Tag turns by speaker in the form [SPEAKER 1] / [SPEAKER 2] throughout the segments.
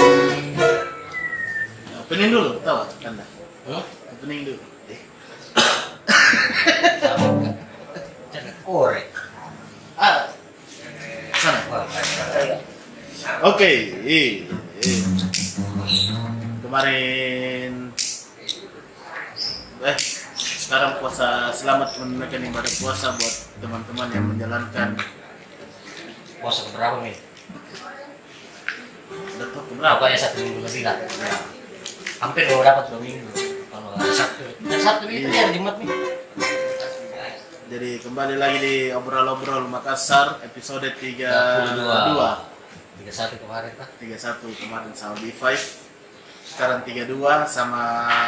[SPEAKER 1] Eh, ah. Oke. i- i. Kemarin eh sekarang puasa selamat menunaikan ibadah puasa buat teman-teman yang menjalankan
[SPEAKER 2] Puasa berapa nih?
[SPEAKER 1] datuk keberapa?
[SPEAKER 2] Berapa ya satu minggu lebih lah. Ya. Hampir baru dapat dua minggu. Kalau hari Sabtu, hari Sabtu itu ya hari Jumat nih.
[SPEAKER 1] Jadi kembali lagi di obrol-obrol Makassar episode 32 31
[SPEAKER 2] Tiga satu kemarin kah?
[SPEAKER 1] kemarin sama B5 sekarang 32 sama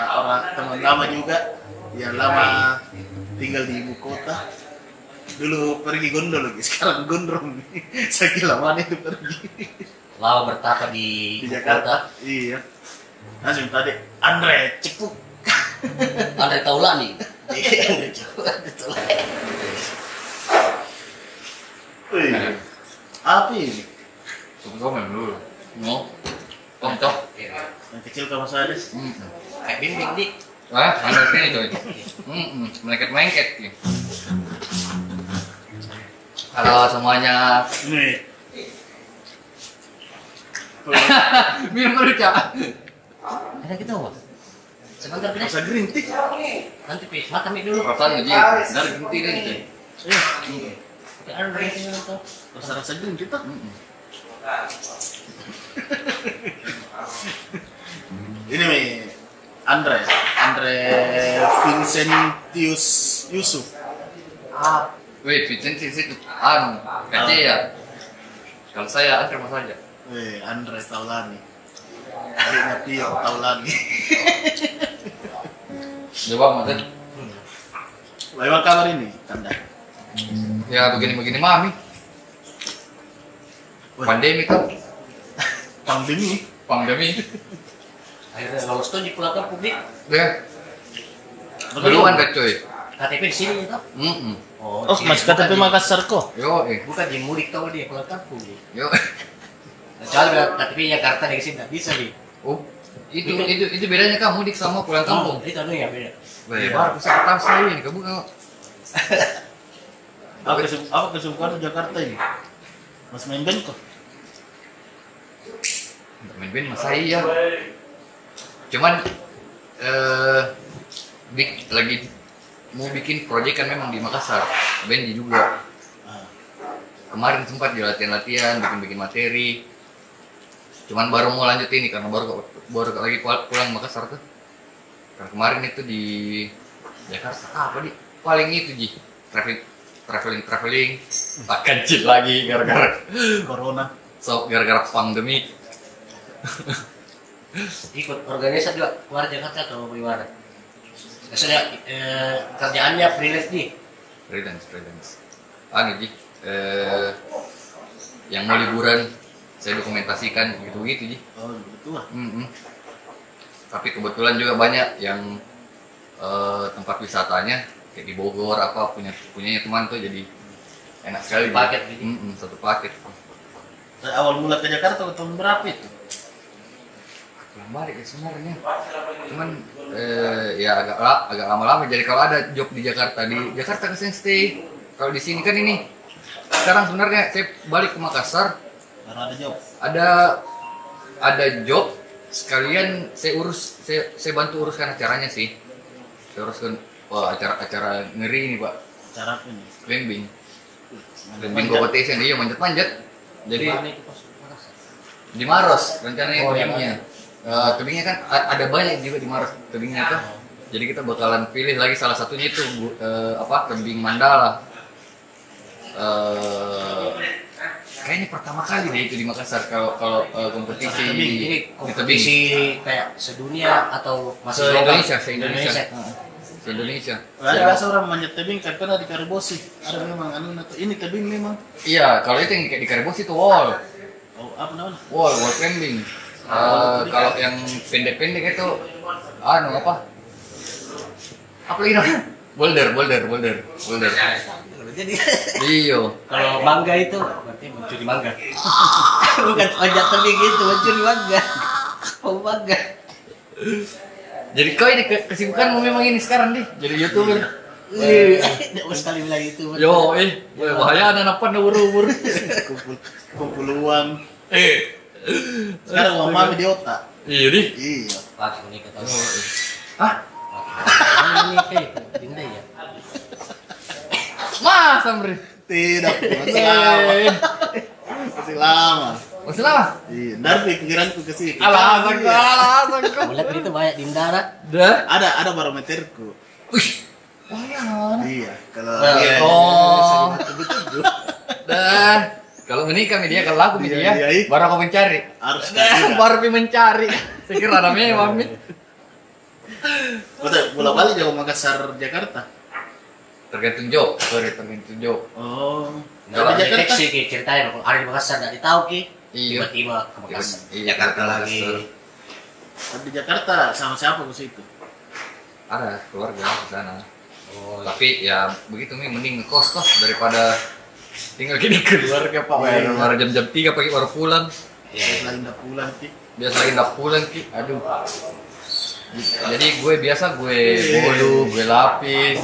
[SPEAKER 1] orang teman lama juga yang lama tinggal di ibu kota dulu pergi gondol lagi sekarang gondrong sakit lama itu pergi
[SPEAKER 2] Lama bertapa
[SPEAKER 1] di
[SPEAKER 2] di, ibu
[SPEAKER 1] Jakarta iya langsung tadi Andre cepuk
[SPEAKER 2] kota. Andre Taulani. Andre Taulani.
[SPEAKER 1] Wih, apa ini
[SPEAKER 3] Sungguh dulu.
[SPEAKER 2] No.
[SPEAKER 3] Contoh.
[SPEAKER 1] yang kecil kamu saya Des?
[SPEAKER 3] Mm -mm.
[SPEAKER 2] Kayak bimbing dik.
[SPEAKER 3] Wah, mana ini coy? Mm -mm. Melengket-melengket. ya.
[SPEAKER 2] Halo semuanya.
[SPEAKER 1] ini
[SPEAKER 3] Minum dulu, Cak.
[SPEAKER 2] Ada kita apa? Sebentar Pis.
[SPEAKER 1] masa green tea
[SPEAKER 2] Nanti Pis. Makan mie dulu.
[SPEAKER 3] Perasaan gaji. Ntar ganti deh, coy.
[SPEAKER 1] eh,
[SPEAKER 2] Oke, Andre ini tuh.
[SPEAKER 1] rasa-rasa green kita
[SPEAKER 3] Mm -mm.
[SPEAKER 1] ini Mi. Andre Andre Vincentius Yusuf
[SPEAKER 2] Ah,
[SPEAKER 3] Wih, Vincent sih situ. Anu, gaji ya. Kalau saya antar mas aja.
[SPEAKER 1] eh Andre Taulani adiknya Pio Taulani
[SPEAKER 3] Coba mas.
[SPEAKER 1] bagaimana kabar ini Kanda
[SPEAKER 3] Ya begini-begini mami. Pandemi kan.
[SPEAKER 1] pandemi
[SPEAKER 3] Pandemi.
[SPEAKER 2] akhirnya lolos tuh dipulangkan publik.
[SPEAKER 3] Deh, duluan kan coy.
[SPEAKER 2] KTP di sini tuh.
[SPEAKER 3] Mm -mm.
[SPEAKER 2] Oh,
[SPEAKER 1] oh mas KTP Makassar kok
[SPEAKER 3] Yo, eh.
[SPEAKER 2] Bukan di mudik tau dia pulang kampung. Dik.
[SPEAKER 3] Yo.
[SPEAKER 2] Kecuali bilang KTP Jakarta dari sini nggak bisa nih.
[SPEAKER 3] Oh, itu itu itu bedanya kamu mudik sama pulang kampung. Iya.
[SPEAKER 2] Itu anu ya beda.
[SPEAKER 3] Wah, baru bisa kertas saya ini kamu kau.
[SPEAKER 1] apa kesu- apa kesukaan Jakarta ini Mas main band kok
[SPEAKER 3] main band mas saya. iya. Cuman eh bik, lagi mau bikin proyek kan memang di Makassar, band juga.
[SPEAKER 1] Ah,
[SPEAKER 3] Kemarin sempat di latihan-latihan, bikin-bikin materi. Cuman baru mau lanjut ini karena baru baru lagi pul- pulang Makassar tuh. Karena kemarin itu di Jakarta Ah, apa di paling itu ji traveling traveling traveling makan cheat lagi gara-gara
[SPEAKER 1] Corona
[SPEAKER 3] so gara-gara pandemi
[SPEAKER 2] Ikut organisasi juga keluar Jakarta atau bagaimana? Maksudnya eh, kerjaannya freelance nih.
[SPEAKER 3] freelance freelance anu ji eh, yang mau liburan saya dokumentasikan gitu gitu ji
[SPEAKER 1] oh begitu lah
[SPEAKER 3] Mm-mm. tapi kebetulan juga banyak yang eh, tempat wisatanya kayak di Bogor apa punya punyanya teman tuh jadi enak sekali Ji.
[SPEAKER 2] paket gitu.
[SPEAKER 3] Mm-mm, satu paket
[SPEAKER 1] Dari awal mula ke Jakarta tahun berapa itu
[SPEAKER 3] Pulang balik ya sebenarnya cuman eh, ya agak la- agak lama-lama jadi kalau ada job di Jakarta di Jakarta kesini stay kalau di sini kan ini sekarang sebenarnya saya balik ke Makassar
[SPEAKER 1] baru ada job
[SPEAKER 3] ada ada job sekalian saya urus saya, saya bantu uruskan acaranya sih saya uruskan wah acara acara ngeri ini pak
[SPEAKER 1] cara apa ini
[SPEAKER 3] climbing climbing
[SPEAKER 1] Manjat.
[SPEAKER 3] competition iya manjat manjat jadi
[SPEAKER 2] Gimana itu pas Makassar?
[SPEAKER 3] di Maros rencananya
[SPEAKER 2] Oh, yang
[SPEAKER 3] tebingnya Eh, tebingnya kan a- ada banyak juga di Maros tebingnya
[SPEAKER 2] Ah.
[SPEAKER 3] tuh jadi kita bakalan pilih lagi salah satunya itu bu- eh, apa tebing Mandala Eh, kayaknya pertama kali deh itu di Makassar kalau kalau eh, kompetisi
[SPEAKER 1] Di tebing,
[SPEAKER 2] Ini
[SPEAKER 3] di tebing
[SPEAKER 2] kompetisi kayak sedunia atau masih
[SPEAKER 3] Se-
[SPEAKER 2] lokal?
[SPEAKER 3] Indonesia, se- Indonesia.
[SPEAKER 2] Heeh.
[SPEAKER 3] di Indonesia
[SPEAKER 1] Ada rasa orang manjat tebing kan karena di Karibosi. Ada memang anu nato ini tebing memang.
[SPEAKER 3] iya kalau itu yang kayak di Karibos itu wall
[SPEAKER 1] Oh, apa namanya?
[SPEAKER 3] wall wall climbing
[SPEAKER 1] Ah,
[SPEAKER 3] Eh, kalau yang pendek-pendek itu anu apa apa lagi namanya boulder boulder boulder boulder
[SPEAKER 2] Jadi
[SPEAKER 3] iyo
[SPEAKER 2] kalau mangga itu berarti mencuri mangga. Bukan ojek tebing itu mencuri mangga. Oh mangga.
[SPEAKER 3] Jadi kau ini ke- kesibukanmu memang ini sekarang nih, jadi youtuber.
[SPEAKER 2] Wih,
[SPEAKER 3] Iya.
[SPEAKER 2] Nggak mau sekali bilang itu. Mas.
[SPEAKER 3] Yo, eh, weh, bahaya anak apa umur umur.
[SPEAKER 1] Kumpul kumpul uang.
[SPEAKER 3] Eh,
[SPEAKER 1] Sekarang uang mami di otak.
[SPEAKER 3] Iya deh.
[SPEAKER 1] Iya.
[SPEAKER 2] Laki menikah
[SPEAKER 3] Oh,
[SPEAKER 2] tahu.
[SPEAKER 3] iya. Hah?
[SPEAKER 2] Mana nih kayak Dinda ya?
[SPEAKER 3] Masa Bre?
[SPEAKER 1] Tidak, masih lama.
[SPEAKER 3] Eh,
[SPEAKER 1] Masih lama.
[SPEAKER 3] Masih lama?
[SPEAKER 1] Iya, ntar pikiranku ke situ.
[SPEAKER 3] Alasan
[SPEAKER 1] Iya.
[SPEAKER 3] gua, alasan gua.
[SPEAKER 2] Bulat itu banyak Dinda lah.
[SPEAKER 3] Dah.
[SPEAKER 1] Ada ada barometerku.
[SPEAKER 3] Oh ya.
[SPEAKER 1] Iya, kalau
[SPEAKER 3] Nah,
[SPEAKER 1] iya,
[SPEAKER 3] oh. Dah. Kalau menikah media kalau laku
[SPEAKER 1] Iya,
[SPEAKER 3] media
[SPEAKER 1] iya, iya.
[SPEAKER 3] baru aku mencari.
[SPEAKER 1] harus
[SPEAKER 3] Dah,
[SPEAKER 1] tidak.
[SPEAKER 3] baru aku mencari. Sekira namanya mami.
[SPEAKER 1] Betul, bola balik jauh Makassar Jakarta.
[SPEAKER 3] Tergantung job, sorry tergantung job.
[SPEAKER 1] Oh,
[SPEAKER 2] Kalau
[SPEAKER 1] tapi Jakarta.
[SPEAKER 2] deteksi ki ceritanya kalau ada di Makassar nggak ditahu ki.
[SPEAKER 3] Iya.
[SPEAKER 2] Tiba-tiba ke Makassar.
[SPEAKER 3] Iya, Jakarta lagi.
[SPEAKER 1] Kalau Di Jakarta sama siapa ke situ?
[SPEAKER 3] Ada keluarga di sana.
[SPEAKER 2] Oh,
[SPEAKER 3] Tapi ya begitu nih mending ngekos kos daripada tinggal gini keluarga Pak.
[SPEAKER 1] Iya.
[SPEAKER 3] Baru jam jam 3 pagi baru pulang.
[SPEAKER 2] iya.
[SPEAKER 1] Selain udah pulang sih.
[SPEAKER 3] biasa lagi nggak pulang ki aduh jadi gue biasa gue bolu gue lapis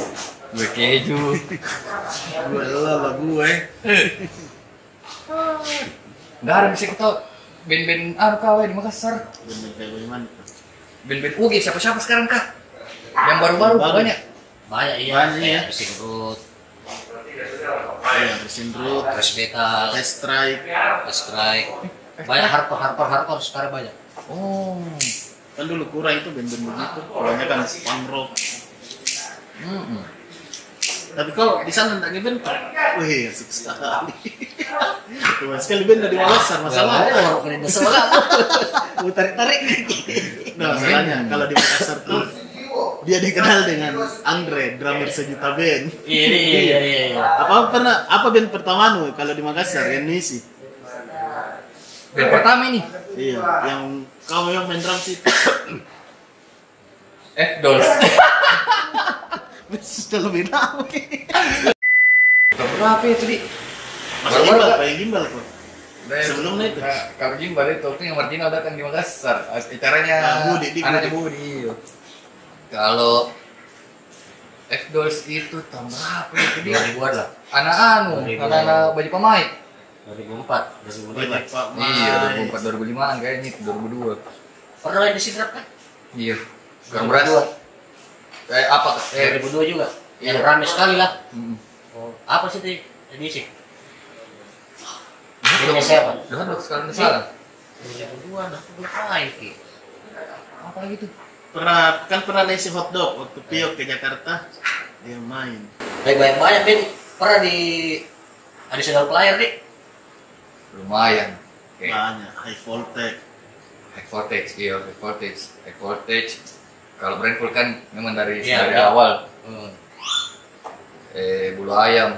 [SPEAKER 3] gue keju
[SPEAKER 1] Gue lelah eh. gue.
[SPEAKER 3] nggak ada musik tau band-band ah kau di Makassar
[SPEAKER 1] Bener kayak gimana? tuh?
[SPEAKER 3] band-band UGI siapa-siapa sekarang kah yang baru-baru
[SPEAKER 1] Baru.
[SPEAKER 3] banyak
[SPEAKER 2] Banyak iya.
[SPEAKER 1] Banyak, ya.
[SPEAKER 2] Kayak Racing Road,
[SPEAKER 1] Iya, bersin root,
[SPEAKER 2] Crash Metal,
[SPEAKER 1] test strike.
[SPEAKER 2] Crash Strike. Banyak hardcore, hardcore, hardcore sekarang banyak.
[SPEAKER 3] oh
[SPEAKER 1] Kan dulu kurang itu band-band begitu. kan Kebanyakan punk rock.
[SPEAKER 3] Mm-mm.
[SPEAKER 1] Tapi kalau di sana nggak ngeband, wih asik sekali. Cuma sekali band dari Makassar
[SPEAKER 2] Nggak
[SPEAKER 1] masalahnya.
[SPEAKER 2] mau, orang Dinda sebelah. Putar tarik.
[SPEAKER 1] Nah masalahnya kalau di Makassar tuh dia dikenal dengan Andre, drummer sejuta band.
[SPEAKER 2] Iya, iya, iya, iya, iya.
[SPEAKER 1] Apa pernah apa band pertamamu kalau di Makassar E yang ngisi?
[SPEAKER 3] band pertama ini
[SPEAKER 1] Iya, yang kamu yang main drum sih.
[SPEAKER 3] F Dolls
[SPEAKER 1] Sudah lebih tahu.
[SPEAKER 3] berapa itu di
[SPEAKER 1] Masih
[SPEAKER 3] Baru-baru,
[SPEAKER 1] gimbal,
[SPEAKER 3] Kak.
[SPEAKER 1] kayak gimbal kok.
[SPEAKER 3] Nah,
[SPEAKER 1] Sebelumnya itu.
[SPEAKER 3] kalau gimbal itu waktu yang kan, marginal datang di Makassar acaranya
[SPEAKER 1] Nah, Budi, di
[SPEAKER 3] anaknya Budi iya. kalau F Dolls itu tahun berapa itu dia
[SPEAKER 2] 2000-an lah.
[SPEAKER 3] anak anu
[SPEAKER 2] 2000.
[SPEAKER 3] anak anak baju pemain
[SPEAKER 2] 2004, 2005.
[SPEAKER 1] Banyak Pak Mai.
[SPEAKER 3] iya 2004 2005 an kayaknya itu 2002
[SPEAKER 2] Pernah main di Sidrap kan?
[SPEAKER 3] iya kurang beras eh apa eh
[SPEAKER 2] 2002 juga. Yang
[SPEAKER 3] Iya.
[SPEAKER 2] rame sekali lah.
[SPEAKER 3] mm,
[SPEAKER 2] Oh, apa sih tadi? Ini sih.
[SPEAKER 3] belum
[SPEAKER 2] Indonesia apa?
[SPEAKER 3] belum sekali nggak salah
[SPEAKER 2] 2002 an nah, aku belum main ki.
[SPEAKER 3] apa lagi tuh
[SPEAKER 1] Pernah kan pernah nasi hotdog waktu
[SPEAKER 3] Iya.
[SPEAKER 1] Piok ke Jakarta dia main.
[SPEAKER 2] Baik banyak banyak Ben. Pernah di ada sedang player nih.
[SPEAKER 3] lumayan kayak
[SPEAKER 1] Banyak high voltage.
[SPEAKER 3] High voltage, iya high voltage, high voltage. Kalau brand full kan memang dari
[SPEAKER 2] Iya,
[SPEAKER 3] dari
[SPEAKER 2] iya.
[SPEAKER 3] awal
[SPEAKER 2] Hmm.
[SPEAKER 3] eh bulu ayam.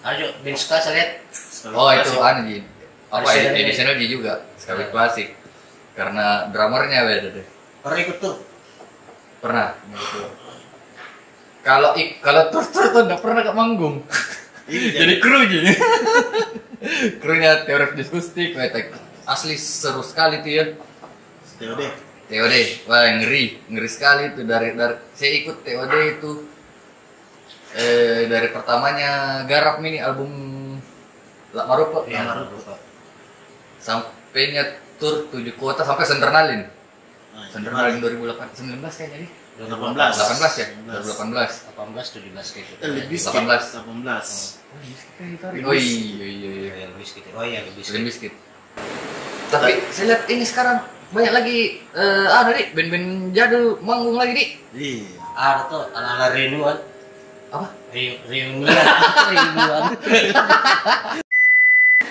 [SPEAKER 2] Ada juga Ben suka saya lihat.
[SPEAKER 1] Sekali
[SPEAKER 3] Oh itu
[SPEAKER 1] kasih.
[SPEAKER 3] anu di apa
[SPEAKER 2] Ada
[SPEAKER 3] ya
[SPEAKER 2] channelnya.
[SPEAKER 3] edisional dia juga sekali
[SPEAKER 2] Iya.
[SPEAKER 3] klasik karena drummernya beda deh
[SPEAKER 2] Pernah ikut tur.
[SPEAKER 3] pernah gitu. kalau ik kalau tur tur tuh nggak pernah ke manggung
[SPEAKER 1] Iya,
[SPEAKER 3] jadi kru jadi krunya teori diskustik asli seru sekali tuh ya
[SPEAKER 1] TOD.
[SPEAKER 3] TOD, wah ngeri, ngeri sekali itu dari dari saya ikut TOD itu eh dari pertamanya garap mini album Lak Marupa
[SPEAKER 2] Iya,
[SPEAKER 3] Lak Marupa.
[SPEAKER 2] lupa.
[SPEAKER 3] sampainya tur tujuh kota sampai Sendernalin
[SPEAKER 1] Nah,
[SPEAKER 3] Sendernalin 2018 kayaknya nih
[SPEAKER 1] 18.
[SPEAKER 3] 18 ya
[SPEAKER 1] 18.
[SPEAKER 3] 2018
[SPEAKER 2] 18 17 gitu.
[SPEAKER 1] Eh, Lebih sedikit.
[SPEAKER 3] 18.
[SPEAKER 1] 18.
[SPEAKER 3] oh iya iya iya
[SPEAKER 2] yang lebih gitu. Oh iya, lebih
[SPEAKER 3] Limp Bizkit. tapi saya lihat ini sekarang banyak lagi eh ah dari band-band jadul manggung lagi di
[SPEAKER 1] Iya.
[SPEAKER 2] Ada tuh Ah, ala-ala renewal.
[SPEAKER 3] apa
[SPEAKER 2] Reu- Reunian. Reunian.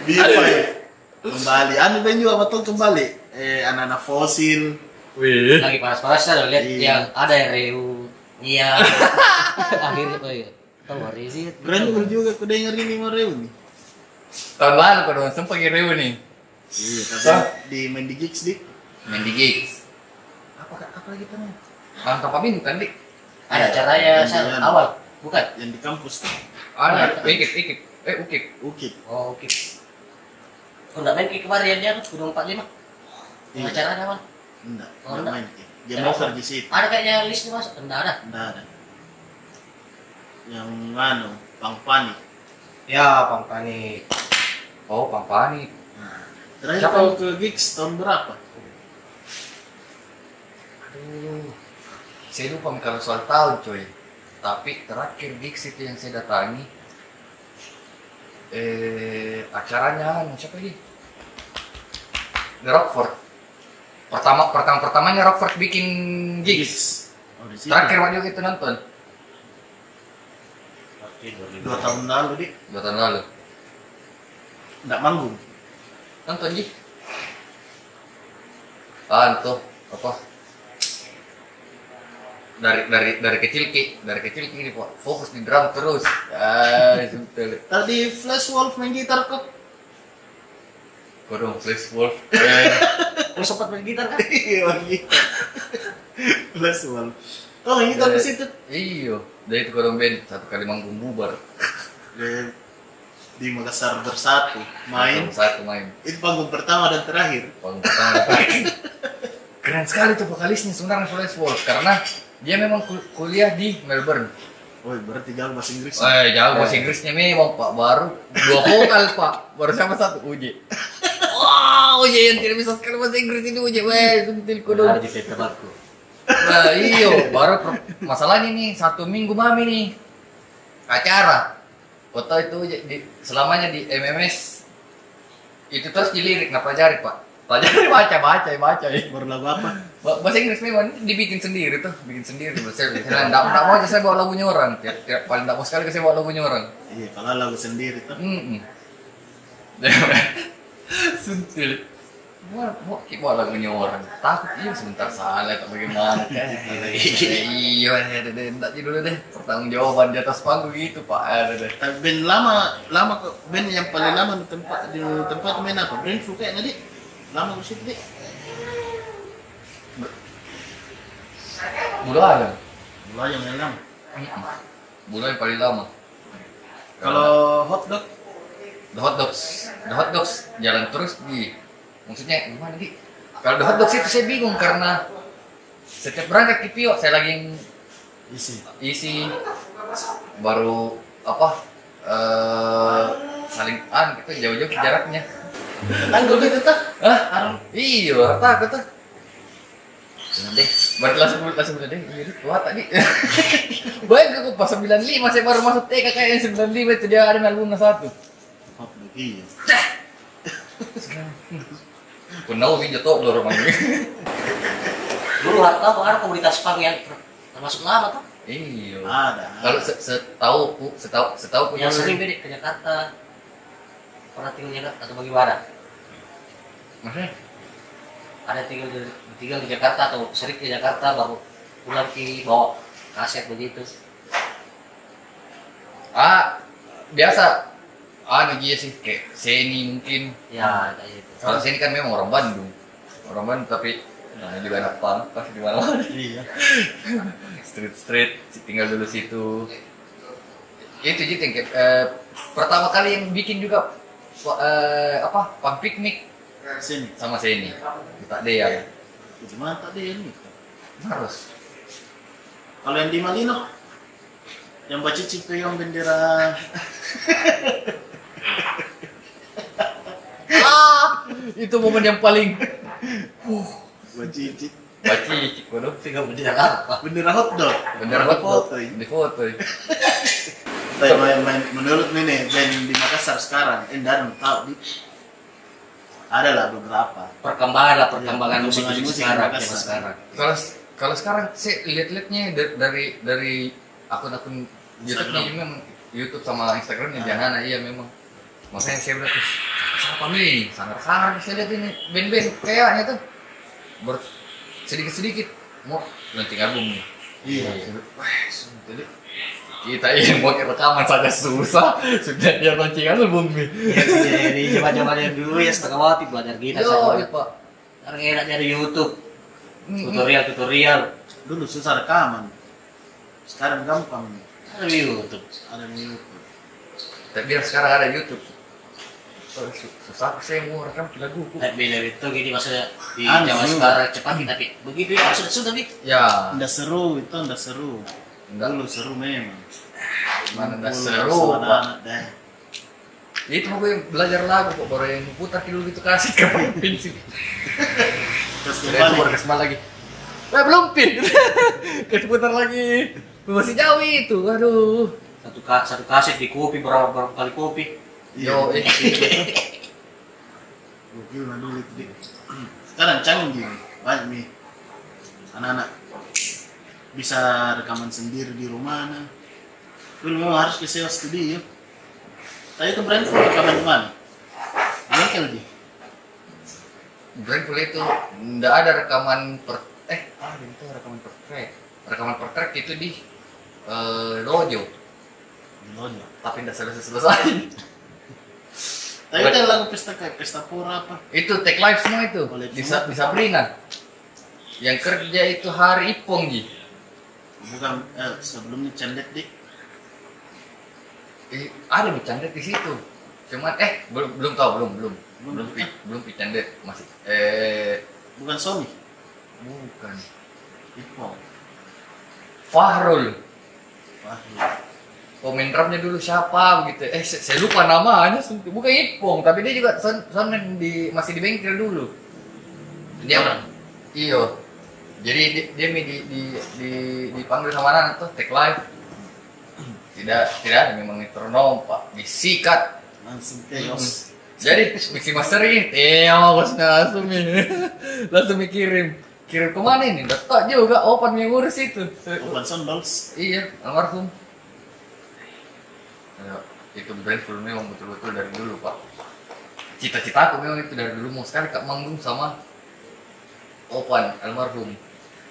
[SPEAKER 1] Bipa ya. Kembali. Anu Ben juga betul kembali. Eh anak-anak fosil.
[SPEAKER 3] Wih.
[SPEAKER 2] Lagi panas-panasnya loh lihat
[SPEAKER 1] Iya.
[SPEAKER 2] yang ada yang reunian. Akhirnya oh iya. Tahu hari ini.
[SPEAKER 3] Iya.
[SPEAKER 1] Keren juga aku denger ini mau reuni.
[SPEAKER 3] Tahun lalu kau dong, sempat ngirim nih.
[SPEAKER 1] Iya,
[SPEAKER 3] Hah?
[SPEAKER 1] tapi di main di gigs dik.
[SPEAKER 3] Main di Kan gigs. Apa apa lagi tuh? Bang Tanpa Bintang, Dik.
[SPEAKER 2] Ada acaranya saya
[SPEAKER 1] Reunian.
[SPEAKER 2] awal. Bukan.
[SPEAKER 1] yang di kampus tuh.
[SPEAKER 3] Ada, ikip, ikip. Eh, ukip.
[SPEAKER 1] Ukip.
[SPEAKER 2] Oh, oke. Oh, enggak main kayak kemarin dia tuh Gunung 45. Yang
[SPEAKER 1] Iya.
[SPEAKER 2] acaranya awal.
[SPEAKER 1] Enggak,
[SPEAKER 2] Oh,
[SPEAKER 1] enggak
[SPEAKER 2] enggak.
[SPEAKER 1] main. Ki. Game
[SPEAKER 2] Kenapa?
[SPEAKER 1] over di situ.
[SPEAKER 2] Ada kayaknya list nih, Mas. Enggak ada.
[SPEAKER 1] Enggak ada. Yang anu, Bang Pani.
[SPEAKER 2] Ya, Pang Panik.
[SPEAKER 3] Oh, Pampani.
[SPEAKER 1] Nah, Terakhir
[SPEAKER 4] Siapa?
[SPEAKER 1] kamu ke gigs tahun berapa?
[SPEAKER 3] Aduh, saya lupa kalau soal tahun coy. Tapi terakhir gigs itu yang saya datangi, eh acaranya anu, siapa ini? The Rockford. Pertama pertama pertamanya Rockford bikin gigs.
[SPEAKER 1] Oh, di sini.
[SPEAKER 3] Terakhir waktu itu nonton
[SPEAKER 2] Oke,
[SPEAKER 1] Dua tahun lalu, Dik.
[SPEAKER 3] dua tahun lalu.
[SPEAKER 1] Nggak manggung.
[SPEAKER 3] Nonton Ji. Ah itu apa? Dari dari dari kecil ki, dari kecil ki ini Pak. fokus di drum terus. Ah, sudah.
[SPEAKER 1] Tadi Flash Wolf main gitar kok.
[SPEAKER 3] Kodong Flash Wolf. Eh,
[SPEAKER 2] Lu sempat main gitar kan?
[SPEAKER 1] Iya, main gitar. Flash Wolf. Oh, main gitar ke situ.
[SPEAKER 3] Iyo, dari itu kodong band satu kali manggung bubar.
[SPEAKER 1] Di- Di Makassar bersatu main.
[SPEAKER 3] Satu satu main.
[SPEAKER 1] Itu panggung pertama dan terakhir.
[SPEAKER 3] Panggung pertama. Keren sekali tuh vokalisnya sebenarnya Flash Wolf karena dia memang kul- kuliah di Melbourne.
[SPEAKER 1] Woi, berarti jago bahasa Inggris.
[SPEAKER 3] Eh, jangan bahasa
[SPEAKER 4] Eh.
[SPEAKER 3] Inggrisnya memang Pak baru dua vokal Pak. Baru sama satu Uji. Wow, Uji yang tidak bisa sekali bahasa Inggris ini Uji. Weh, kuntil
[SPEAKER 2] Ada
[SPEAKER 3] kodong.
[SPEAKER 2] di temanku.
[SPEAKER 3] Nah, iyo, baru pro- masalahnya nih satu minggu mami nih acara. Foto itu j- di, selamanya di MMS itu terus dilirik nggak pelajari pak. Pelajari baca baca baca. ya.
[SPEAKER 1] Berlagu apa?
[SPEAKER 3] Ba- Bahasa Inggris memang dibikin sendiri tuh, bikin sendiri. Saya bilang nggak nggak mau aja saya bawa lagunya orang. Tiap, tiap paling nggak mau sekali saya bawa lagunya orang.
[SPEAKER 1] Iya, kalau lagu sendiri tuh.
[SPEAKER 3] Mm-mm. Sentil. Gua mau bawa lagunya orang. Takut iya sebentar salah atau bagaimana. iya, ada deh, enggak dulu deh. Pertanggung jawaban di atas panggung gitu, Pak. Ada deh.
[SPEAKER 1] Tapi band Eh, lama, lama kok. Band yang paling lama di tempat di tempat main apa? Band Fu kayaknya, Dik. Lama ke situ, Dik.
[SPEAKER 3] Bulu ada.
[SPEAKER 1] Dua yang paling lama.
[SPEAKER 3] ya? Mm-mm. Bulu yang paling lama. Eh,
[SPEAKER 1] Kalau hotdog,
[SPEAKER 3] The Hot Dogs, The Hot Dogs jalan terus di maksudnya gimana di kalau The Hot Dogs itu saya bingung karena setiap berangkat ke Pio saya lagi yang
[SPEAKER 1] isi.
[SPEAKER 3] isi Iya baru apa eh saling an gitu jauh-jauh jaraknya
[SPEAKER 1] Tanggung gitu tuh.
[SPEAKER 3] ah
[SPEAKER 1] Arang
[SPEAKER 3] iya harta aku tuh Jangan deh, baru langsung langsung bilang deh, iya tua tadi. Baik aku pas 95 saya baru masuk TK kayaknya 95 itu dia ada albumnya satu.
[SPEAKER 1] hotdog iya.
[SPEAKER 3] Kunau sih jatuh dulu rumah ini.
[SPEAKER 2] Dulu harta apa kan komunitas pang yang ter- termasuk lama tuh.
[SPEAKER 3] Iya.
[SPEAKER 1] Ada.
[SPEAKER 3] Kalau se- setahu ku, setahu setahu punya
[SPEAKER 2] Yang sering beda ke Jakarta. Pernah tinggal di Jakarta atau bagaimana?
[SPEAKER 3] Maksudnya?
[SPEAKER 2] Ada tinggal di, tinggal di Jakarta atau sering ke Jakarta baru pulang ke bawa kaset begitu.
[SPEAKER 3] Ah, biasa. Ah, iya sih kayak Seni mungkin.
[SPEAKER 2] Ya kayak gitu.
[SPEAKER 3] Kalau Seni kan memang orang Bandung. Orang Bandung tapi nah, juga anak punk pasti di mana-mana.
[SPEAKER 1] Iya.
[SPEAKER 3] Street street tinggal dulu situ. Itu jadi yang kayak, eh, pertama kali yang bikin juga eh, apa punk piknik
[SPEAKER 1] Sini.
[SPEAKER 3] sama Seni. Tak ada yang
[SPEAKER 1] Cuma tadi ini.
[SPEAKER 3] harus.
[SPEAKER 1] Kalau yang di Malino, yang baca pegang bendera.
[SPEAKER 3] Ah, itu momen yang paling.
[SPEAKER 1] Baca cicit.
[SPEAKER 3] Baci, waduh.
[SPEAKER 2] Tinggal di Jakarta.
[SPEAKER 1] Bendera hotdog.
[SPEAKER 3] Bener
[SPEAKER 1] Ada
[SPEAKER 3] banget foto.
[SPEAKER 1] foto. ini.
[SPEAKER 3] Di foto. ya.
[SPEAKER 1] Tapi main- main- menurut nih nih, band di Makassar sekarang, eh Darren tahu di ada lah beberapa.
[SPEAKER 2] Perkembangan lah perkembangan
[SPEAKER 1] Iya,
[SPEAKER 2] musik
[SPEAKER 1] perkembangan
[SPEAKER 2] musik
[SPEAKER 1] musik
[SPEAKER 2] sekarang.
[SPEAKER 1] Jakarta.
[SPEAKER 2] zaman sekarang.
[SPEAKER 3] Kalau kalau sekarang sih lihat-lihatnya da- dari dari akun-akun YouTube
[SPEAKER 1] Instagram. Ah.
[SPEAKER 3] ini memang YouTube sama Instagram yang jangan iya memang. Makanya saya bilang "Ih, siapa nih? Sangar-sangar saya lihat ini band-band kayaknya tuh ber sedikit-sedikit mau launching album nih.
[SPEAKER 1] Iya.
[SPEAKER 3] Wah, jadi kita ini mau rekaman saja susah sudah dia launching album nih.
[SPEAKER 2] Iya, Jadi zaman-zaman yang dulu ya setengah mati belajar gitar
[SPEAKER 3] Yo,
[SPEAKER 2] saya.
[SPEAKER 3] iya pak.
[SPEAKER 2] Sekarang enak dari YouTube.
[SPEAKER 3] Mm, mm.
[SPEAKER 2] Tutorial-tutorial.
[SPEAKER 1] Dulu susah rekaman. Sekarang gampang.
[SPEAKER 2] Dari YouTube.
[SPEAKER 1] Ada di YouTube.
[SPEAKER 3] Tapi biar sekarang ada YouTube. Oh, su- Susah sih mau rekam lagu.
[SPEAKER 2] Nah, beda itu gini maksudnya di
[SPEAKER 1] Anu.
[SPEAKER 2] Jawa sekarang cepat tapi begitu ya maksudnya sudah nih.
[SPEAKER 3] Ya,
[SPEAKER 1] Nggak seru itu, nggak seru.
[SPEAKER 3] enggak
[SPEAKER 1] Dulu seru memang.
[SPEAKER 3] mana enggak
[SPEAKER 1] Dulu
[SPEAKER 3] seru. Pak.
[SPEAKER 1] anak-anak dah.
[SPEAKER 3] ya itu gue belajar lagu kok baru yang putar dulu gitu kasih kapan pin sih
[SPEAKER 1] Terus
[SPEAKER 3] Ternyata baru
[SPEAKER 1] kembali.
[SPEAKER 3] kesempatan lagi Wah belum pin Terus putar lagi Masih jauh itu aduh
[SPEAKER 2] Satu ka satu kaset di kopi berapa berapa kali kopi.
[SPEAKER 1] Iya.
[SPEAKER 3] Yo eh.
[SPEAKER 1] Gokil lah dulu itu. Dik. Sekarang canggih banyak nih anak-anak bisa rekaman sendiri di rumah. Nah. Dulu memang harus ke sewa studio. Tadi ya. itu Brentford rekaman di mana? Bengkel dia.
[SPEAKER 3] Brandful itu nggak ada rekaman per eh ada itu rekaman per track rekaman per track itu di eh, dojo
[SPEAKER 1] Di Lonya.
[SPEAKER 3] tapi nggak selesai selesai
[SPEAKER 1] Tapi ada lagu pesta kayak pesta pura apa?
[SPEAKER 3] itu take live semua itu
[SPEAKER 1] Boleh
[SPEAKER 3] di,
[SPEAKER 1] semua.
[SPEAKER 3] Sa- di Sabrina yang kerja itu hari ipong ji
[SPEAKER 1] Bukan eh, sebelumnya Cendet dik.
[SPEAKER 3] Eh, ada bercanda di situ cuman eh belum belum tahu belum belum
[SPEAKER 1] Belum.
[SPEAKER 3] belum pi, belum bercanda masih eh
[SPEAKER 1] Bukan Sony. Oh,
[SPEAKER 3] bukan
[SPEAKER 1] Ipong.
[SPEAKER 3] Fahrul
[SPEAKER 1] Wah.
[SPEAKER 3] pemain Oh, drumnya dulu siapa begitu eh saya, saya lupa namanya sumpah. bukan Ipong tapi dia juga son, sonen di masih di bengkel dulu dia
[SPEAKER 1] Orang?
[SPEAKER 3] iyo jadi dia, dia mi di, di, di, dipanggil sama anak tuh take live tidak tidak ada memang metronom pak disikat
[SPEAKER 1] Langsung chaos.
[SPEAKER 3] jadi mixing master ini teo bosnya langsung mi- langsung dikirim kirim kemana ini Data juga open yang ngurus itu
[SPEAKER 1] Bukan Sound Dolls.
[SPEAKER 3] Iya, almarhum. Ya, itu brand full memang betul-betul dari dulu, Pak. Cita-cita aku memang itu dari dulu mau sekali Kak Manggung sama Opan almarhum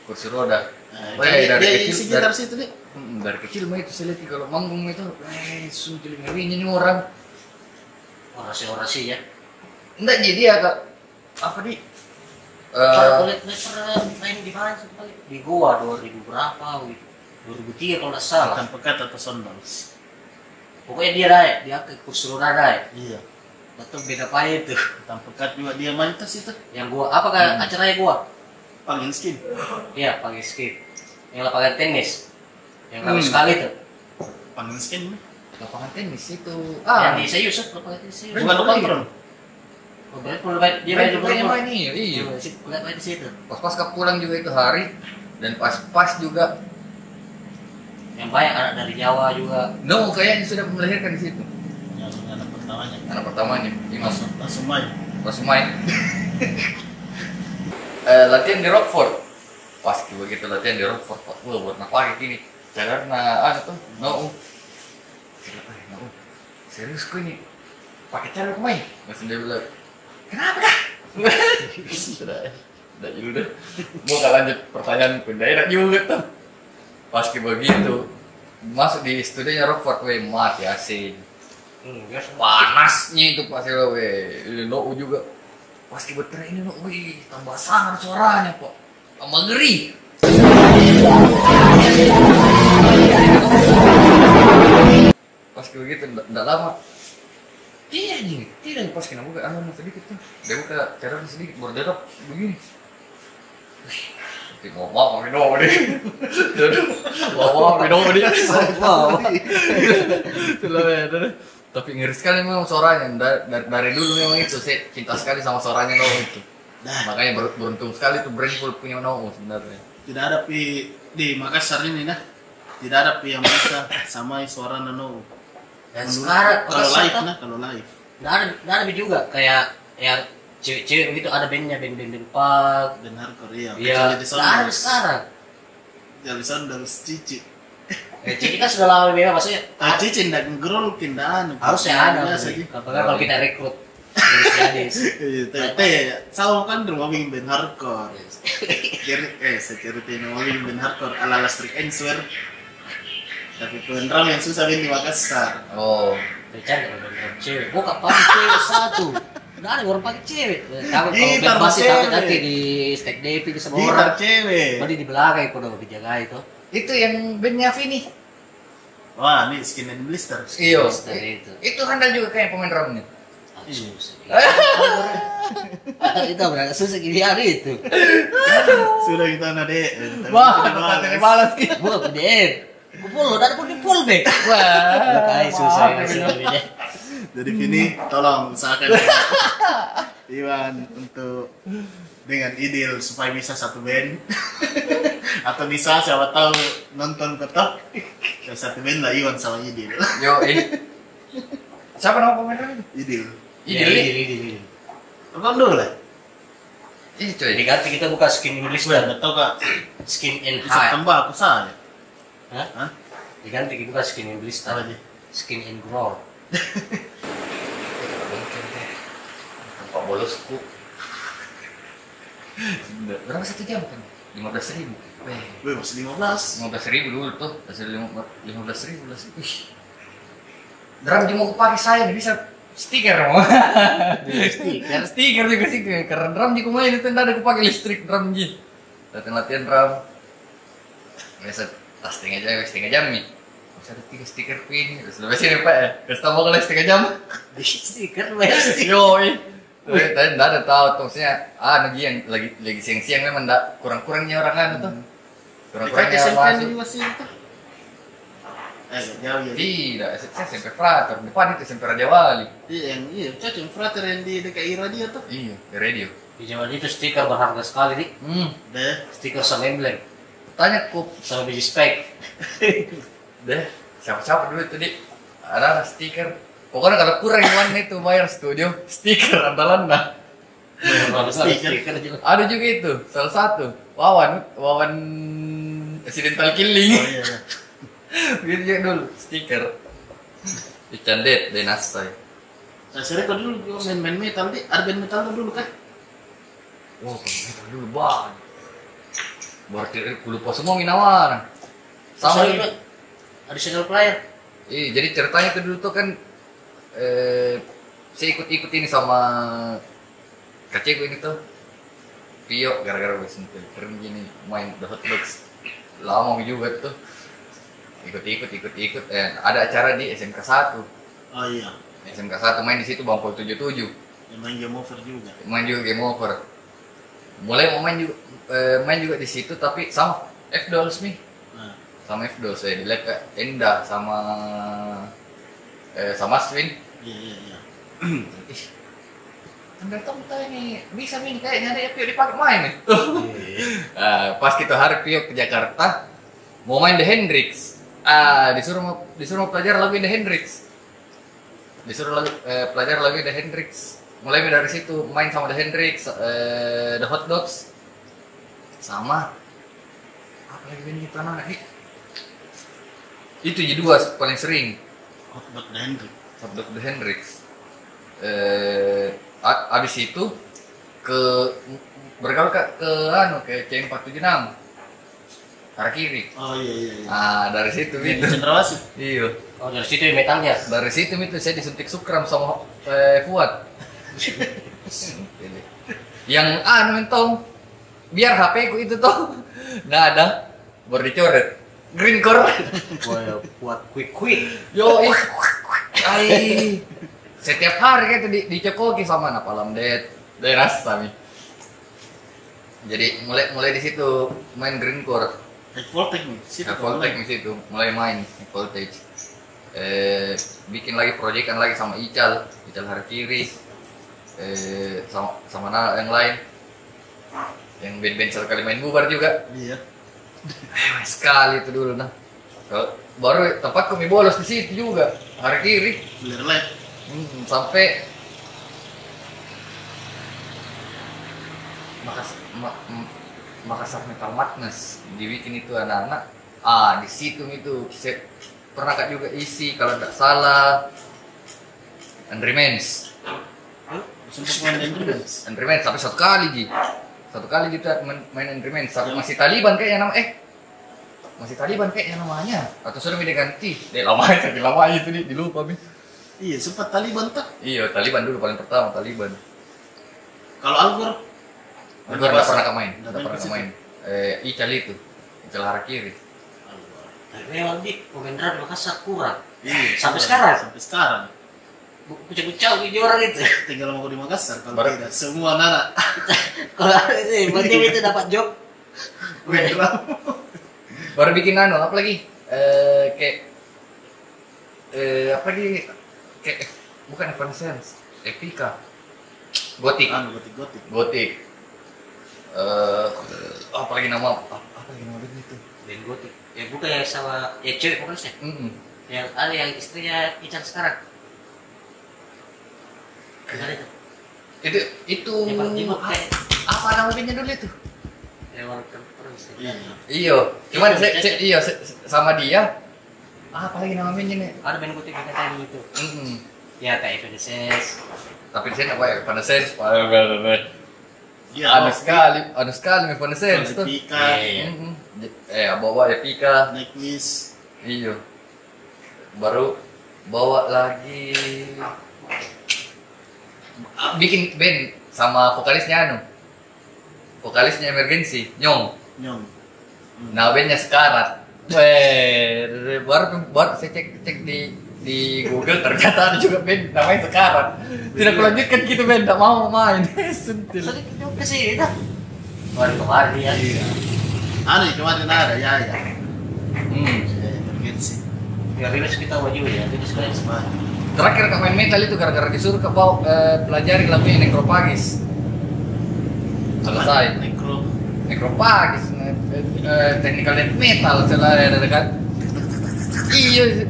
[SPEAKER 3] kursi roda.
[SPEAKER 1] Nah,
[SPEAKER 3] Weh,
[SPEAKER 1] dia,
[SPEAKER 3] dari
[SPEAKER 1] dia
[SPEAKER 3] kecil-
[SPEAKER 1] isi
[SPEAKER 3] dari-
[SPEAKER 1] gitar situ dik.
[SPEAKER 3] Mm, dari kecil mah itu saya lihat kalau manggung itu, eh, sungguh ngerinya nih orang.
[SPEAKER 2] Orasi-orasi ya.
[SPEAKER 3] Enggak jadi ya, Kak. Apa di?
[SPEAKER 2] Kalau
[SPEAKER 3] Eh,
[SPEAKER 2] kulit Leicester main di mana sih kali? Di Goa 2000 berapa gitu. 2003 kalau nggak salah.
[SPEAKER 1] Bukan pekat atau Sound Dolls.
[SPEAKER 2] Pokoknya dia naik, dia ke Kusuruna naik.
[SPEAKER 1] Iya.
[SPEAKER 2] Betul beda apa itu?
[SPEAKER 1] Hitam pekat juga dia main terus itu
[SPEAKER 2] Yang gua apa kan
[SPEAKER 3] Hmm.
[SPEAKER 2] acaranya gua?
[SPEAKER 1] paling skin.
[SPEAKER 2] Iya, pakai skate. Yang lapangan tenis. Yang ramai
[SPEAKER 3] Hmm.
[SPEAKER 2] sekali tuh.
[SPEAKER 1] Paling skin
[SPEAKER 3] lapangan tenis itu.
[SPEAKER 2] Yang
[SPEAKER 3] Ah,
[SPEAKER 2] Iya, di saya Yusuf lapangan tenis saya.
[SPEAKER 1] bukan
[SPEAKER 3] Brentford
[SPEAKER 1] lokal bro.
[SPEAKER 2] Oh, berarti perlu main- dia main di
[SPEAKER 3] main
[SPEAKER 2] mana?
[SPEAKER 3] main iya, iya.
[SPEAKER 2] Kulit main di situ.
[SPEAKER 3] Pas pas pulang juga itu hari dan pas-pas juga
[SPEAKER 2] Yang banyak anak dari Jawa juga.
[SPEAKER 3] No, kayaknya sudah melahirkan di situ.
[SPEAKER 1] Yang anak pertamanya.
[SPEAKER 3] Anak pertamanya, Dimas
[SPEAKER 1] Langsung langsung main.
[SPEAKER 3] Rosumai. eh, latihan di Rockford. Pas gue gitu latihan di Rockford, Pak. Gue buat apa kayak gini? Karena ah itu, no. Siapa ya, no. Serius gue nih. Pakai cara gue main. Mas dia bilang, "Kenapa kah?" Sudah. Udah dulu deh. Gue gak lanjut pertanyaan gue. Udah enak juga tuh. Pas kayak begitu, masuk di studionya Rockford, weh, mati asing
[SPEAKER 2] Hmm,
[SPEAKER 3] panasnya itu pas lo we no juga pas tiba-tiba ini no wih tambah sangar suaranya kok tambah ngeri pas kayak gitu tidak lama Iya, tidak nih tidak pas kena buka anu sedikit tuh dia buka cara sedikit berderap begini Wih, nanti ngomong minum deh Aduh, ngomong minum deh
[SPEAKER 2] Wow.
[SPEAKER 3] Itulah, ya, itulah. Tapi ngeri sekali memang suaranya Da- da- dari, dulu memang itu saya cinta sekali sama suaranya Noo itu.
[SPEAKER 1] Nah,
[SPEAKER 3] Makanya ber- beruntung sekali tuh Brandful punya Noo sebenarnya.
[SPEAKER 1] tidak ada pi di Makassar ini nah. Tidak ada pi yang bisa samai suara Nano.
[SPEAKER 2] Dan
[SPEAKER 1] Menurut-
[SPEAKER 2] sekarang
[SPEAKER 1] kalau
[SPEAKER 2] Rosetta-
[SPEAKER 1] live nah, kalau live.
[SPEAKER 2] Nggak ada, nggak ada juga kayak yang cewek-cewek gitu ada bandnya band band band punk.
[SPEAKER 1] Dan hardcore ya.
[SPEAKER 2] Iya,
[SPEAKER 1] Jadi
[SPEAKER 2] nggak ada
[SPEAKER 1] Sounders.
[SPEAKER 2] sekarang.
[SPEAKER 1] Jadi Sounders cici.
[SPEAKER 2] Ya, jadi kan sudah lama memang maksudnya
[SPEAKER 1] Ah, cici ndak ngerul tindahan.
[SPEAKER 2] harusnya ada.
[SPEAKER 1] anu. Biasa
[SPEAKER 2] Bro.
[SPEAKER 1] gitu.
[SPEAKER 2] Apalagi kalau kita rekrut gadis gadis.
[SPEAKER 1] Iya, teh, teh, sama kan rumah bing band hardcore. Jadi, eh, saya ceritain rumah bing band hardcore ala ala Strict Answer. Tapi tuan drum yang susah band di Makassar.
[SPEAKER 3] Oh,
[SPEAKER 2] Bicara kalau bandnya cewek, gua nggak pakai cewek satu. Nggak ada orang pakai cewek. Takut kalau
[SPEAKER 1] Gitar
[SPEAKER 2] band masih takut
[SPEAKER 1] cewek.
[SPEAKER 2] nanti di stack diving sama orang.
[SPEAKER 1] Gitar cewek.
[SPEAKER 2] Tadi di belakang itu udah dijaga itu.
[SPEAKER 3] itu yang bandnya Vini.
[SPEAKER 1] Wah, ini skin and blister.
[SPEAKER 3] Iyo.
[SPEAKER 2] Mister itu.
[SPEAKER 3] Itu handal juga kayak pemain drumnya.
[SPEAKER 2] Ah, susah. Itu- Itu berarti susah gini hari itu.
[SPEAKER 1] Sudah kita nade.
[SPEAKER 3] balas gitu.
[SPEAKER 2] Gua gede. Gua polo, dan pun di full back.
[SPEAKER 3] Wah,
[SPEAKER 2] Makanya susah
[SPEAKER 3] maaf,
[SPEAKER 2] ya,
[SPEAKER 3] Vini.
[SPEAKER 2] sebenarnya.
[SPEAKER 1] Jadi Vini, tolong usahakan ya. Iwan untuk dengan idil supaya bisa satu band atau bisa siapa tahu nonton ketok ya satu band lah Iwan sama Idil
[SPEAKER 3] Yo, ini. Siapa nama pemainnya?
[SPEAKER 1] Idil
[SPEAKER 2] Iya,
[SPEAKER 3] Idil.
[SPEAKER 2] iya, iya, iya.
[SPEAKER 1] apa dulu lah
[SPEAKER 3] Ih,
[SPEAKER 2] Jadi
[SPEAKER 3] coy.
[SPEAKER 2] kata kita buka skin English dan
[SPEAKER 1] nggak tahu kak
[SPEAKER 2] skin in high.
[SPEAKER 1] September aku salah ya
[SPEAKER 2] Hah?
[SPEAKER 1] Hah?
[SPEAKER 2] Diganti kita buka skin English
[SPEAKER 1] apa
[SPEAKER 2] dan
[SPEAKER 1] sih
[SPEAKER 2] skin in grow.
[SPEAKER 3] Pak bolosku. Berapa satu jam kan? Lima belas ribu.
[SPEAKER 1] Wih, masih 15
[SPEAKER 3] Lima belas ribu dulu tuh. Hasil lima belas ribu lah. Ih. Drum jenguk pakai saya bisa stiker mau.
[SPEAKER 1] Stiker.
[SPEAKER 3] Kan stiker juga sih karena drum di kumai itu ntar aku pakai listrik drum ji. Latihan latihan drum. Biasa tas setengah jam, setengah jam nih. Bisa ada tiga stiker ku ini. Terus lepas ini pak ya. Terus tambah kalau setengah jam.
[SPEAKER 2] Stiker West.
[SPEAKER 3] Yoi. Tapi tadi nggak ada tahu tuh maksudnya ah nagi yang lagi lagi siang siang memang ndak kurang kurangnya orang kan tuh. Kurang
[SPEAKER 1] Dekat
[SPEAKER 3] kurangnya
[SPEAKER 1] SMP ini
[SPEAKER 3] masuk.
[SPEAKER 1] masih itu eh nggak jauh ya
[SPEAKER 3] Tidak, saya SMP Frater, depan itu SMP Raja Wali
[SPEAKER 1] iya yang iya cocok yang frater yang di DKI radio tuh
[SPEAKER 3] Iya, di radio
[SPEAKER 2] Di zaman itu stiker berharga sekali nih.
[SPEAKER 3] Hmm,
[SPEAKER 1] deh
[SPEAKER 2] Stiker sama emblem,
[SPEAKER 3] tanya kok
[SPEAKER 2] sama biji spek.
[SPEAKER 3] deh siapa-siapa dulu tadi ada stiker pokoknya kalau kurang one itu bayar studio stiker andalan nah
[SPEAKER 2] Berharga sekali
[SPEAKER 1] Stiker.
[SPEAKER 2] stiker juga.
[SPEAKER 3] ada juga itu salah satu wawan wawan accidental
[SPEAKER 1] oh
[SPEAKER 3] killing
[SPEAKER 1] iya iya.
[SPEAKER 3] gitu juga dulu stiker Icandet dari Nastoy
[SPEAKER 1] Nah, sering kau dulu gua main main metal di ada band metal tuh dulu kan
[SPEAKER 3] wow kita gitu dulu bang baru kira- ku lupa semua minawan sama
[SPEAKER 1] Sorry,
[SPEAKER 3] ini.
[SPEAKER 1] Pak. ada single player
[SPEAKER 3] Iya, jadi ceritanya tuh dulu tuh kan eh saya ikut-ikut ini sama kakekku ini tuh. Pio gara-gara wes keren gini main The Hot Dogs. Lama juga tuh. Ikut-ikut ikut-ikut eh ada acara di SMK 1.
[SPEAKER 1] oh iya
[SPEAKER 3] SMK 1 main di situ Bangpol 77.
[SPEAKER 1] yang main game over juga
[SPEAKER 3] Main juga game over. Mulai mau main juga eh, main juga di situ tapi sama F Dolls nih
[SPEAKER 1] nah
[SPEAKER 3] sama F Dolls saya di lab eh, Enda sama eh, sama Swin
[SPEAKER 1] iya iya iya
[SPEAKER 3] Ih, Ambil tongkat ini, bisa nih kayaknya ada Pio dipakai main nih. Ah, pas kita hari Pio ke Jakarta, mau main The Hendrix. Ah, disuruh mau- disuruh mau pelajar lagu The Hendrix. Disuruh lagu, eh, pelajar lagu The Hendrix. Mulai dari situ main sama The Hendrix, eh, The Hot Dogs, sama apa lagi band kita nah, eh. Itu jadi dua paling sering.
[SPEAKER 1] hotdog dan Hendrik
[SPEAKER 3] Sabdok The Hendrix. Eh, a- abis itu ke bergaul ke ke anu ke C476 arah kiri.
[SPEAKER 1] oh iya iya iya
[SPEAKER 3] Nah, dari situ
[SPEAKER 1] Yang
[SPEAKER 3] itu.
[SPEAKER 1] cendrawasih
[SPEAKER 3] Iya.
[SPEAKER 2] Oh dari situ ya metalnya.
[SPEAKER 3] Dari situ itu saya disuntik sukram sama eh, Fuad. Yang anu mentong biar HP ku itu tuh nggak ada baru dicoret green core
[SPEAKER 2] Gue buat quick quick.
[SPEAKER 3] Yo, ih. Ai. Setiap hari kayak itu di, dicekoki sama anak palam det daerah sami. Jadi mulai mulai di situ main green core,
[SPEAKER 1] high voltage nih sih
[SPEAKER 3] high voltage di situ, mulai main high voltage. Eh, bikin lagi proyekan lagi sama Ical, Ical hari kiri, eh, sama sama anak yang lain, yang band-band sekali main bubar juga.
[SPEAKER 1] iya
[SPEAKER 3] Wah, sekali itu dulu nah Kalau- baru tempat kami bolos di situ juga hari kiri
[SPEAKER 1] bener lah
[SPEAKER 3] Hmm, sampai Makas Ma- M- Makassar Metal Madness dibikin itu anak-anak ah di situ itu saya pernah kak juga isi kalau tidak salah and remains
[SPEAKER 1] Huh? sempat main dan juga
[SPEAKER 3] and remains tapi satu kali ji satu kali kita main, main and remains Tapi masih Taliban kayaknya nama eh masih Taliban kayaknya namanya atau sudah diganti deh lama itu lama itu di, dilupa Bi.
[SPEAKER 1] iya sempat Taliban tak
[SPEAKER 3] iya Taliban dulu paling pertama Taliban
[SPEAKER 1] kalau Algor
[SPEAKER 3] Gue udah pernah ke main,
[SPEAKER 1] Nggak
[SPEAKER 3] udah
[SPEAKER 1] ke
[SPEAKER 3] pernah ke
[SPEAKER 1] situ.
[SPEAKER 3] main. Eh, Ical itu, Ical Harakiri.
[SPEAKER 1] Algor.
[SPEAKER 2] Tapi memang di pemain drum Makassar kurang.
[SPEAKER 1] Iya,
[SPEAKER 2] Sampai sekarang?
[SPEAKER 1] Sampai sekarang.
[SPEAKER 2] Kucau-kucau ini gitu orang itu.
[SPEAKER 1] Tinggal mau di Makassar kalau
[SPEAKER 3] Baru-
[SPEAKER 1] tidak semua anak
[SPEAKER 2] Kalau ini, berarti itu dapat job.
[SPEAKER 1] main drum.
[SPEAKER 3] Baru bikin nano, apa lagi? Eh, kayak eh apa lagi? Kayak bukan Evanescence Epica Gotik
[SPEAKER 1] anu gotik gotik
[SPEAKER 3] Gotik eh apa lagi nama apa lagi nama bandnya itu
[SPEAKER 2] band gotik ya bukan ya sama ya cewek pokoknya
[SPEAKER 3] Mm-mm.
[SPEAKER 2] yang ada yang istrinya Ican sekarang Kenal itu?
[SPEAKER 3] itu itu
[SPEAKER 2] Yang paling jenggot, kayak.
[SPEAKER 3] apa nama bandnya dulu itu
[SPEAKER 2] Yang warna perempuan sih.
[SPEAKER 1] iya
[SPEAKER 3] iyo cuman
[SPEAKER 2] Itu,
[SPEAKER 3] saya,
[SPEAKER 2] itu.
[SPEAKER 3] saya iyo saya- sama dia ah, apa lagi nama bandnya nih
[SPEAKER 2] Ada band gotik yang katanya gitu.
[SPEAKER 3] Mm-mm.
[SPEAKER 2] Ya kayak Evanescence.
[SPEAKER 3] tapi saya apa ya Evanescence ada
[SPEAKER 1] iya
[SPEAKER 3] Ya, Anu. sekali ada sekali Evanescence tuh
[SPEAKER 1] Pika
[SPEAKER 2] Iya.
[SPEAKER 3] Mm-mm. eh bawa Epica
[SPEAKER 1] naik miss
[SPEAKER 3] Iya. Baru bawa lagi bikin band sama vokalisnya anu. Vokalisnya emergency, Nyong.
[SPEAKER 1] nyong
[SPEAKER 3] Nah, bandnya sekarat. Weh, baru baru saya cek cek di di Google ternyata ada juga band namanya sekarat. Tidak kulanjutkan gitu band, tidak mau main. Sentil.
[SPEAKER 2] Soalnya kita ke sini dah. Kemarin kemarin ya.
[SPEAKER 1] anu kemarin ada ya ya
[SPEAKER 3] Hmm.
[SPEAKER 1] Ya, emergency
[SPEAKER 2] Ya rilis kita wajib ya. Rilis kalian semua.
[SPEAKER 1] Wah,
[SPEAKER 3] Terakhir ke main metal itu gara-gara disuruh ke bawah eh, pelajari lagunya Necropagis. Selesai.
[SPEAKER 1] nekro
[SPEAKER 3] Necropagis, eh, eh, technical death metal, celana ada dekat. Iya,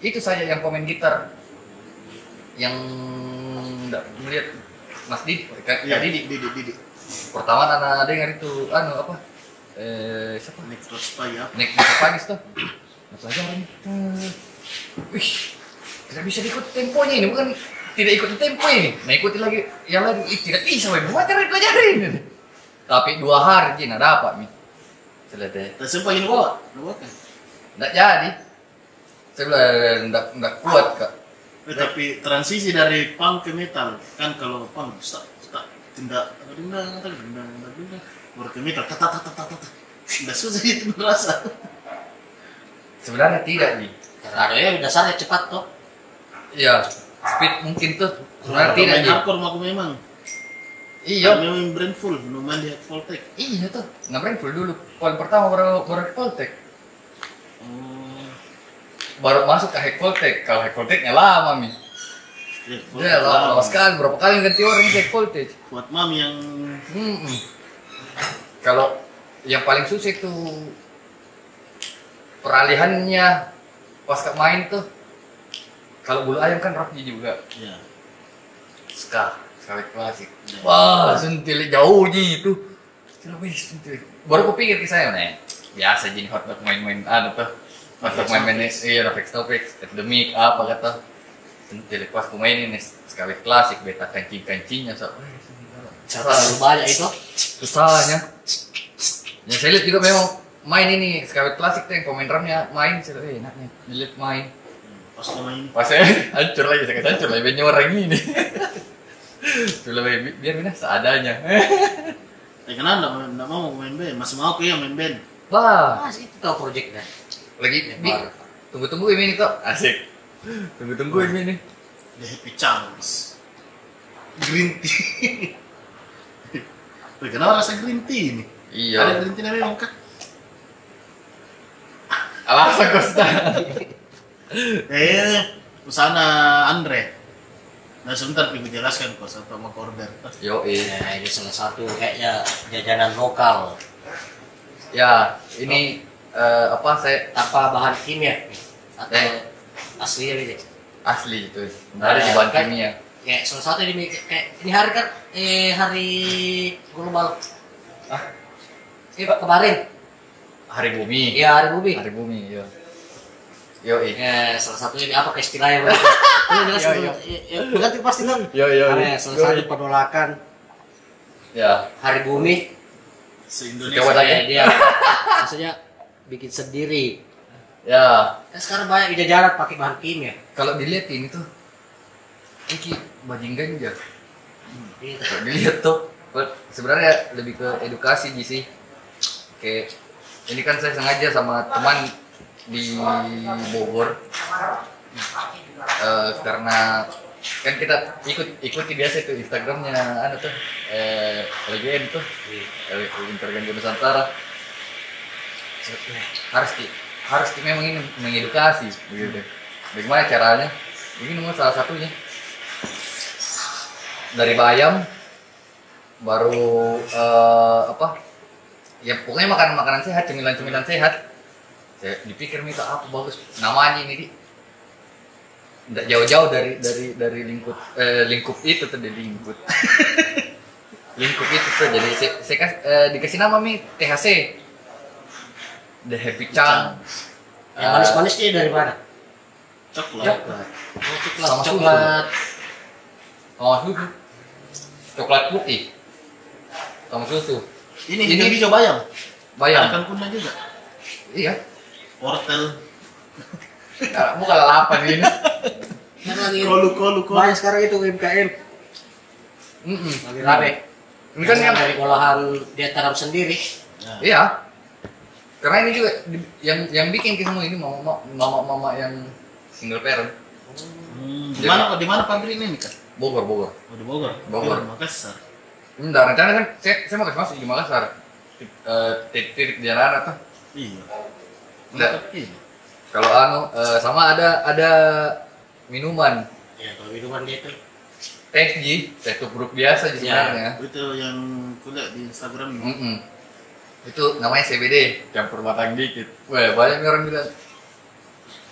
[SPEAKER 3] itu saja yang komen gitar. Yang nggak melihat Mas Didi, Kak
[SPEAKER 1] iya
[SPEAKER 3] Kak Didi.
[SPEAKER 1] didi didi
[SPEAKER 3] Pertama anak dengar itu, anu apa? Eh, siapa?
[SPEAKER 1] nekro spy ya
[SPEAKER 3] Nek Necropagis tuh. Nah, pelajaran. Eh, Wih, tidak bisa diikut temponya ini, bukan tidak ikut tempo ini. Nah ikuti lagi, yang lain ih, tidak bisa, weh, materi pelajarin. Tapi dua hari Jin, ada apa mi? Selesai.
[SPEAKER 1] tak sempat ini Nah, bawa bawa kan
[SPEAKER 3] Nggak jadi. Saya bilang, "Eh, nggak, nggak kuat, Kak.
[SPEAKER 1] Eh, tapi transisi dari punk ke metal kan kalau punk tak tak tindak apa dendang tak dendang tak dendang baru ke metal tak tak tak tak tak tak tidak susah itu merasa
[SPEAKER 3] Sebenarnya tidak, Ji.
[SPEAKER 2] Karena ada yang dasarnya cepat toh.
[SPEAKER 3] Iya, speed mungkin tuh. Sebenarnya tidak,
[SPEAKER 1] main
[SPEAKER 3] Ji.
[SPEAKER 1] hardcore aku memang
[SPEAKER 3] Iya,
[SPEAKER 1] iya memang brand full no man lihat voltek
[SPEAKER 3] iya tuh. Ngapain full dulu. Poin pertama baru baru ke Poltek.
[SPEAKER 1] oh
[SPEAKER 3] Baru masuk ke Hack Poltek. Kalau Hack Polteknya lama, Mi.
[SPEAKER 1] ya Voltec
[SPEAKER 3] Ya, lama, lama
[SPEAKER 1] lama.
[SPEAKER 3] sekali. Berapa kali ganti orang di Hack Poltek.
[SPEAKER 1] buat mam yang
[SPEAKER 3] Mm-mm. Kalau yang paling susah itu peralihannya pasca main tuh. Kalau bulu ayam kan rock juga.
[SPEAKER 1] ya
[SPEAKER 3] ska ska klasik
[SPEAKER 1] Ya.
[SPEAKER 3] wah sentil jauh ji itu sentil wih sentil baru kupikir ke saya nih biasa jadi hotdog main-main ada tuh pas
[SPEAKER 1] Hotdog
[SPEAKER 3] main-main nih iya Rafix Topix Endemic apa kata sentil pas ku mainin nih sekali klasik beta kancing-kancingnya so wih, sentil.
[SPEAKER 2] Cara banyak itu.
[SPEAKER 3] susahnya ya saya lihat juga memang main ini sekawet klasik tuh yang komen drumnya main "Eh, sih enaknya dilihat main
[SPEAKER 1] pas kau main
[SPEAKER 3] Pas saya hancur lagi, saya hancur lagi, bandnya orang ini. Itu lebih biar pindah seadanya.
[SPEAKER 1] eh kenapa enggak mau- enggak mau aku main band masih mau aku ya main band
[SPEAKER 3] Wah,
[SPEAKER 2] Mas itu toh project dah.
[SPEAKER 3] lagi bi, tunggu-tunggu ini kok. Asik. Tunggu-tunggu ini nih.
[SPEAKER 1] the happy chance green tea Wih, kenapa rasa green tea ini ada
[SPEAKER 3] Iya.
[SPEAKER 1] green tea namanya Mongka
[SPEAKER 3] Alasan Costa.
[SPEAKER 1] Eh, busana Andre. Nah sebentar aku jelaskan kok satu sama order.
[SPEAKER 3] Yo eh.
[SPEAKER 2] Ya ini salah satu kayaknya jajanan lokal
[SPEAKER 3] Ya, ini eh, apa saya
[SPEAKER 2] tanpa bahan kimia atau
[SPEAKER 3] Eh.
[SPEAKER 2] asli gitu.
[SPEAKER 3] asli itu. Nggak ada di bahan kimia.
[SPEAKER 2] Kayak salah satu ini kayak ini hari kan eh hari global.
[SPEAKER 3] Ah.
[SPEAKER 2] Eh Pak, kemarin.
[SPEAKER 3] Hari bumi.
[SPEAKER 2] Iya hari bumi.
[SPEAKER 3] Hari bumi, yo. Yo, eh.
[SPEAKER 2] Ya, salah satunya ini apa ke istilahnya Bang? Ini jelas
[SPEAKER 3] Iya,
[SPEAKER 2] ya, ya, berarti pasti kan.
[SPEAKER 3] Yo, yo.
[SPEAKER 2] Karena salah
[SPEAKER 3] iya.
[SPEAKER 2] satu penolakan
[SPEAKER 3] Ya.
[SPEAKER 2] hari bumi
[SPEAKER 1] Se
[SPEAKER 3] Coba
[SPEAKER 1] Indonesia.
[SPEAKER 3] tanya.
[SPEAKER 2] ya, dia maksudnya bikin sendiri.
[SPEAKER 3] Ya.
[SPEAKER 2] Kan sekarang banyak jajanan pakai bahan kimia.
[SPEAKER 3] kalau diliatin itu iki bajingan aja
[SPEAKER 2] Gitu.
[SPEAKER 3] kalau dilihat tuh Kalau- sebenarnya lebih ke edukasi Ji, sih kayak ini kan saya sengaja sama teman di Bogor Eh, karena kan kita ikut ikuti biasa tuh Instagramnya ada tuh eh, LGN tuh Intergensi Nusantara harus di harus di memang ini mengedukasi begitu bagaimana caranya ini nomor salah satunya dari bayam baru eh, apa ya pokoknya makanan makanan sehat cemilan cemilan sehat saya dipikir minta apa bagus namanya ini di nggak jauh-jauh dari dari dari lingkup eh, lingkup itu tuh dari lingkup lingkup itu tuh jadi saya, saya kas- eh, dikasih nama mi THC The Happy Chang
[SPEAKER 2] Yang manis-manis dia dari mana?
[SPEAKER 1] Coklat.
[SPEAKER 3] Ya. sama susu.
[SPEAKER 2] coklat.
[SPEAKER 3] sama susu coklat putih sama susu
[SPEAKER 1] Ini,
[SPEAKER 3] Ini- Ya.
[SPEAKER 1] ini hijau bayam.
[SPEAKER 3] bayang
[SPEAKER 1] Ikan tuna Kan juga.
[SPEAKER 3] iya
[SPEAKER 1] Wortel.
[SPEAKER 3] Nah, bukan lalapan ini
[SPEAKER 2] Kan lagi
[SPEAKER 1] Kolu kolu kolu.
[SPEAKER 2] banyak sekarang itu UMKM.
[SPEAKER 3] Mm-mm.
[SPEAKER 2] Lagi rame.
[SPEAKER 3] Rame. ini kan yang
[SPEAKER 2] dari olahan dia tanam sendiri.
[SPEAKER 1] Nah,
[SPEAKER 3] Iya. Karena ini juga di- yang yang bikin ke semua ini mama mama mama yang single parent
[SPEAKER 1] Hmm, di mana di mana pabrik ini Mika?
[SPEAKER 3] Bogor Bogor.
[SPEAKER 1] Oh, di Bogor.
[SPEAKER 3] Bogor.
[SPEAKER 1] Di Makassar.
[SPEAKER 3] Enggak rencana kan saya saya mau kasih masuk di Makassar. Eh, Titik titik jalan atau
[SPEAKER 1] Iya.
[SPEAKER 3] Nggak.
[SPEAKER 1] Iya.
[SPEAKER 3] kalau anu eh, sama ada ada minuman
[SPEAKER 2] Ya kalau minuman dia itu.
[SPEAKER 3] teh ji teh tubruk biasa
[SPEAKER 2] Iya.
[SPEAKER 3] sih sebenarnya.
[SPEAKER 1] Itu yang kuliah di Instagram. ya?
[SPEAKER 3] Mm-mm. Itu namanya CBD campur batang dikit. Wah banyak orang bilang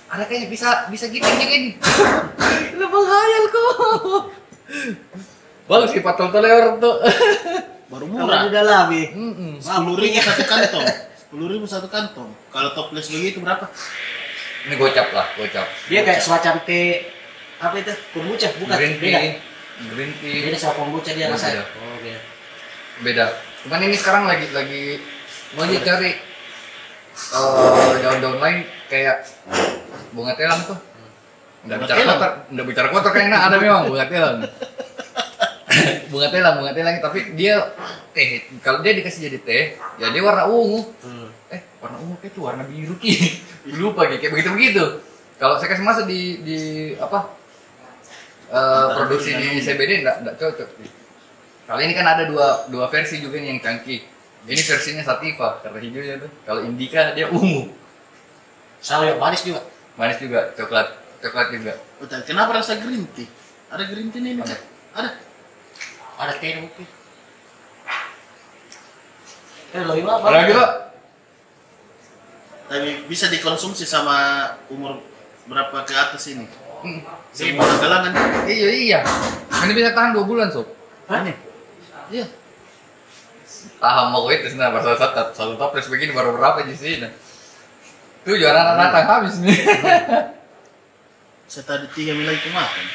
[SPEAKER 3] ada kayaknya bisa bisa gitu juga ini. Lu menghayal kok. Bagus sih patol telur tuh.
[SPEAKER 1] Baru
[SPEAKER 2] Murah.
[SPEAKER 1] murah.
[SPEAKER 2] Oh, Udah lah, Bi.
[SPEAKER 3] Mm-mm.
[SPEAKER 1] Sepuluh ribu satu kantong. Sepuluh ribu satu kantong. Kalau toples begitu berapa?
[SPEAKER 3] Ini gocap lah, gocap.
[SPEAKER 2] Dia kayak semacam teh apa itu? Kombucha bukan?
[SPEAKER 3] Green
[SPEAKER 2] Beda.
[SPEAKER 3] tea, green tea
[SPEAKER 2] Beda sama kombucha dia
[SPEAKER 3] Beda.
[SPEAKER 2] rasanya. Oh, iya.
[SPEAKER 3] beda. Cuman ini sekarang lagi lagi mau aja cari eh, daun-daun lain kayak bunga telang tuh. Nggak
[SPEAKER 1] Bunga
[SPEAKER 3] bicara
[SPEAKER 1] telang?
[SPEAKER 3] kotor, nggak bicara kotor kayaknya ada memang bunga telang. bunga telang, bunga telang. Tapi dia teh, kalau dia dikasih jadi teh, ya dia warna ungu.
[SPEAKER 2] Hmm.
[SPEAKER 3] Eh, warna ungu kayak itu warna biru ki. Lupa Ki. kayak begitu begitu. Kalau saya kasih masuk di di apa? eh, produksi di CBD enggak enggak cocok. Kalau ini kan ada dua dua versi juga nih yang canggih. Ini versinya sativa karena hijaunya tuh. Kalau indica dia ungu,
[SPEAKER 2] Sama yang ya, manis juga.
[SPEAKER 3] manis juga, coklat coklat juga.
[SPEAKER 1] Bentar, kenapa rasa green tea? Ada green tea ini, Mika?
[SPEAKER 3] Ada.
[SPEAKER 1] Ada.
[SPEAKER 2] Ada teh mungkin. Eh, lo gimana? Bang?
[SPEAKER 3] Kalau gitu
[SPEAKER 1] Tapi bisa dikonsumsi sama umur berapa ke atas ini?
[SPEAKER 3] mm,
[SPEAKER 1] Semua kalangan.
[SPEAKER 3] iya iya. Ini bisa tahan dua bulan sob.
[SPEAKER 2] Hah?
[SPEAKER 3] Iya. Tahan mau itu nah pas satu satu toples begini baru berapa di sini? Tuh juara anak
[SPEAKER 1] Iya.
[SPEAKER 3] datang habis nih.
[SPEAKER 1] Saya tadi tiga mil lagi kemakan.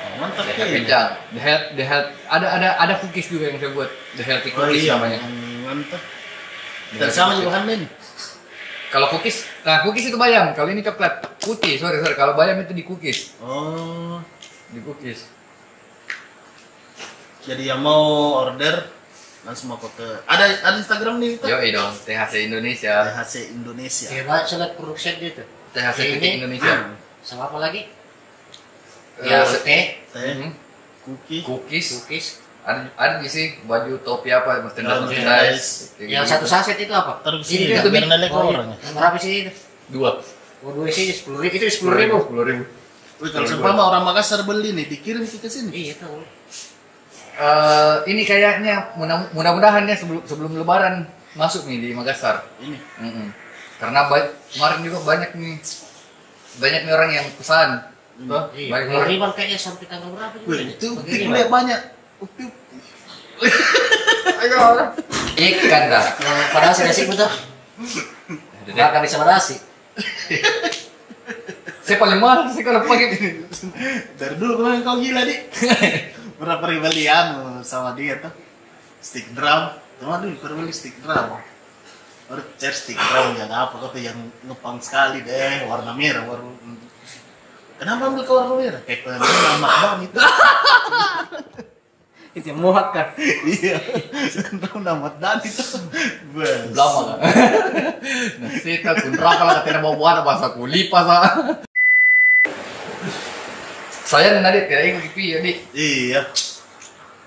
[SPEAKER 1] Oh, mantap
[SPEAKER 3] The
[SPEAKER 1] ya.
[SPEAKER 3] Happy Jam. The Health, The Health. Ada ada ada cookies juga yang saya buat. The Healthy
[SPEAKER 1] Oh
[SPEAKER 3] Cookies
[SPEAKER 1] iya,
[SPEAKER 3] namanya.
[SPEAKER 1] hmm, mantap.
[SPEAKER 3] The
[SPEAKER 1] Dan
[SPEAKER 3] Healthy
[SPEAKER 1] sama
[SPEAKER 3] Cookies.
[SPEAKER 1] juga kan ini.
[SPEAKER 3] Kalau cookies, nah cookies itu bayam. Kalau ini coklat putih. Sorry sorry. Kalau bayam itu di cookies.
[SPEAKER 1] Oh,
[SPEAKER 3] Di cookies.
[SPEAKER 1] jadi yang mau order langsung mau ke ada ada Instagram nih kita.
[SPEAKER 3] Yo dong. THC Indonesia.
[SPEAKER 1] THC Indonesia. Hmm.
[SPEAKER 2] Ya, banyak sangat produksi dia tuh.
[SPEAKER 3] THC titik
[SPEAKER 2] Ini-
[SPEAKER 3] Indonesia.
[SPEAKER 2] Sama apa lagi?
[SPEAKER 3] Eh,
[SPEAKER 2] Ya,
[SPEAKER 3] se-
[SPEAKER 2] teh,
[SPEAKER 1] Teh,
[SPEAKER 3] Mhm.
[SPEAKER 1] cookie,
[SPEAKER 3] Cookies.
[SPEAKER 2] cookies.
[SPEAKER 3] Ada ada di sih baju topi apa mas tenda
[SPEAKER 1] Daun
[SPEAKER 3] mas
[SPEAKER 1] merah.
[SPEAKER 3] Iya,
[SPEAKER 2] Yang
[SPEAKER 3] gitu.
[SPEAKER 2] satu saset itu apa?
[SPEAKER 1] terus
[SPEAKER 2] Ini
[SPEAKER 1] ini
[SPEAKER 2] dia.
[SPEAKER 3] tuh, Bi.
[SPEAKER 1] biar nelek
[SPEAKER 2] Oh,
[SPEAKER 1] orangnya.
[SPEAKER 2] iya. Berapa sih itu?
[SPEAKER 3] dua.
[SPEAKER 2] Oh, dua sih sepuluh ribu. Itu sepuluh ribu.
[SPEAKER 3] Sepuluh ribu.
[SPEAKER 1] Wih, kalau seumpama orang Makassar beli nih, dikirim ke sini.
[SPEAKER 2] Iya tahu.
[SPEAKER 3] Eh, ini kayaknya mudah- mudah-mudahan ya sebelum sebelum Lebaran masuk nih di Makassar.
[SPEAKER 1] Ini.
[SPEAKER 3] Mm-mm. Karena ba- kemarin juga banyak nih banyak nih orang yang pesan. Tuh,
[SPEAKER 2] Iya.
[SPEAKER 3] banyak
[SPEAKER 2] Sepuluh
[SPEAKER 3] orang.
[SPEAKER 2] ribu kayaknya sampai tanggal berapa juga?
[SPEAKER 1] Wih, itu
[SPEAKER 2] Bagaimana?
[SPEAKER 1] kuliah banyak. Upti, upti.
[SPEAKER 3] Ikan dah.
[SPEAKER 2] Nah, Padahal sih nasi betul.
[SPEAKER 3] Nah,
[SPEAKER 2] Makan bisa nasi.
[SPEAKER 3] Saya paling marah sih kalau pakai
[SPEAKER 1] Dari dulu kemarin kau gila, Dik. Berapa rebellian sama dia tuh. Stick drum. Cuma dulu kau beli stick drum. Baru cari stick drum yang apa kau tuh yang ngepang sekali deh, warna merah, warna Kenapa ambil ke warna merah? Kayak pemain nama itu.
[SPEAKER 2] Itu muak kan.
[SPEAKER 1] Iya. Sindrom nama dan itu. Bes.
[SPEAKER 3] lama kan. Nah, kita kuntra kalau katanya mau buat apa saya kulipas ah. Saya nih tadi tidak ikut pipi ya, Dik.
[SPEAKER 1] Iya.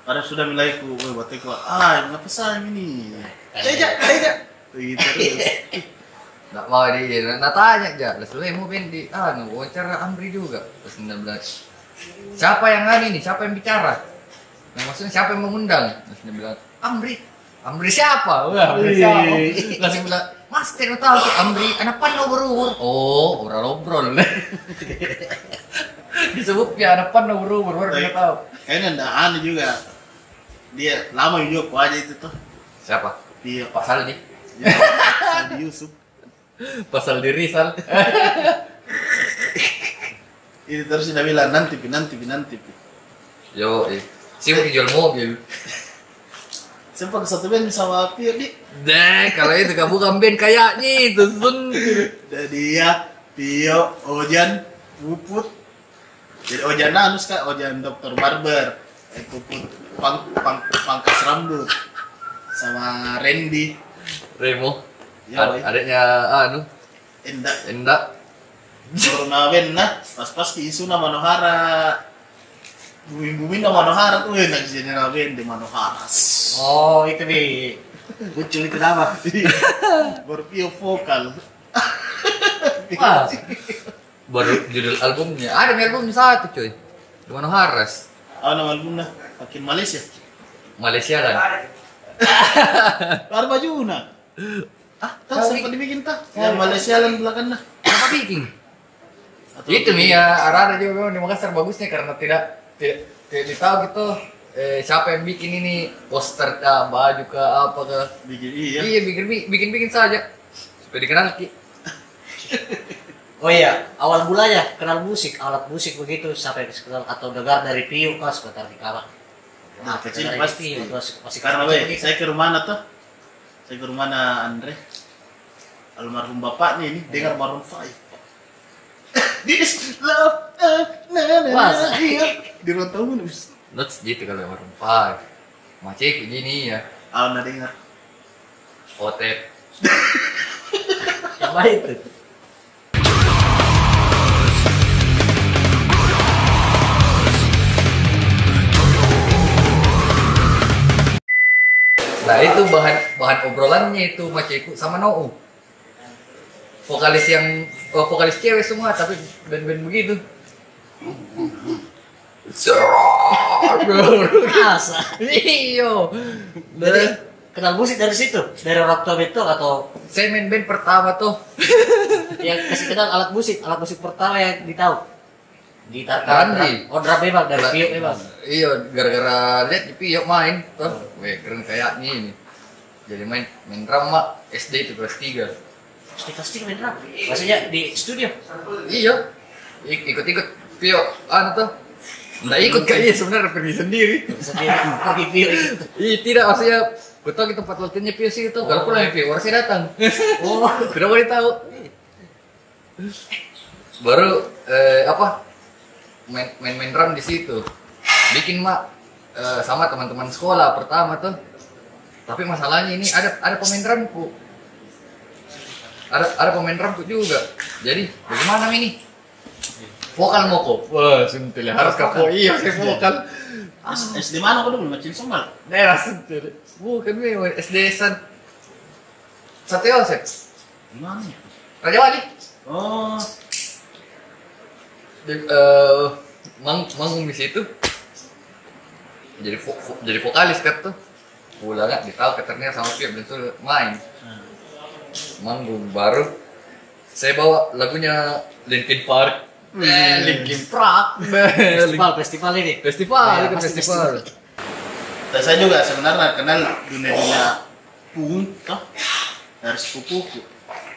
[SPEAKER 1] Padahal sudah milaiku, weh bateku. Ah, ngapa sayang ini?
[SPEAKER 3] Eh.
[SPEAKER 1] Teja, teja. Gitu terus.
[SPEAKER 3] Nggak mau di, nah tanya aja. Lalu saya mau pengen di, ah, wawancara Amri juga. Terus dia bilang, siapa yang ngani nih siapa yang bicara nah, maksudnya siapa yang mengundang terus dia bilang Amri Amri siapa wah Amri siapa
[SPEAKER 2] Wih.
[SPEAKER 3] langsung bilang Mas tidak tahu tuh Amri anak pan nomor umur oh obrol obrol disebut ya anak pan nomor umur baru
[SPEAKER 1] Tapi
[SPEAKER 3] dia tahu
[SPEAKER 1] Kayaknya ndak aneh juga. Dia lama juga kok aja itu tuh.
[SPEAKER 3] siapa
[SPEAKER 1] Dia
[SPEAKER 3] Pak Sal nih
[SPEAKER 1] dia Sandi Yusuf.
[SPEAKER 3] pasal diri Sal
[SPEAKER 1] Ini terus dia bilang nanti pi nanti pi nanti pi.
[SPEAKER 3] yo eh. sih mau jual mobil
[SPEAKER 1] Sempat satu band sama Pio di
[SPEAKER 3] deh kalau itu kamu kamben kayaknya itu sun
[SPEAKER 1] Ada dia ya, Pio Ojan Puput. Jadi Ojan Nanus kan Ojan Dokter Barber. Eh, Puput pang, pang, pangkas rambut sama Randy.
[SPEAKER 3] Remo
[SPEAKER 1] Ya,
[SPEAKER 3] Ad-
[SPEAKER 1] woy.
[SPEAKER 3] adiknya anu
[SPEAKER 1] Endak
[SPEAKER 3] Endak
[SPEAKER 1] Turnamen nah pas-pas di isu na Manohara bumi-bumi na Manohara tuh enak jadi naben di Manohara
[SPEAKER 2] Oh, itu nih. Muncul itu nama.
[SPEAKER 1] baru pio vokal
[SPEAKER 3] Wah. Baru judul albumnya. Ada nih album satu cuy. Dimana Haras.
[SPEAKER 1] ah nama album nah makin Malaysia
[SPEAKER 3] Malaysia kan.
[SPEAKER 1] baru baju na ah tak
[SPEAKER 3] Tapi-
[SPEAKER 1] sempat dibikin tak ya Malaysia lan belakang nah
[SPEAKER 3] Apa bikin?
[SPEAKER 1] Atau-
[SPEAKER 3] Itu nih ya. Arara juga memang di Makassar bagusnya karena tidak tidak tidak ditahu gitu. Eh, siapa yang bikin ini poster kah, baju kah, apa kah?
[SPEAKER 1] bikin iya
[SPEAKER 3] Iya, bikin bikin bikin saja. Supaya dikenal Ki.
[SPEAKER 2] Oh iya, awal mulanya kenal musik, alat musik begitu sampai sekedar atau dengar dari Pio kan sebentar di kamar.
[SPEAKER 1] Nah, kecil
[SPEAKER 2] dari
[SPEAKER 1] pasti.
[SPEAKER 2] Pio, terus masih
[SPEAKER 1] Karena
[SPEAKER 2] kecil
[SPEAKER 1] weh,
[SPEAKER 2] begitu.
[SPEAKER 1] saya ke rumah Ana tuh. Saya ke rumah Ana Andre. Almarhum bapaknya ini dengar Maroon 5. This love uh, na na na
[SPEAKER 2] Masa?
[SPEAKER 1] na, iya. di ruang tamu nus.
[SPEAKER 3] Nuts gitu kalau yang empat. Macik begini ya.
[SPEAKER 1] Ana dengar.
[SPEAKER 3] Otep.
[SPEAKER 2] Yang lain itu.
[SPEAKER 3] Nah itu bahan bahan obrolannya itu Maceku sama Noo. Vokalis yang oh, vokalis cewek semua tapi band-band begitu.
[SPEAKER 2] Masa.
[SPEAKER 3] Iyo.
[SPEAKER 2] Jadi
[SPEAKER 3] Jadi
[SPEAKER 2] kenal musik dari situ, dari orang tua itu atau
[SPEAKER 3] saya main band pertama tuh.
[SPEAKER 2] yang kasih kenal alat musik, alat musik pertama yang ditahu. Gitar
[SPEAKER 3] Randi.
[SPEAKER 2] Oh, drum memang dari Pio memang.
[SPEAKER 3] Iya, gara-gara lihat di Piyok main tuh. Weh, keren kayaknya ini. Jadi main main drum Mak. SD itu kelas 3.
[SPEAKER 2] Pasti pasti main drum. Maksudnya di studio.
[SPEAKER 3] Iya. Ik- Ikut-ikut Piyok anu tuh. Nggak ikut kayaknya sebenarnya pergi sendiri.
[SPEAKER 2] Sendiri pergi Pio itu.
[SPEAKER 3] Iya tidak maksudnya gue tau gitu tempat latihannya Pio sih itu kalau pulang Pio harusnya datang
[SPEAKER 2] Oh,
[SPEAKER 3] tidak boleh tahu baru eh, apa main main, main drum di situ bikin mak eh, sama teman-teman sekolah pertama tuh tapi masalahnya ini ada ada pemain drumku ada ada pemain drumku juga jadi bagaimana ini vokal moko wah sentil harus kapok iya saya vokal
[SPEAKER 1] S- SD mana kau dulu macam somal.
[SPEAKER 3] daerah sendiri bukan memang SD San Sate Yosep
[SPEAKER 1] Gimana? ya?
[SPEAKER 3] Raja Wali
[SPEAKER 1] Oh,
[SPEAKER 3] di, eh, mang manggung di situ jadi vo- vo- jadi vokalis kan tuh pulang nggak ditahu keternya sama Pia dan tuh main
[SPEAKER 2] Hmm.
[SPEAKER 3] manggung baru saya bawa lagunya Linkin Park eh, Linkin Park
[SPEAKER 2] festival festival ini.
[SPEAKER 3] festival itu
[SPEAKER 2] Iya, Pasti
[SPEAKER 3] festival
[SPEAKER 1] dan Nah, saya juga sebenarnya kenal dunia-dunia pun toh dari sepupuku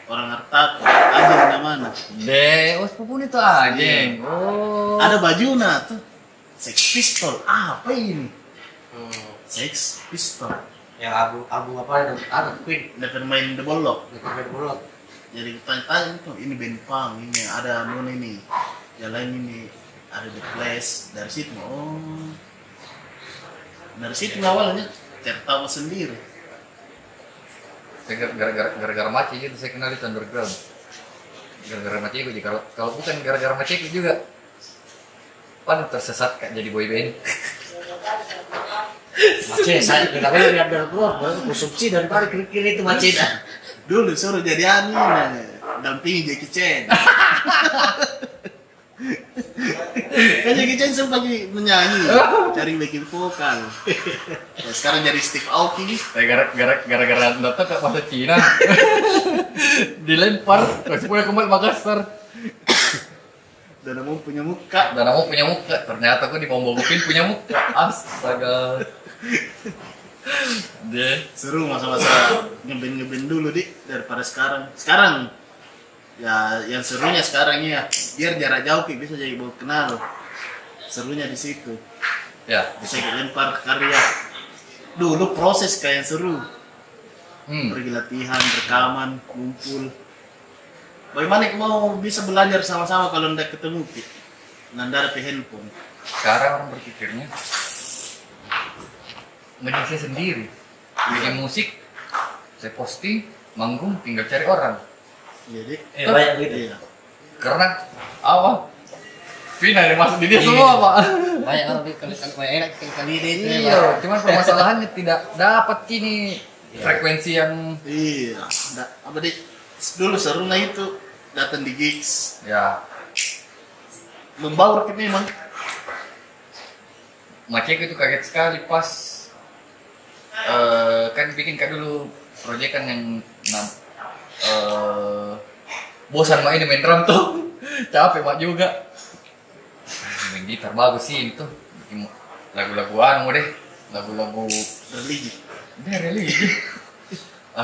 [SPEAKER 1] orang harta anjing di mana.
[SPEAKER 3] deh oh sepupu itu
[SPEAKER 2] Iya.
[SPEAKER 3] anjing oh
[SPEAKER 1] Ada baju nah tuh. Sex pistol apa ini? Sex pistol.
[SPEAKER 2] Yang abu abu apa itu? Ada Queen.
[SPEAKER 1] Never main the bolok.
[SPEAKER 2] Dekat dari mulut.
[SPEAKER 1] jadi tanya-tanya itu ini band punk ini yang ada nun ini jalan ini ada the place dari situ oh dari situ awalnya tertawa sendiri
[SPEAKER 3] Saya gara- gara-gara gara-gara maci itu saya kenal di underground gara-gara maci itu kalau kalau bukan gara-gara maci itu juga pan tersesat kak jadi boy band
[SPEAKER 2] Macet saya tidak boleh lihat dari luar. baru Konsumsi dari balik kiri kiri itu macet.
[SPEAKER 1] dulu suruh jadi anime dampingi Jackie Chan Kan Jackie Chan sempat jadi menyanyi, cari bikin vokal. Ya, sekarang jadi Steve Aoki.
[SPEAKER 3] Saya Eh, gara gara gara gara datang ke pasar Cina dilempar terus punya kembali Makassar
[SPEAKER 1] Dan mau punya muka.
[SPEAKER 3] dan aku punya muka ternyata aku dipombokin punya muka astaga deh
[SPEAKER 1] Seru masa-masa ngeben-ngeben dulu, Dik, daripada sekarang. Sekarang, ya yang serunya sekarang ya, biar jarak jauh Ki, bisa jadi bawa kenal. Serunya di situ.
[SPEAKER 3] ya
[SPEAKER 1] Bisa dilempar ke karya. Dulu proses kayak yang seru.
[SPEAKER 3] hmm.
[SPEAKER 1] pergi latihan, rekaman, kumpul. Bagaimana kita mau bisa belajar sama-sama kalau ndak ketemu Ki? Nandar pe handphone.
[SPEAKER 3] sekarang orang berpikirnya ngedisnya sendiri bikin musik saya posting manggung tinggal cari orang
[SPEAKER 1] Jadi
[SPEAKER 2] Eh, banyak gitu.
[SPEAKER 1] iya.
[SPEAKER 3] karena apa Vina yang masuk di dia semua pak
[SPEAKER 2] Banyak orang di kali kali banyak enak kali kali ini.
[SPEAKER 3] iya cuman permasalahannya tidak dapat kini frekuensi yang
[SPEAKER 1] Iya. Ndak apa Dik? Dulu serunya itu datang di gigs,
[SPEAKER 3] ya
[SPEAKER 1] membaur kita memang.
[SPEAKER 3] Makanya itu kaget sekali pas eh kan bikin kak dulu proyek kan yang enam eh bosan main main drum tuh capek mak juga main gitar bagus sih itu Bikin lagu-lagu anu deh lagu-lagu
[SPEAKER 1] religi.
[SPEAKER 3] deh religi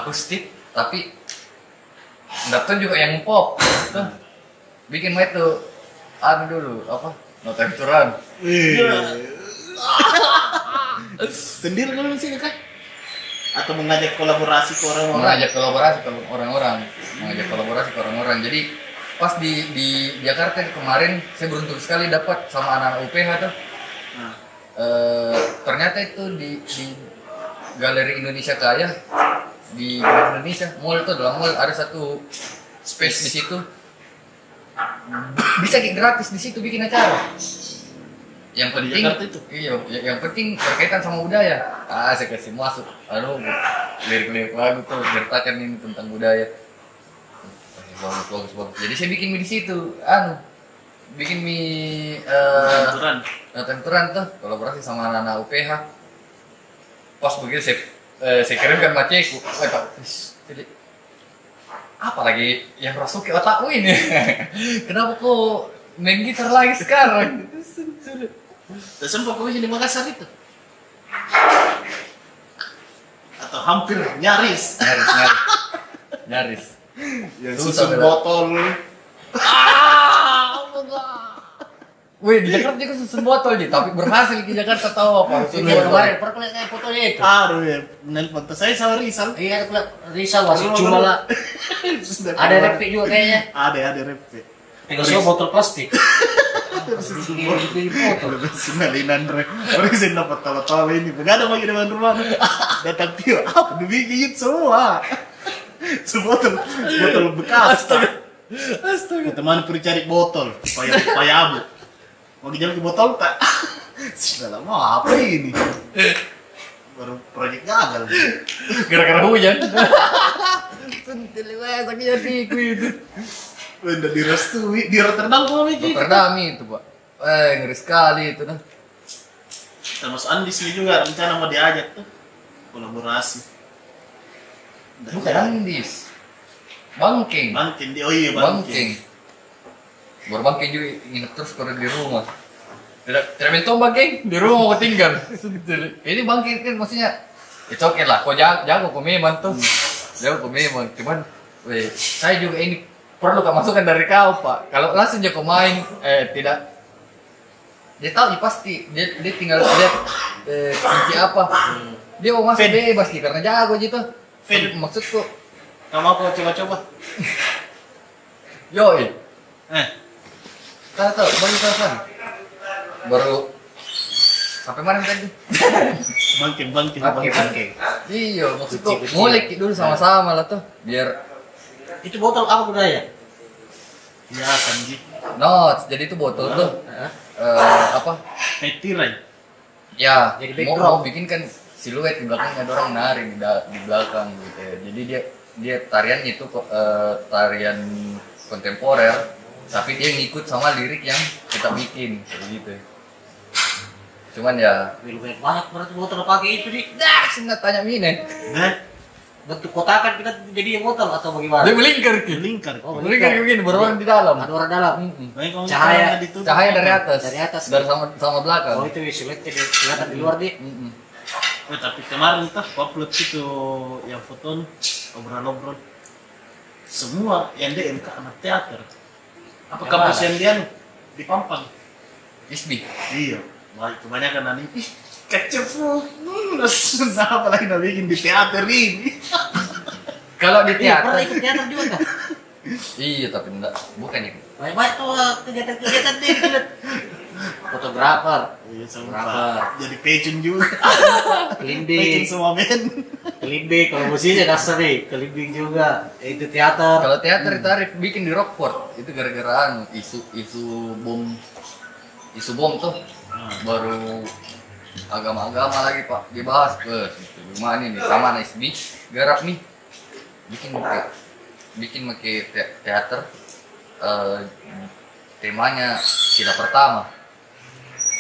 [SPEAKER 3] akustik tapi nggak tahu juga yang pop tuh bikin main tuh anu dulu apa no time to run
[SPEAKER 1] Iya. Sendiri kalau kan sih Kak? Atau mengajak kolaborasi ke orang-orang?
[SPEAKER 3] mengajak kolaborasi ke orang-orang mengajak kolaborasi ke orang-orang jadi pas di di Jakarta kemarin saya beruntung sekali dapat sama anak UPH tuh
[SPEAKER 1] Nah,
[SPEAKER 3] Eh, ternyata itu di, di galeri Indonesia Kaya di Galeri Indonesia mall itu dalam mall ada satu space di situ
[SPEAKER 1] Hmm.
[SPEAKER 3] bisa kayak gratis di situ bikin acara yang
[SPEAKER 1] Di
[SPEAKER 3] penting
[SPEAKER 1] Jakarta itu?
[SPEAKER 3] iya ya- yang penting berkaitan sama budaya ah saya kasih masuk lalu lirik-lirik lagu tuh ceritakan ini tentang budaya bagus bagus bagus jadi saya bikin mie di situ anu bikin mie eh,
[SPEAKER 1] aturan.
[SPEAKER 3] Nah, tenturan tuh kolaborasi sama anak-anak UPH. Pas begitu saya, eh, saya kirimkan maceku. Eh, Pak, wis, jadi apalagi yang rasuki otakku ini. Kenapa kok main gitar lagi sekarang?
[SPEAKER 1] Dan sempat kau di Makassar itu? Atau hampir nyaris.
[SPEAKER 3] nyaris, nyaris. Nyaris.
[SPEAKER 1] Ya,
[SPEAKER 3] susah,
[SPEAKER 1] susun
[SPEAKER 3] Bella.
[SPEAKER 1] botol.
[SPEAKER 3] Wih, di Jakarta juga susun botol Ji, tapi berhasil di Jakarta tahu apa? Susun
[SPEAKER 2] Ini kemarin
[SPEAKER 3] botol.
[SPEAKER 2] pernah kulihat kayak fotonya itu.
[SPEAKER 1] Aduh ya, menelpon tuh. saya sama Rizal.
[SPEAKER 2] Iya, aku lihat risau masih cuma lah.
[SPEAKER 1] Sudah
[SPEAKER 2] Ada ya?
[SPEAKER 1] keluar.
[SPEAKER 2] repik juga kayaknya.
[SPEAKER 1] Ada, ada ya. repe.
[SPEAKER 2] Tinggal semua botol plastik.
[SPEAKER 1] Kalau sinalinan re, orang sih dapat tawa-tawa ini. Begadang lagi depan rumah. Datang Tio, apa dibikin semua? Semua botol, botol bekas.
[SPEAKER 3] Astaga.
[SPEAKER 1] Ya, teman perlu cari botol supaya supaya abu mau dijual ke botol tak sudah lama apa ini baru proyek gagal
[SPEAKER 3] Gara-gara hujan. Sentil wes sakit hatiku itu.
[SPEAKER 1] udah direstui di Rotterdam kok mikir
[SPEAKER 3] Rotterdam itu, Pak. Eh, ngeri sekali itu nah.
[SPEAKER 1] termasuk Andi sini juga rencana mau diajak tuh kolaborasi Nggak
[SPEAKER 3] Bukan
[SPEAKER 1] jadi.
[SPEAKER 3] Andis. Bangking.
[SPEAKER 1] bangking dia oh iya
[SPEAKER 3] Bangking.
[SPEAKER 1] bangking
[SPEAKER 3] Baru bangking juga nginep terus kalau di rumah. Tidak tidak main tombak, geng. Di rumah mau tinggal. Ini bangking kan maksudnya It's okay lah, kok jago, jago kok memang tuh Jago kok memang, cuman weh, Saya juga ini perlu kemasukan dari kau pak Kalau langsung jago main, eh tidak Dia tahu ya pasti, dia, dia tinggal lihat eh, kunci apa Dia mau masuk
[SPEAKER 1] Fin.
[SPEAKER 3] bebas nih, karena jago gitu
[SPEAKER 1] Fin.
[SPEAKER 3] Maksudku,
[SPEAKER 1] kamu mau coba-coba
[SPEAKER 3] Yoi,
[SPEAKER 1] eh
[SPEAKER 3] tahu tahu baru telepon. Baru sampai mana tadi?
[SPEAKER 1] bangking bangking
[SPEAKER 3] Bangking,
[SPEAKER 1] bangking
[SPEAKER 3] Iya, maksudku
[SPEAKER 2] Kecil-kecil.
[SPEAKER 3] mulai dulu sama-sama lah tuh, biar
[SPEAKER 2] Itu botol apa gunanya?
[SPEAKER 1] ya kan gitu
[SPEAKER 3] notes. Jadi itu botol tuh
[SPEAKER 2] Hah?
[SPEAKER 3] eh, apa?
[SPEAKER 1] kayak tirai
[SPEAKER 3] Ya,
[SPEAKER 2] Jadi
[SPEAKER 3] mau,
[SPEAKER 2] backdrop.
[SPEAKER 3] mau bikin kan siluet di belakang ada orang nari di, da- di belakang gitu. ya. Jadi dia dia tarian itu kok, eh, tarian kontemporer tapi dia ngikut sama lirik yang kita bikin kayak gitu cuman ya
[SPEAKER 2] Lumayan banyak berarti botol pakai itu nih.
[SPEAKER 3] dah sengat tanya mine
[SPEAKER 1] Nah,
[SPEAKER 2] Bentuk kotakan kita jadi yang botol atau bagaimana?
[SPEAKER 3] dia melingkar ki
[SPEAKER 1] lingkar.
[SPEAKER 2] Oh,
[SPEAKER 3] melingkar
[SPEAKER 2] melingkar.
[SPEAKER 3] begini baru orang di dalam
[SPEAKER 2] Ada orang dalam.
[SPEAKER 1] Baik, kalau
[SPEAKER 2] Cahaya.
[SPEAKER 1] misalnya ditutup,
[SPEAKER 3] cahaya dari atas
[SPEAKER 2] Dari atas.
[SPEAKER 3] dari sama sama belakang
[SPEAKER 2] Oh itu silet kelihatan di luar di.
[SPEAKER 3] Mm-mm.
[SPEAKER 1] Eh, tapi kemarin tuh aku upload itu yang foto obrol-obrol. Semua yang DM ke anak teater. Apa
[SPEAKER 2] Yang
[SPEAKER 1] kampus
[SPEAKER 2] mana?
[SPEAKER 1] yang dia anu? di Pampang?
[SPEAKER 3] Isbi
[SPEAKER 1] Iya. Baik, kebanyakan nanti. Ih, kecepu. Hmm, susah apa lagi nak bikin di teater ini?
[SPEAKER 3] kalau di
[SPEAKER 2] Iya, pernah
[SPEAKER 3] teater
[SPEAKER 2] ikut teater juga kan?
[SPEAKER 3] iya tapi enggak bukan itu
[SPEAKER 2] Banyak banget tuh eh, kegiatan-kegiatan di gitu. Fotografer,
[SPEAKER 1] Iya, sumpah.
[SPEAKER 2] Berapa?
[SPEAKER 1] Jadi pecun juga. Pecun
[SPEAKER 2] kelinding,
[SPEAKER 1] semua men.
[SPEAKER 2] kelinding. Kalau musisi dasar nih, kelinding juga. Eh, Itu teater.
[SPEAKER 3] Kalau teater ditarik bikin di Rockport itu gara-gara anu, isu isu bom isu bom tuh
[SPEAKER 2] Ah.
[SPEAKER 3] baru agama-agama lagi pak dibahas bes gitu. Gimana nih sama anak SB garap nih bikin make- bikin make te- teater eh, temanya sila pertama